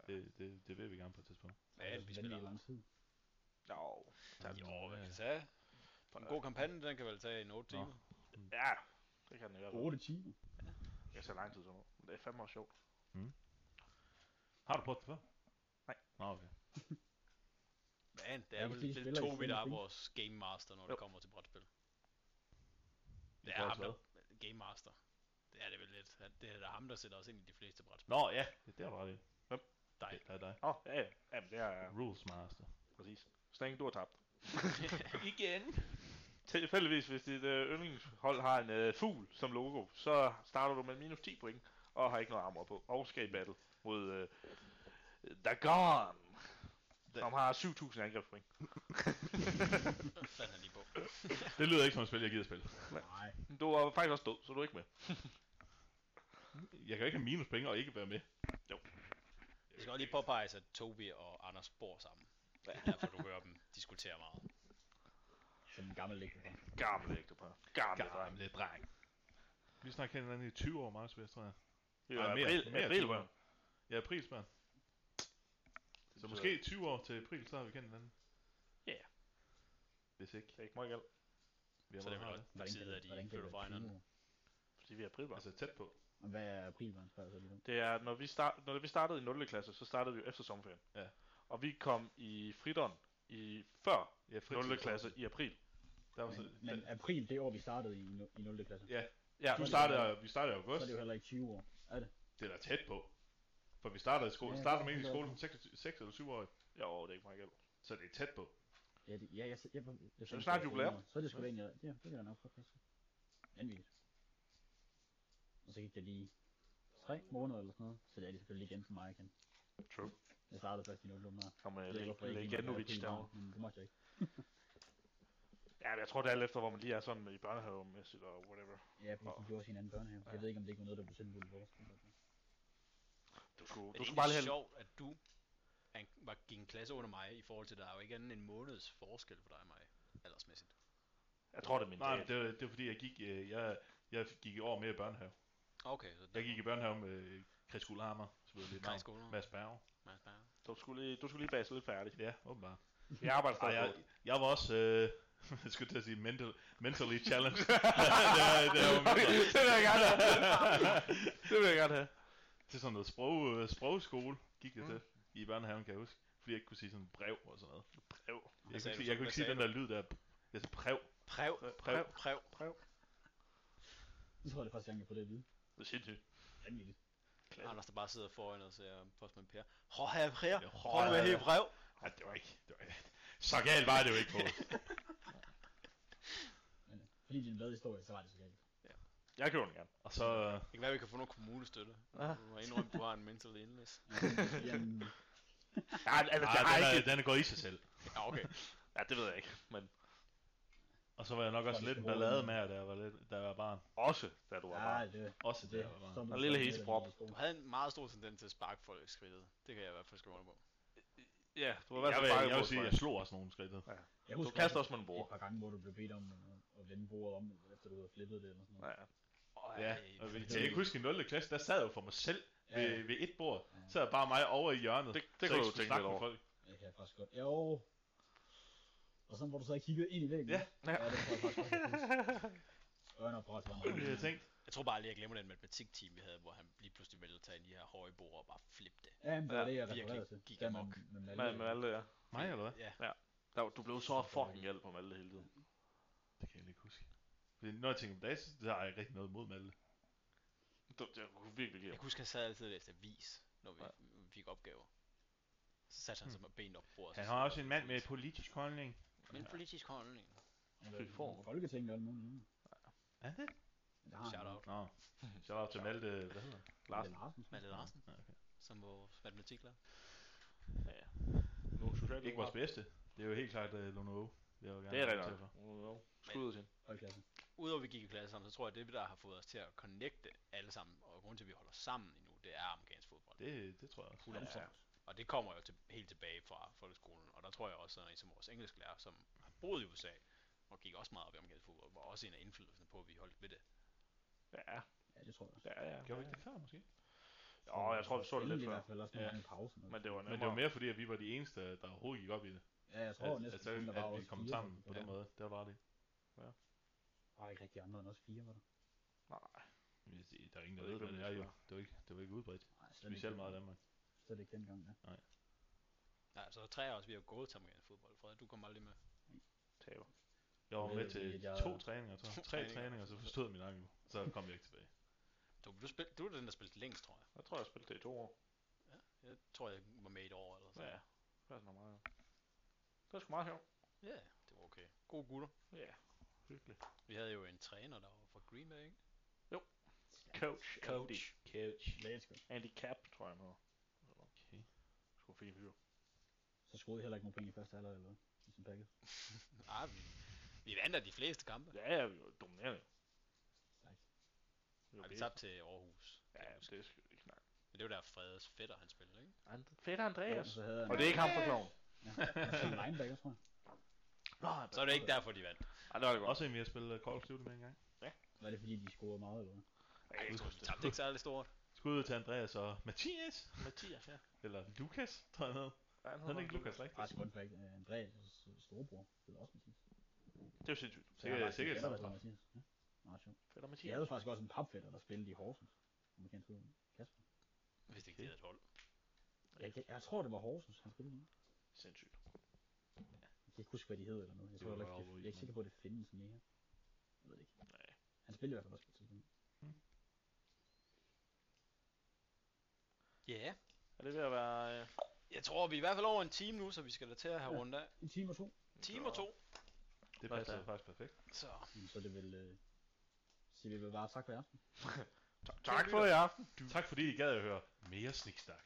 Speaker 1: Ja,
Speaker 5: det, det, det vil vi gerne på et tidspunkt.
Speaker 1: men vi spiller
Speaker 3: lang tid.
Speaker 2: Jo.
Speaker 5: Tak.
Speaker 1: Jo, hvad
Speaker 5: Ja.
Speaker 1: kan det tage? En god kampagne, den kan vel tage en 8
Speaker 5: øh, Nå.
Speaker 1: timer.
Speaker 2: Ja, det kan den i hvert fald.
Speaker 3: 8 timer.
Speaker 2: Jeg tager lang tid sådan noget. Men det er fandme også sjovt.
Speaker 5: Har du prøvet det før?
Speaker 2: Nej.
Speaker 5: Nå, okay.
Speaker 1: Men det
Speaker 3: Ja,
Speaker 1: er
Speaker 3: de
Speaker 1: vel
Speaker 3: fleste
Speaker 1: det
Speaker 3: spiller
Speaker 1: to,
Speaker 3: i
Speaker 1: vi
Speaker 3: flere
Speaker 1: der er
Speaker 3: ting.
Speaker 1: vores Game Master, når
Speaker 2: Jo.
Speaker 1: det kommer til brætspil.
Speaker 5: I
Speaker 1: Det er
Speaker 5: forhold
Speaker 1: ham,
Speaker 5: til
Speaker 1: der... Game Master. Det er det vel lidt. Han- Det er da ham, der sætter os ind i de fleste
Speaker 5: [LAUGHS]
Speaker 1: brætspil.
Speaker 5: Nå, ja. Det, det er du ret i.
Speaker 2: Hvem?
Speaker 5: Dig. Det, det er dig.
Speaker 2: Åh, oh, ja, ja. Jamen, det er
Speaker 5: Rules master.
Speaker 2: præcis. Stængen, du har tabt.
Speaker 1: [LAUGHS]
Speaker 2: Tilfældigvis, hvis dit øh, yndlingshold har en øh, fugl som logo, så starter du med minus 10 point, og har ikke noget armor på, og skal i battle mod øh, Dagon, som har 7.000 angrebspoint.
Speaker 1: Fandt han lige på.
Speaker 5: Det lyder ikke som et spil, jeg gider spille.
Speaker 3: Nej.
Speaker 2: Du er faktisk også død, så du er ikke med.
Speaker 5: Jeg kan jo ikke have minus penge og ikke være med.
Speaker 1: Det skal også lige påpeges, at Tobi og Anders bor sammen. Det er derfor, du hører dem diskutere meget.
Speaker 3: Som en gammel lægter.
Speaker 2: Gammel ægtepar. Gammel dreng.
Speaker 5: Gamle dreng. Vi snakker kendt hinanden i 20 år, Marcus Vest, tror jeg.
Speaker 2: Det er
Speaker 5: Ej, mere-
Speaker 2: april,
Speaker 5: mere
Speaker 2: april,
Speaker 5: timer.
Speaker 2: børn.
Speaker 5: Ja, aprilsmand. Så måske 20 år til april, så har vi kendt hinanden.
Speaker 2: Ja.
Speaker 5: Hvis ikke,
Speaker 2: Det er ikke meget galt,
Speaker 5: vi har
Speaker 1: Så det er
Speaker 5: været
Speaker 1: vel
Speaker 5: her.
Speaker 1: også på tide, at de flytter fra hinanden.
Speaker 2: fordi vi er aprilbarn.
Speaker 5: Altså tæt på.
Speaker 3: Og hvad er april, man spørger sig lige nu?
Speaker 2: Det er, når vi, start, når vi startede i 0. klasse, så startede vi jo efter sommerferien.
Speaker 5: Ja.
Speaker 2: Og vi kom i fridon i før
Speaker 5: Ja,
Speaker 2: 0. klasse i april.
Speaker 5: Der var så,
Speaker 3: Men, men april, det år, vi startede i, nu- i 0. klasse.
Speaker 5: Ja,
Speaker 2: Ja,
Speaker 5: du
Speaker 3: det-
Speaker 5: startede, vi startede
Speaker 3: Så
Speaker 5: i august.
Speaker 3: er det jo heller ikke 20 år. Er det?
Speaker 5: Det er da tæt på. For vi startede, i skole,
Speaker 3: Ja,
Speaker 5: startede
Speaker 3: det-
Speaker 5: med egentlig i
Speaker 3: det-
Speaker 5: skolen som 6, 6 eller 7 år,
Speaker 2: jo, det er ikke meget galt.
Speaker 5: så det er tæt på.
Speaker 3: Ja, det, ja jeg, jeg, jeg, jeg
Speaker 2: Så snart jubilæum.
Speaker 3: Så er det sgu da egentlig, ja, det kan jeg nok godt passe. Vanvittigt. Og så gik det lige tre måneder eller sådan noget, så det er det selvfølgelig igen for mig igen.
Speaker 2: True.
Speaker 3: Jeg startede først i 0. nummer.
Speaker 2: Kom øh,
Speaker 3: Jeg
Speaker 2: med
Speaker 3: ved ikke, hvorfor jeg gik med
Speaker 2: Leganovic
Speaker 3: april
Speaker 2: derovre.
Speaker 3: måned, Men det måtte jeg ikke.
Speaker 2: Ja, men jeg tror, det er alt efter, hvor man lige er sådan i børnehavemæssigt og whatever.
Speaker 3: Ja, fordi de gjorde sin anden børnehave. så Jeg
Speaker 2: Ja.
Speaker 3: ved ikke, om det ikke var noget, der blev sendt ud i vores.
Speaker 2: Du skulle,
Speaker 1: Men
Speaker 2: du
Speaker 1: det
Speaker 2: skulle
Speaker 1: er
Speaker 2: bare lige
Speaker 1: egentlig
Speaker 2: have...
Speaker 1: sjovt, at du han var, gik en klasse under mig i forhold til, at der er jo ikke andet end en måneds forskel for dig og mig, aldersmæssigt.
Speaker 2: Jeg tror, det er min
Speaker 5: Nej,
Speaker 2: dad.
Speaker 5: men det, var- det var fordi, jeg gik, øh, jeg, jeg gik i år mere i børnehave.
Speaker 1: Okay, så
Speaker 5: Jeg gik i børnehave med Chris Gullhammer, selvfølgelig.
Speaker 1: Kaj
Speaker 5: navn.
Speaker 1: Skoler.
Speaker 5: Mads Berg.
Speaker 1: Mads Berg.
Speaker 2: Du skulle lige, du skulle lige base lidt færdig.
Speaker 5: Ja, åbenbart.
Speaker 2: Jeg arbejder
Speaker 5: Ej,
Speaker 2: stadig
Speaker 5: jeg, [LAUGHS]
Speaker 2: på det.
Speaker 5: jeg var også, øh, [LAUGHS] jeg skulle til at sige mental, mentally
Speaker 2: [LAUGHS]
Speaker 5: challenged. det, var, det, var
Speaker 2: Okay,
Speaker 5: mindre.
Speaker 2: [LAUGHS] det vil jeg gerne have.
Speaker 5: [LAUGHS]
Speaker 2: det vil jeg gerne have.
Speaker 5: til sådan noget sprog, øh, sprogskole, gik jeg til i børnehaven, kan jeg huske. Fordi jeg ikke kunne sige sådan brev og sådan noget.
Speaker 2: Brev.
Speaker 5: Jeg, kunne,
Speaker 1: sagde
Speaker 5: ikke
Speaker 1: du
Speaker 5: sige,
Speaker 1: så?
Speaker 5: jeg kunne
Speaker 1: Hvad
Speaker 5: ikke sige
Speaker 1: sagde
Speaker 5: den der lyd der. Jeg sagde brev.
Speaker 1: Præv, præv, præv.
Speaker 3: Så var det første gang, jeg på det at vide.
Speaker 2: Det er sindssygt.
Speaker 3: Vanvittigt.
Speaker 2: Ja.
Speaker 1: Anders, der bare sidder foran og ser postmand Per. Hå, her, her,
Speaker 5: Ja,
Speaker 1: hå, du er helt brev.
Speaker 5: Ej, det var ikke, det var, så galt var det jo ikke på.
Speaker 3: Men, øh, fordi det er en glad historie, så var det så galt.
Speaker 2: Jeg køber den gerne.
Speaker 5: og så, øh,
Speaker 1: Det kan være, vi kan få noget kommunestøtte.
Speaker 2: Ah.
Speaker 1: Du må indrømme, du har en mental illness.
Speaker 3: Jamen,
Speaker 2: Ja, altså,
Speaker 5: ej,
Speaker 2: jeg har
Speaker 5: den,
Speaker 2: ikke...
Speaker 5: er, den er gået i sig selv.
Speaker 1: Ja, okay.
Speaker 2: Ja, det ved jeg ikke, men
Speaker 5: Og så var jeg nok også lidt en ballade med, da jeg var, lidt, da jeg var barn.
Speaker 2: også, da du var
Speaker 3: ja,
Speaker 2: barn.
Speaker 3: det,
Speaker 5: Også da
Speaker 3: det,
Speaker 5: jeg var barn.
Speaker 3: som-
Speaker 2: Og lille
Speaker 3: som-
Speaker 2: heseprop.
Speaker 1: Du havde en meget stor tendens til at sparke folk i skridtet. Det kan jeg i hvert fald skrive under på.
Speaker 2: Ja, du har været
Speaker 5: Jeg vil,
Speaker 2: så
Speaker 5: jeg vil
Speaker 2: bange
Speaker 5: sige,
Speaker 2: for
Speaker 5: jeg slog også nogle skridt.
Speaker 3: Jeg
Speaker 2: Du kaster
Speaker 3: også-
Speaker 2: også med en bror.
Speaker 3: et par gange, hvor du blev bedt om at- at vende bordet om, efter du havde flippet det eller sådan noget.
Speaker 2: Ja,
Speaker 1: Ej,
Speaker 5: Ja, og vi- jeg kan huske i 0. klasse, der sad jeg jo for mig selv
Speaker 3: Ja,
Speaker 5: ved, ved et bord. Så er bare mig over i hjørnet.
Speaker 2: det,
Speaker 5: så
Speaker 2: det kunne
Speaker 5: jeg
Speaker 2: du
Speaker 5: skulle
Speaker 2: tænke
Speaker 5: snakke
Speaker 2: lidt
Speaker 5: med
Speaker 2: over.
Speaker 5: folk.
Speaker 3: det kan jeg faktisk godt. Jo. Og sådan, hvor du så kiggede ind i væggen.
Speaker 5: Ja.
Speaker 3: ja det tror jeg faktisk godt, jeg husker. Ørner på os.
Speaker 2: [LAUGHS]
Speaker 5: Jeg tænkte,
Speaker 1: Jeg tror bare lige, jeg glemmer den matematikteam, vi havde, hvor han lige pludselig valgte at tage de her høje bord og bare flippe det.
Speaker 3: Ja, men det var
Speaker 2: Ja,
Speaker 3: det, jeg
Speaker 1: virkelig
Speaker 3: refererede til.
Speaker 1: gik
Speaker 3: Ja,
Speaker 1: amok.
Speaker 3: men- men alle-
Speaker 2: Med, med alle, ja.
Speaker 5: mig eller hvad?
Speaker 1: Ja,
Speaker 2: Der, du blev så fucking galt på Malte hele tiden.
Speaker 5: Det kan jeg ikke huske. Fordi når jeg tænker på det, så har jeg ikke rigtig noget mod Malte.
Speaker 2: Du, jeg kunne virkelig
Speaker 1: jeg
Speaker 2: galt.
Speaker 1: kan huske, han sad altid og læste avis, når vi
Speaker 2: Ja.
Speaker 1: vi fik opgaver. Så satte han sig med ben op på bordet. og så
Speaker 5: Hmm. Han
Speaker 1: sad
Speaker 5: har også en
Speaker 1: og
Speaker 5: mand med
Speaker 1: læste.
Speaker 5: politisk holdning.
Speaker 1: En politisk holdning.
Speaker 3: Han har været i
Speaker 2: Form.
Speaker 3: Folketinget og alt muligt. andet.
Speaker 5: Er det?
Speaker 3: Men der har han
Speaker 1: Shout out.
Speaker 5: Nå. Shout out til Malte, hvad hedder han?
Speaker 3: Malte
Speaker 2: Larsen.
Speaker 3: Larsen.
Speaker 1: Malte Larsen,
Speaker 5: Ja, okay.
Speaker 1: som vores matematiklærer.
Speaker 2: Nogle socialdemokrater.
Speaker 5: Ikke vores bedste. Det er jo helt klart uh, Lono Det er jo gerne
Speaker 2: Det er rigtigt
Speaker 5: til
Speaker 2: nok. Lono. Skud ud til hende.
Speaker 3: Hold klasse.
Speaker 1: Udover at vi gik i klasse sammen, så tror jeg, at det, der har fået os til at connecte alle sammen, og grunden til, at vi holder sammen endnu, det er amerikansk fodbold.
Speaker 5: Det, det tror jeg også.
Speaker 1: 100%. Ja. Og det kommer jo til, helt tilbage fra folkeskolen, og der tror jeg også, at en som vores engelsklærer, som har boet i USA, og gik også meget op i amerikansk fodbold, var også en af indflydelserne på, at vi holdt ved det.
Speaker 2: Ja,
Speaker 3: Ja, det tror jeg også.
Speaker 2: ja, ja.
Speaker 5: Gjorde vi ikke det før, måske?
Speaker 2: Jo, jeg tror, vi så det lidt
Speaker 3: i
Speaker 2: før.
Speaker 3: hvert fald også
Speaker 5: Ja.
Speaker 3: ja. en pause. Men,
Speaker 2: Men det var
Speaker 5: Men det var
Speaker 2: nemmere.
Speaker 5: mere fordi, at vi var de eneste, der overhovedet gik op i det.
Speaker 3: ja, jeg tror
Speaker 5: At,
Speaker 3: næsten,
Speaker 5: at, så-
Speaker 3: kun, der var
Speaker 5: Altså, at vi
Speaker 3: også
Speaker 5: kom
Speaker 3: fire,
Speaker 5: sammen på
Speaker 3: der
Speaker 5: den måde. Det var bare det.
Speaker 3: var ikke rigtig andre end også fire, var der?
Speaker 2: Nej.
Speaker 5: Hvis det- Der er ingen,
Speaker 2: Jeg
Speaker 5: der
Speaker 2: ved
Speaker 5: ved,
Speaker 2: ikke,
Speaker 5: hvad det
Speaker 2: hvem
Speaker 5: er
Speaker 2: det
Speaker 5: jo.
Speaker 2: skal
Speaker 5: Det var ikke, det var ikke udbredt.
Speaker 3: Nej, slet ikke.
Speaker 5: Specielt meget i Danmark.
Speaker 3: Slet ikke dengang, ja.
Speaker 1: Ja, så tre af os, vi har gået til amerikansk fodbold. Frederik, du kommer aldrig med.
Speaker 2: Taber.
Speaker 5: Jeg var
Speaker 3: Jeg
Speaker 5: med
Speaker 3: ved ikke,
Speaker 5: til
Speaker 3: at jeg-
Speaker 5: to træninger, tror jeg.
Speaker 1: To
Speaker 5: Tre
Speaker 1: træninger.
Speaker 5: træninger, så forstod min ankel. Så kom jeg ikke tilbage.
Speaker 1: Du, du, spil, du er den, der spillede længst, tror jeg.
Speaker 2: Jeg tror, jeg spillede det i to år.
Speaker 1: Jeg tror, jeg var med i et år eller sådan
Speaker 2: Ja. Det var sådan noget meget. Det var sgu meget sjovt.
Speaker 1: Ja, yeah, det var okay. Gode gutter.
Speaker 2: Ja. Hyggeligt.
Speaker 1: Vi havde jo en træner, der var fra Green Bay, ikke?
Speaker 2: Coach. Andy.
Speaker 1: Coach.
Speaker 2: Coach.
Speaker 3: Let's go.
Speaker 2: Andy Cap, tror jeg, han hedder.
Speaker 5: Okay.
Speaker 2: Sgu fin fyr.
Speaker 3: Så skruede I heller ikke nogen point i første halvleg eller hvad? Ligesom Packers.
Speaker 1: Ah, vi, vi vandt da de fleste kampe.
Speaker 2: Ja, ja, vi var dominerende.
Speaker 3: Sejt.
Speaker 2: Vi
Speaker 1: Ja,
Speaker 2: var
Speaker 1: vi
Speaker 2: bedst.
Speaker 1: tabte til Aarhus.
Speaker 2: Ja,
Speaker 1: Ja.
Speaker 2: det skal vi ikke snakke. om.
Speaker 1: Men det var der Fredes fætter, han spillede, ikke?
Speaker 2: And- Fedt Andreas.
Speaker 3: Så havde
Speaker 2: [LAUGHS]
Speaker 3: han
Speaker 2: Og det er ikke ham for kloven.
Speaker 3: en linebacker, tror jeg.
Speaker 2: Nå,
Speaker 1: Så er det ikke derfor, de vandt.
Speaker 2: Ej, det var det godt.
Speaker 5: Også en, vi har spillet uh, Call of Duty med en gang.
Speaker 3: Var det fordi, de scorede meget, eller hvad?
Speaker 1: Ej, jeg tror, de tabte ikke særlig stort.
Speaker 5: Skud ud til Andreas og Mathias.
Speaker 2: Mathias, ja.
Speaker 5: Eller Lukas, tror jeg han hed.
Speaker 2: Ja,
Speaker 5: Han hed ikke Lukas, rigtigt.
Speaker 3: Ah, fun fact. øh, Andreas' storebror spiller også Mathias.
Speaker 2: Det er jo sindssygt.
Speaker 3: Så jeg har
Speaker 5: Sikkert,
Speaker 3: faktisk
Speaker 5: sikkert
Speaker 3: en fætter, der
Speaker 5: samme
Speaker 3: hedder Mathias. Ja, meget sjovt.
Speaker 2: Fedt og
Speaker 3: Jeg
Speaker 2: Mathias.
Speaker 3: havde faktisk også en papfætter, der spillede i Horsens. Amerikansk fodbold. Kasper.
Speaker 1: Hvis det ikke okay. et hold.
Speaker 3: Jeg, kan- jeg tror, det var Horsens, han spillede i.
Speaker 2: Sindssygt.
Speaker 3: Jeg kan ikke huske, hvad de hed eller noget. Jeg,
Speaker 5: Det
Speaker 3: tror,
Speaker 5: var
Speaker 3: heller ikke,
Speaker 5: godt
Speaker 3: det,
Speaker 5: overbevist,
Speaker 3: jeg er ikke sikker på, at det findes mere. Jeg ved det ikke.
Speaker 2: Nej.
Speaker 3: Han spillede i hvert fald også på et tidspunkt.
Speaker 1: Ja, yeah.
Speaker 2: Er det ved at være... Øh,
Speaker 1: jeg tror, vi er i hvert fald over en time nu, så vi skal da til at have
Speaker 3: Ja.
Speaker 1: rundt af.
Speaker 3: En time og to.
Speaker 1: Time og to,
Speaker 5: Det
Speaker 2: Hvad
Speaker 5: passer
Speaker 2: der?
Speaker 5: faktisk perfekt.
Speaker 1: så
Speaker 3: Jamen, Så er det vel... Øh, så vi vil bare tak for jer.
Speaker 2: ta- tak for i aften.
Speaker 5: Tak fordi I gad at høre mere sniksnak.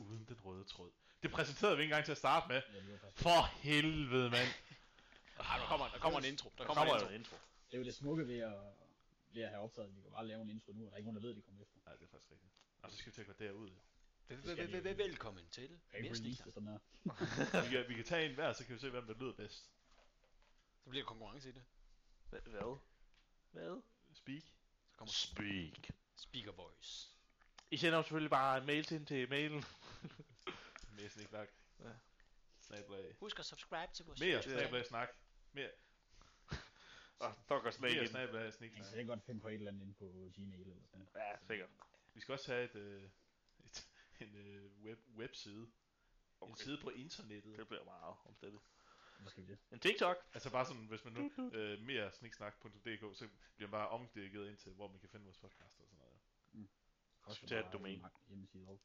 Speaker 5: Uden den røde tråd. Det præsenterede vi ikke engang til at starte med.
Speaker 3: Ja, det, var faktisk...
Speaker 5: For helvede, mand.
Speaker 1: Ej, der kommer, der kommer en intro. Der
Speaker 2: Der
Speaker 1: kommer en intro.
Speaker 2: kommer jo en intro.
Speaker 3: det er jo det smukke ved at, ved at have optaget. at Vi kan bare lave en intro nu, og der er ikke nogen, der ved, at de kommer efter.
Speaker 5: Nej, det er faktisk rigtigt. Og så skal vi til at gå derud. jo.
Speaker 1: Vel-
Speaker 3: skal
Speaker 1: vel-
Speaker 3: vi-
Speaker 1: vel- vel- Velkommen til
Speaker 3: Jeg kan ikke release
Speaker 1: Mæsninger.
Speaker 3: det sådan her.
Speaker 5: Vi kan, vi kan tage en hver, så kan vi se, hvem der lyder bedst.
Speaker 1: Så bliver der konkurrence i det.
Speaker 2: Hva- Hvad? Hvad?
Speaker 5: Speak.
Speaker 1: Så kommer
Speaker 2: Speak.
Speaker 1: Speaker Voice.
Speaker 2: I sender jo selvfølgelig bare en mail til hende til mailen.
Speaker 5: Mere sniksnak.
Speaker 2: Ja.
Speaker 5: Snablag.
Speaker 1: Husk at subscribe til vores
Speaker 5: Mere
Speaker 1: YouTube-kanal.
Speaker 5: snablag snak.
Speaker 2: Og så går slag
Speaker 5: Mere
Speaker 2: i den.
Speaker 5: snablag
Speaker 3: Jeg kan
Speaker 5: sniksnak.
Speaker 3: sikkert godt finde på et eller andet inde på Gmail eller sådan noget.
Speaker 2: Ja, sikkert.
Speaker 5: Vi skal også have et, øh, et, en øh, web, webside. Okay. En
Speaker 2: Okay.
Speaker 5: side på internettet.
Speaker 2: Det bliver meget omstillet.
Speaker 3: Hvad skal vi det?
Speaker 2: En TikTok.
Speaker 5: Altså bare sådan, hvis man nu øh, mere sniksnak.dk, så bliver man bare omdirigeret ind til, hvor man kan finde vores podcast og sådan noget.
Speaker 3: Koster
Speaker 2: Tag et
Speaker 3: bare
Speaker 2: domæne.
Speaker 3: en lang Hjemmeside op.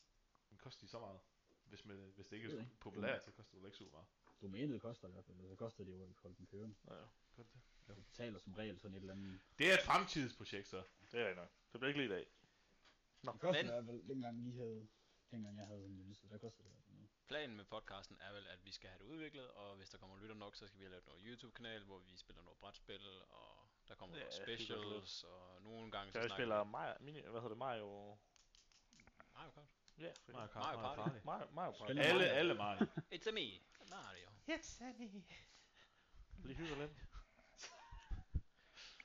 Speaker 5: Men koster de så meget? Hvis, man, hvis det ikke
Speaker 3: Det ved
Speaker 5: er
Speaker 3: jeg
Speaker 5: så populært, så koster det vel ikke super meget.
Speaker 3: Domænet koster i hvert fald. altså, Så koster det jo at holde den kørende.
Speaker 2: Ja,
Speaker 5: Gør det det?
Speaker 3: Du betaler som regel sådan et eller andet.
Speaker 5: Det er et fremtidsprojekt, så.
Speaker 2: det er rigtigt nok. Det bliver ikke lige i dag.
Speaker 3: Det kostede
Speaker 1: Men-
Speaker 3: i hvert fald, dengang vi havde, dengang jeg havde sådan en liste, der kostede det i hvert fald noget.
Speaker 1: Planen med podcasten er vel, at vi skal have det udviklet, og hvis der kommer lytter nok, så skal vi have lavet noget YouTube-kanal, hvor vi spiller noget brætspil, og der kommer
Speaker 2: Ja,
Speaker 1: ja,
Speaker 2: helt vildt lidt.
Speaker 1: specials, og nogle gange
Speaker 2: Så
Speaker 1: så
Speaker 2: vi
Speaker 1: snakker
Speaker 2: spiller Mario... Mini, hvad hedder det? Mario...
Speaker 1: vi... Mario Kart.
Speaker 2: Ja,
Speaker 5: Mario Kart,
Speaker 1: Mario
Speaker 5: Mario
Speaker 1: Party.
Speaker 5: Party.
Speaker 2: Mario, Mario Kart.
Speaker 3: Spiller
Speaker 5: Alle,
Speaker 3: Mario.
Speaker 5: alle Mario.
Speaker 1: It's a me, Mario.
Speaker 2: Lige hygger lidt.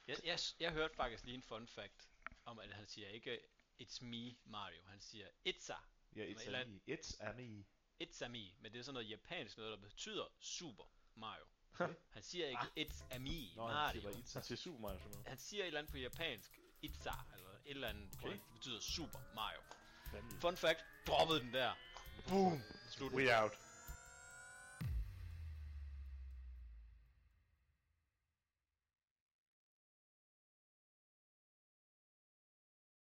Speaker 1: Jeg, jeg, s- jeg hørte faktisk lige en fun fact om, at han siger ikke, it's me, Mario. Han siger, it's a,
Speaker 5: Ja,
Speaker 1: et eller andet.
Speaker 5: It's a me.
Speaker 1: it's a me. Men det er sådan noget japansk noget, der betyder super Mario. Han siger ikke, it's a me,
Speaker 5: Ah. Nå, han
Speaker 1: Mario.
Speaker 5: siger bare it's
Speaker 2: Så
Speaker 5: a.
Speaker 2: til Super Mario sådan noget.
Speaker 1: Han siger et eller andet på japansk, it's a, eller et eller andet, okay. det betyder super Mario.
Speaker 2: Vanvittigt.
Speaker 1: Fun fact, droppede den der. Boom! Slut.
Speaker 2: We out.